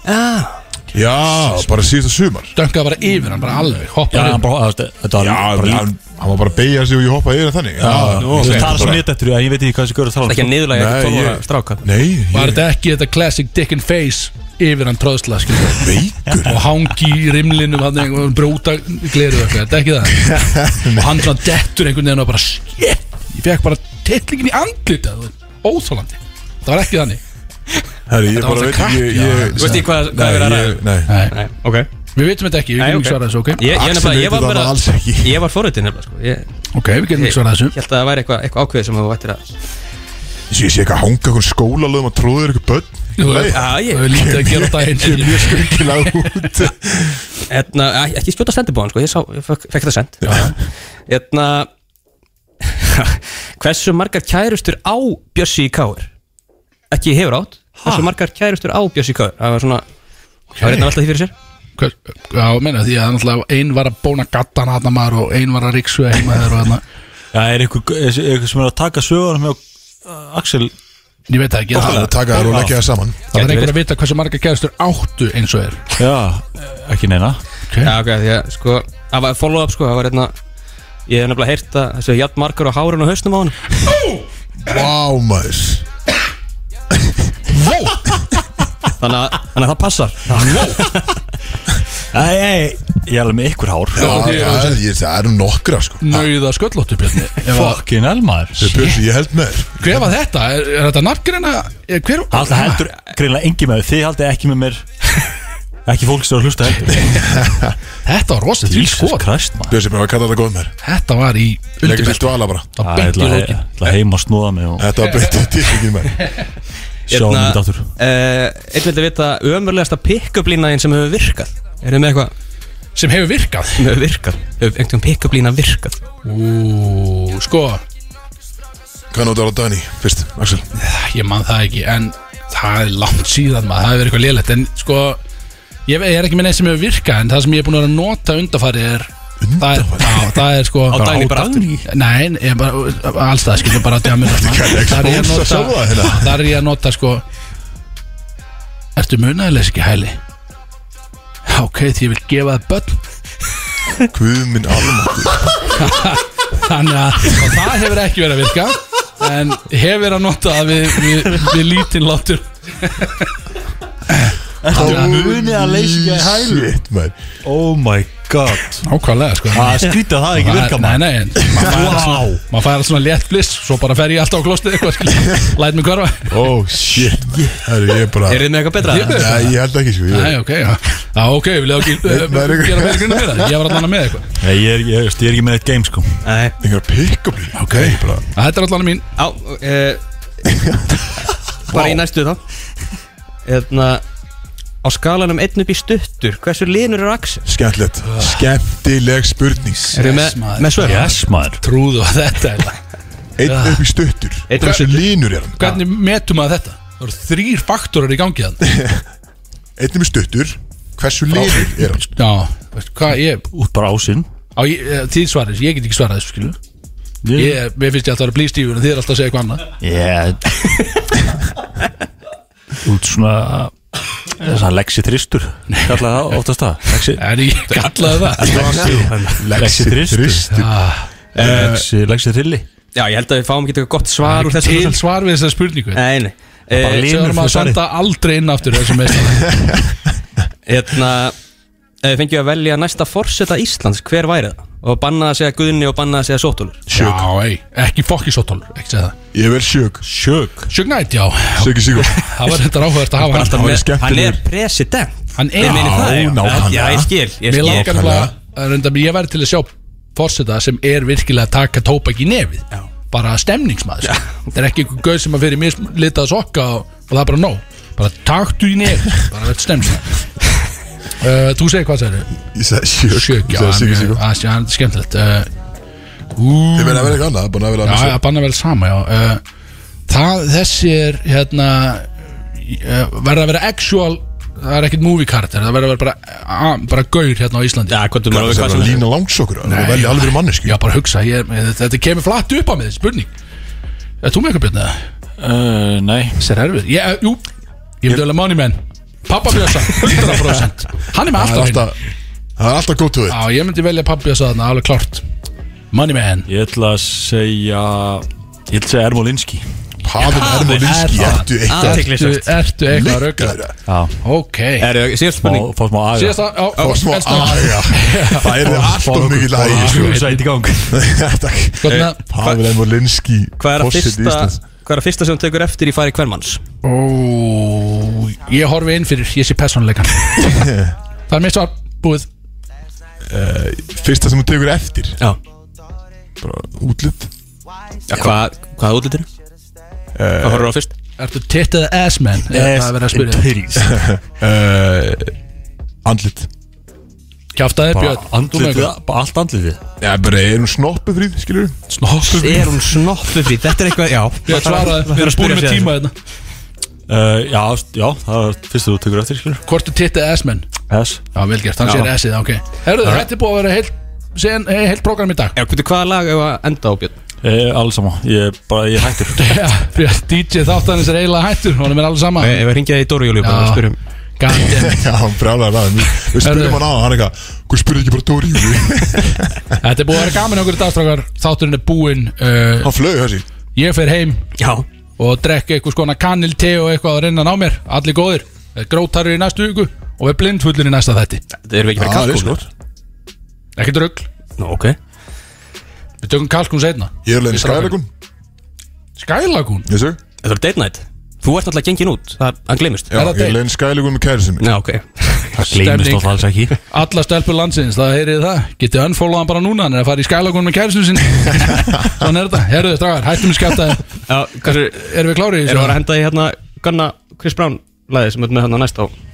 [SPEAKER 2] Já, bara síðasta sumar
[SPEAKER 4] döngaði bara yfir hann, bara alveg
[SPEAKER 5] Já,
[SPEAKER 4] Hoppar
[SPEAKER 5] hann
[SPEAKER 4] inn
[SPEAKER 5] bara, það- þetta var
[SPEAKER 2] Já,
[SPEAKER 5] bara
[SPEAKER 2] hann hann var bara að beigja sig og ég hoppaði yfir þannig Já,
[SPEAKER 5] Þú veist, Það er svo mér dættur, ég veit ekki hvað þessi görður
[SPEAKER 3] Það er
[SPEAKER 5] tala
[SPEAKER 3] ekki að
[SPEAKER 5] um, sko.
[SPEAKER 3] niðurlega
[SPEAKER 2] Nei,
[SPEAKER 3] ekki 12 ára
[SPEAKER 2] ég-
[SPEAKER 3] stráka
[SPEAKER 2] Nei,
[SPEAKER 4] Var
[SPEAKER 2] ég
[SPEAKER 4] þetta ekki þetta classic dick and face yfir hann tróðsla skilur
[SPEAKER 2] veikur
[SPEAKER 4] og hangi í rimlinum hann einhvern brúta gleru eitthvað, þetta er ekki það og hann svona dettur einhvern veginn og bara shit, ég fekk bara tillingin í andlita óþólandi, það var ekki þannig
[SPEAKER 2] Herri, ég
[SPEAKER 4] Þetta var
[SPEAKER 2] bara veit
[SPEAKER 4] það
[SPEAKER 2] ekki
[SPEAKER 4] krakki,
[SPEAKER 2] ég- ég-
[SPEAKER 3] Þú veist ekki hvað- hvað
[SPEAKER 2] Nei,
[SPEAKER 3] er verið að ræða?
[SPEAKER 2] ég- Nei,
[SPEAKER 4] Nei,
[SPEAKER 3] Nei, ok
[SPEAKER 4] við vitum þetta ekki, við
[SPEAKER 3] Nei,
[SPEAKER 4] getum
[SPEAKER 3] ok.
[SPEAKER 4] ekki svarað þessu, ok?
[SPEAKER 3] Ég, ég,
[SPEAKER 2] Axel
[SPEAKER 3] nefnilega,
[SPEAKER 2] veit
[SPEAKER 3] ég var
[SPEAKER 2] þetta
[SPEAKER 3] bara
[SPEAKER 2] alls ekki.
[SPEAKER 3] Ég var forröðin nefnilega sko. Ég um-
[SPEAKER 4] Ok, við getum um- ekki svarað þessu
[SPEAKER 3] held að það væri eitthvað eitthva ákveð sem þú vættir að
[SPEAKER 2] Ég sé- ég sé ekki að hanga okkur skólalöðum að tróður ykkur börn
[SPEAKER 4] Þú veist,
[SPEAKER 3] Já, ég
[SPEAKER 4] Það er lítið að gera
[SPEAKER 2] Ég er
[SPEAKER 4] daginn
[SPEAKER 2] mjög skurkilega út
[SPEAKER 3] Etna, Hérna, Ekki skjóta sendibóðan sko Ég, sá, ég fekk, fekk það send Etna, Hversu margar kærustur á Bjössi í Káir? Ekki hefur átt Hversu margar kærustur á Bjössi í Káir? Það var svona Það var eitthvað alltaf því fyrir sér
[SPEAKER 4] Hver- Já, menna því að náttúrulega einn var að bóna gattan hann maður og einn var að ríksu heima þeirra og þarna
[SPEAKER 5] Já, er eitthvað sem er að taka sögunum hjá uh, Axel
[SPEAKER 4] Ég veit það ekki, það
[SPEAKER 2] Að taka þær og leggja það saman
[SPEAKER 4] það
[SPEAKER 3] Gæti
[SPEAKER 4] er einhver
[SPEAKER 3] verið.
[SPEAKER 4] að vita hversu marga gerðstur áttu eins og er
[SPEAKER 5] Já, Eh, ekki neina
[SPEAKER 3] Já, ok, því að sko Það var follow up sko Það var eitthvað Ég hef nefnilega heyrt að þessu jafn margar á hárun og hausnum á hann
[SPEAKER 2] Vá maður
[SPEAKER 3] þannig að, þannig að það passar
[SPEAKER 5] Æ, æ, ég er alveg með ykkur hár
[SPEAKER 2] Já, það er- ég- það eru nokkra sko
[SPEAKER 4] Nauða sköllóttu björni Ef að-
[SPEAKER 5] Fucking elmaður
[SPEAKER 2] Þau björnsi, ég held með þér
[SPEAKER 4] Hver var þetta? Er, er þetta nafngreina? Er, hver,
[SPEAKER 5] Alltaf heldur greinlega engi með mér. Þið haldið ekki með mér Ekki fólk sem er að hlusta heldur
[SPEAKER 4] Þetta var rosa því
[SPEAKER 5] Jesus
[SPEAKER 4] skot
[SPEAKER 5] Christ maður
[SPEAKER 2] Björnsi, mér var að kalla þetta góð með þér
[SPEAKER 4] Þetta var í
[SPEAKER 2] Leggur sér
[SPEAKER 4] undirbelt
[SPEAKER 2] dvala bara
[SPEAKER 4] Það var beint
[SPEAKER 5] Það
[SPEAKER 4] í
[SPEAKER 5] er
[SPEAKER 4] lókin
[SPEAKER 5] alltaf heima að snúða mig og
[SPEAKER 2] Þetta var beintið tilfengið með
[SPEAKER 5] sjá mig þetta aftur
[SPEAKER 3] uh, Einn vildi vita ömurlegasta pick-up línaðin sem hefur virkað Er þið með eitthvað
[SPEAKER 4] Sem hefur virkað
[SPEAKER 3] sem hefur virkað? Hefur einhvern pick-up lína virkað?
[SPEAKER 4] Ú, sko
[SPEAKER 2] Hvað notar á Dani fyrst, Axel?
[SPEAKER 4] Ég man það ekki En það er langt síðan maður Það hefur verið eitthvað lélegt En sko Ég, ve- ég er ekki með neitt sem hefur virkað En það sem ég er búin að vera að nota undarfari er Það er, á, það er sko
[SPEAKER 3] Á daginn bara aftur?
[SPEAKER 4] Nei, ég er bara, alls það skilur bara að djámið Það er ég að
[SPEAKER 2] expósa sjálfa þig
[SPEAKER 4] nota
[SPEAKER 2] hérna.
[SPEAKER 4] Það er ég að nota sko Ertu munaðilegs ekki hæli? Já, ok, því ég vil gefa það börn
[SPEAKER 2] Guð minn almáttur
[SPEAKER 4] Þannig að og það hefur ekki verið að virka En hefur verið að nota að við, við, við lítinn látur
[SPEAKER 5] Ertu munið að leysa ekki hælu?
[SPEAKER 2] Shit, maður
[SPEAKER 5] Oh my
[SPEAKER 8] god
[SPEAKER 4] Nákvæmlega sko
[SPEAKER 5] að skrýta það ekki virka
[SPEAKER 4] Nei,
[SPEAKER 5] maður
[SPEAKER 4] nei, en maður fær allt svona- maður fær alls svona létt bliss Svo bara fer ég alltaf á klostið eitthvað skil Læt mig hverfa
[SPEAKER 2] Oh shit Herri, ég er bara
[SPEAKER 3] Er þið með eitthvað betra?
[SPEAKER 4] Ég-
[SPEAKER 2] Nei, ég held ekki sko ég,
[SPEAKER 4] Nei, ok, já Já, ok, vil ég ekki uh,
[SPEAKER 2] Nei, nei, nei.
[SPEAKER 4] gera fyrir grunna fyrir það Ég var allan með eitthvað
[SPEAKER 5] Nei, ég er, ég, veist, ég er ekki með eitt game sko
[SPEAKER 3] Nei
[SPEAKER 2] Einhver pick-up líka Ok bara,
[SPEAKER 4] Að Þetta er allan mín
[SPEAKER 3] Á, e, bara í næstu þá Eðna, Á skalanum einn upp í stuttur Hversu linur er Axel?
[SPEAKER 2] Skemmtilegt Skemmtileg spurning
[SPEAKER 3] Eru
[SPEAKER 4] Yes,
[SPEAKER 3] með,
[SPEAKER 4] maður.
[SPEAKER 3] með svör?
[SPEAKER 5] Yes maður
[SPEAKER 4] Trúðu á þetta eiginlega.
[SPEAKER 2] Einn upp í stuttur
[SPEAKER 3] Einn upp í
[SPEAKER 2] Hversu
[SPEAKER 3] stuttur.
[SPEAKER 2] línur er hann?
[SPEAKER 4] Hvernig metum maður þetta? Það eru þrýr faktorar í gangi þann
[SPEAKER 2] Einn upp í stuttur Hversu línur er hann?
[SPEAKER 4] Já, veist, hvað ég
[SPEAKER 5] Út bara ásinn
[SPEAKER 4] Á, ég, eh, þið svarið, ég get ekki svarað þessu skilu
[SPEAKER 5] Ég
[SPEAKER 4] ég, Mér finnst ég alltaf að vera blístífur en þið er alltaf að segja eitthvað annað
[SPEAKER 5] Ég Út svona Þess að leksi þristur Kallaði það oftast það Lexi-
[SPEAKER 4] En ég kallaði það Ah,
[SPEAKER 5] Lexi þristur Eh, Lexi, lexi þrilli
[SPEAKER 3] Já, ég held að við fáum ekki eitthvað gott svar úr þessu
[SPEAKER 4] Til svar við þessa spurningu
[SPEAKER 3] Nei, nei e,
[SPEAKER 5] Bara
[SPEAKER 4] Sem
[SPEAKER 5] linur
[SPEAKER 4] erum að
[SPEAKER 5] fyrir svarið
[SPEAKER 4] senda aldrei inn aftur þessum meðstæðan
[SPEAKER 3] Eðna, Ef við fengjum hérna, eh, að velja næsta forseta Íslands Hver væri það? Og banna að segja Guðni og banna að segja Sótólur
[SPEAKER 4] Sjögg Já, ei, ekki fokki sóttólur, ekki segja það
[SPEAKER 2] Ég vel sjög
[SPEAKER 5] Sjög
[SPEAKER 4] Sjögg nætt, já
[SPEAKER 2] Sjöggi Sigur
[SPEAKER 4] Það var þetta ráhverðast að hafa hann
[SPEAKER 2] væri
[SPEAKER 3] Með- Hann
[SPEAKER 2] skemmtilegur.
[SPEAKER 3] er president
[SPEAKER 4] Hann er
[SPEAKER 3] Ég meini það, já.
[SPEAKER 2] nákvæmlega.
[SPEAKER 3] Já, ég skil, ég
[SPEAKER 4] Mér
[SPEAKER 3] skil
[SPEAKER 4] langar nefnilega að reynda Ég væri til að sjá fórseta sem er virkilega að taka tóbak í nefið já. Bara stemningsmaður sko. Þetta er ekki einhver gauð sem að fyrir mislitað sokka og, og það er bara nóg Bara taktu í nefið Bara þetta stemningsmaður uh, Þú segir hvað segir þau?
[SPEAKER 2] Ég sagði sjög
[SPEAKER 4] Sjögg, já,
[SPEAKER 2] Ég
[SPEAKER 4] ah.
[SPEAKER 2] sagði
[SPEAKER 4] hann
[SPEAKER 2] Siggi Sigur
[SPEAKER 4] er- að- að- hann er skemmtilegt uh, Ú,
[SPEAKER 2] Ég verði að vera eitthvað annað Búin að vera
[SPEAKER 4] já,
[SPEAKER 2] annað
[SPEAKER 4] já, banna vel sama, já uh, Það, þessi er hérna uh, verður að vera actual það er ekkert movie karakter, það verður að vera bara, uh, bara gaur hérna á Íslandi
[SPEAKER 3] Já, hvað þú maður
[SPEAKER 2] Hvað er það? Lína langsokkur Það er velja alveg mannesku
[SPEAKER 4] Já, bara hugsa, ég er, með- þetta kemur flatt upp á mig, þessi spurning Er þú með eitthvað björn eða?
[SPEAKER 5] uh, Nei
[SPEAKER 4] Þessi er erfið Ég, eh, jú, ég myndi alveg money man Pappa Björsa, 100% Hann er með
[SPEAKER 2] Það er
[SPEAKER 4] alltaf hérna
[SPEAKER 2] alltaf Það er alltaf gótt við
[SPEAKER 4] Já, ég myndi velja pappa Björsa þarna, alveg klart Money man
[SPEAKER 5] Ég ætla að segja Ég ætla að segja Ermolinski
[SPEAKER 2] Pavel Ermolinski Ertu eitt
[SPEAKER 4] Ertu, ertu eitthvað að rauka
[SPEAKER 5] Já
[SPEAKER 4] Ok
[SPEAKER 3] Síðast spurning
[SPEAKER 5] Fá smá aðja
[SPEAKER 4] Síðasta, já,
[SPEAKER 2] Og smá
[SPEAKER 4] elsta.
[SPEAKER 2] aðja Það er alltaf mikið
[SPEAKER 4] Ah.
[SPEAKER 2] lægi sko.
[SPEAKER 5] Sætt í gang
[SPEAKER 2] Takk
[SPEAKER 4] Gott með-
[SPEAKER 2] Pavel Ermolinski
[SPEAKER 3] Hvað er að
[SPEAKER 2] forseti
[SPEAKER 3] fyrsta
[SPEAKER 2] Íslands.
[SPEAKER 3] Hvað er að fyrsta sem þú tekur eftir í fari hvermanns?
[SPEAKER 4] Ó, Ég horfi inn fyrir, ég sé persónuleikan Það er mitt svar, búið
[SPEAKER 2] Fyrsta sem þú tekur eftir
[SPEAKER 3] Já
[SPEAKER 2] Bara útlut
[SPEAKER 3] Já, hvað, hvað er útlýttir? hvað horfður á fyrst?
[SPEAKER 4] Ertu titt eða ass man? Eða Það er verið að spyrja þig.
[SPEAKER 2] uh, Andlit
[SPEAKER 4] Kjaftaði Björn þú með
[SPEAKER 5] Andlitið,
[SPEAKER 4] eitthvað?
[SPEAKER 5] bara allt andlitið
[SPEAKER 2] Já, bara er hún snoppuð fríð, skilur
[SPEAKER 3] Er hún snoppufrít? Þetta er eitthvað, já
[SPEAKER 4] Björn svaraði, við erum búin með tíma hérna. þarna
[SPEAKER 5] Uh, já, já, það er fyrst þú tekur eftir, skilur
[SPEAKER 4] Hvort er titt eða ass man?
[SPEAKER 5] S
[SPEAKER 4] Já, vel gert, hann
[SPEAKER 3] Já.
[SPEAKER 4] sér S-ið, ok Herðu, þetta er búið að vera heilt Sen, eh, heilt program í dag
[SPEAKER 3] Já, hvernig hvaða lag hefur að enda á Björn?
[SPEAKER 5] e, Alls sama, ég er bara, ég er hættur
[SPEAKER 4] Já, Fyrir að DJ þáttanis er eiginlega hættur Honum er alveg sama
[SPEAKER 3] Eh, Ef við ringjaði í Dóri Júlíu bara og spyrjum
[SPEAKER 4] Gandinn
[SPEAKER 2] Já, hann brjálæði ræðum Við við
[SPEAKER 4] Herðu.
[SPEAKER 2] spurðum hann á hann eitthvað Hvað spurði ekki bara Dóri Júli
[SPEAKER 4] Þetta er búið að vera gaman okkur í dagstrákar Þátturinn er búinn uh,
[SPEAKER 2] Hann flög þessi
[SPEAKER 4] Ég fer heim
[SPEAKER 3] Já
[SPEAKER 4] og drekka eitthvað skona kanil te og eitthvað að reyna á mér Allir góðir Grótarur í næstu viku Og við blindfullir í næsta þætti
[SPEAKER 3] Það erum við
[SPEAKER 2] Já,
[SPEAKER 3] ekki verið
[SPEAKER 2] það er
[SPEAKER 3] kalkúnur
[SPEAKER 4] Ekkert rugl
[SPEAKER 3] Nú, ok
[SPEAKER 4] Við tökum kalkun seinna
[SPEAKER 2] Ég er leiðin skæðleikun
[SPEAKER 4] Skælakun
[SPEAKER 2] Ég seg
[SPEAKER 3] Þetta er date night Þú ert alltaf gengin út Það, hann glemist
[SPEAKER 2] Já,
[SPEAKER 4] Er það
[SPEAKER 2] ég
[SPEAKER 4] date?
[SPEAKER 2] er leiðin skæðleikun með kærið sinni
[SPEAKER 3] Já, ok
[SPEAKER 5] Það gleymist
[SPEAKER 4] Stemning.
[SPEAKER 5] alltaf alls ekki
[SPEAKER 4] Alla stelpur landsins, það heyrið þið það Getið unfollow hann bara núna, hann er að fara í skælakun með kæristun sinni Svona er þetta Herruðu strafar, hættum við skjátaði
[SPEAKER 3] Já, hversu
[SPEAKER 4] Erum við klárið í
[SPEAKER 3] Erum við að
[SPEAKER 4] þessu?
[SPEAKER 3] henda í hérna Gunna Chris Brown lagið sem við erum með hérna næst á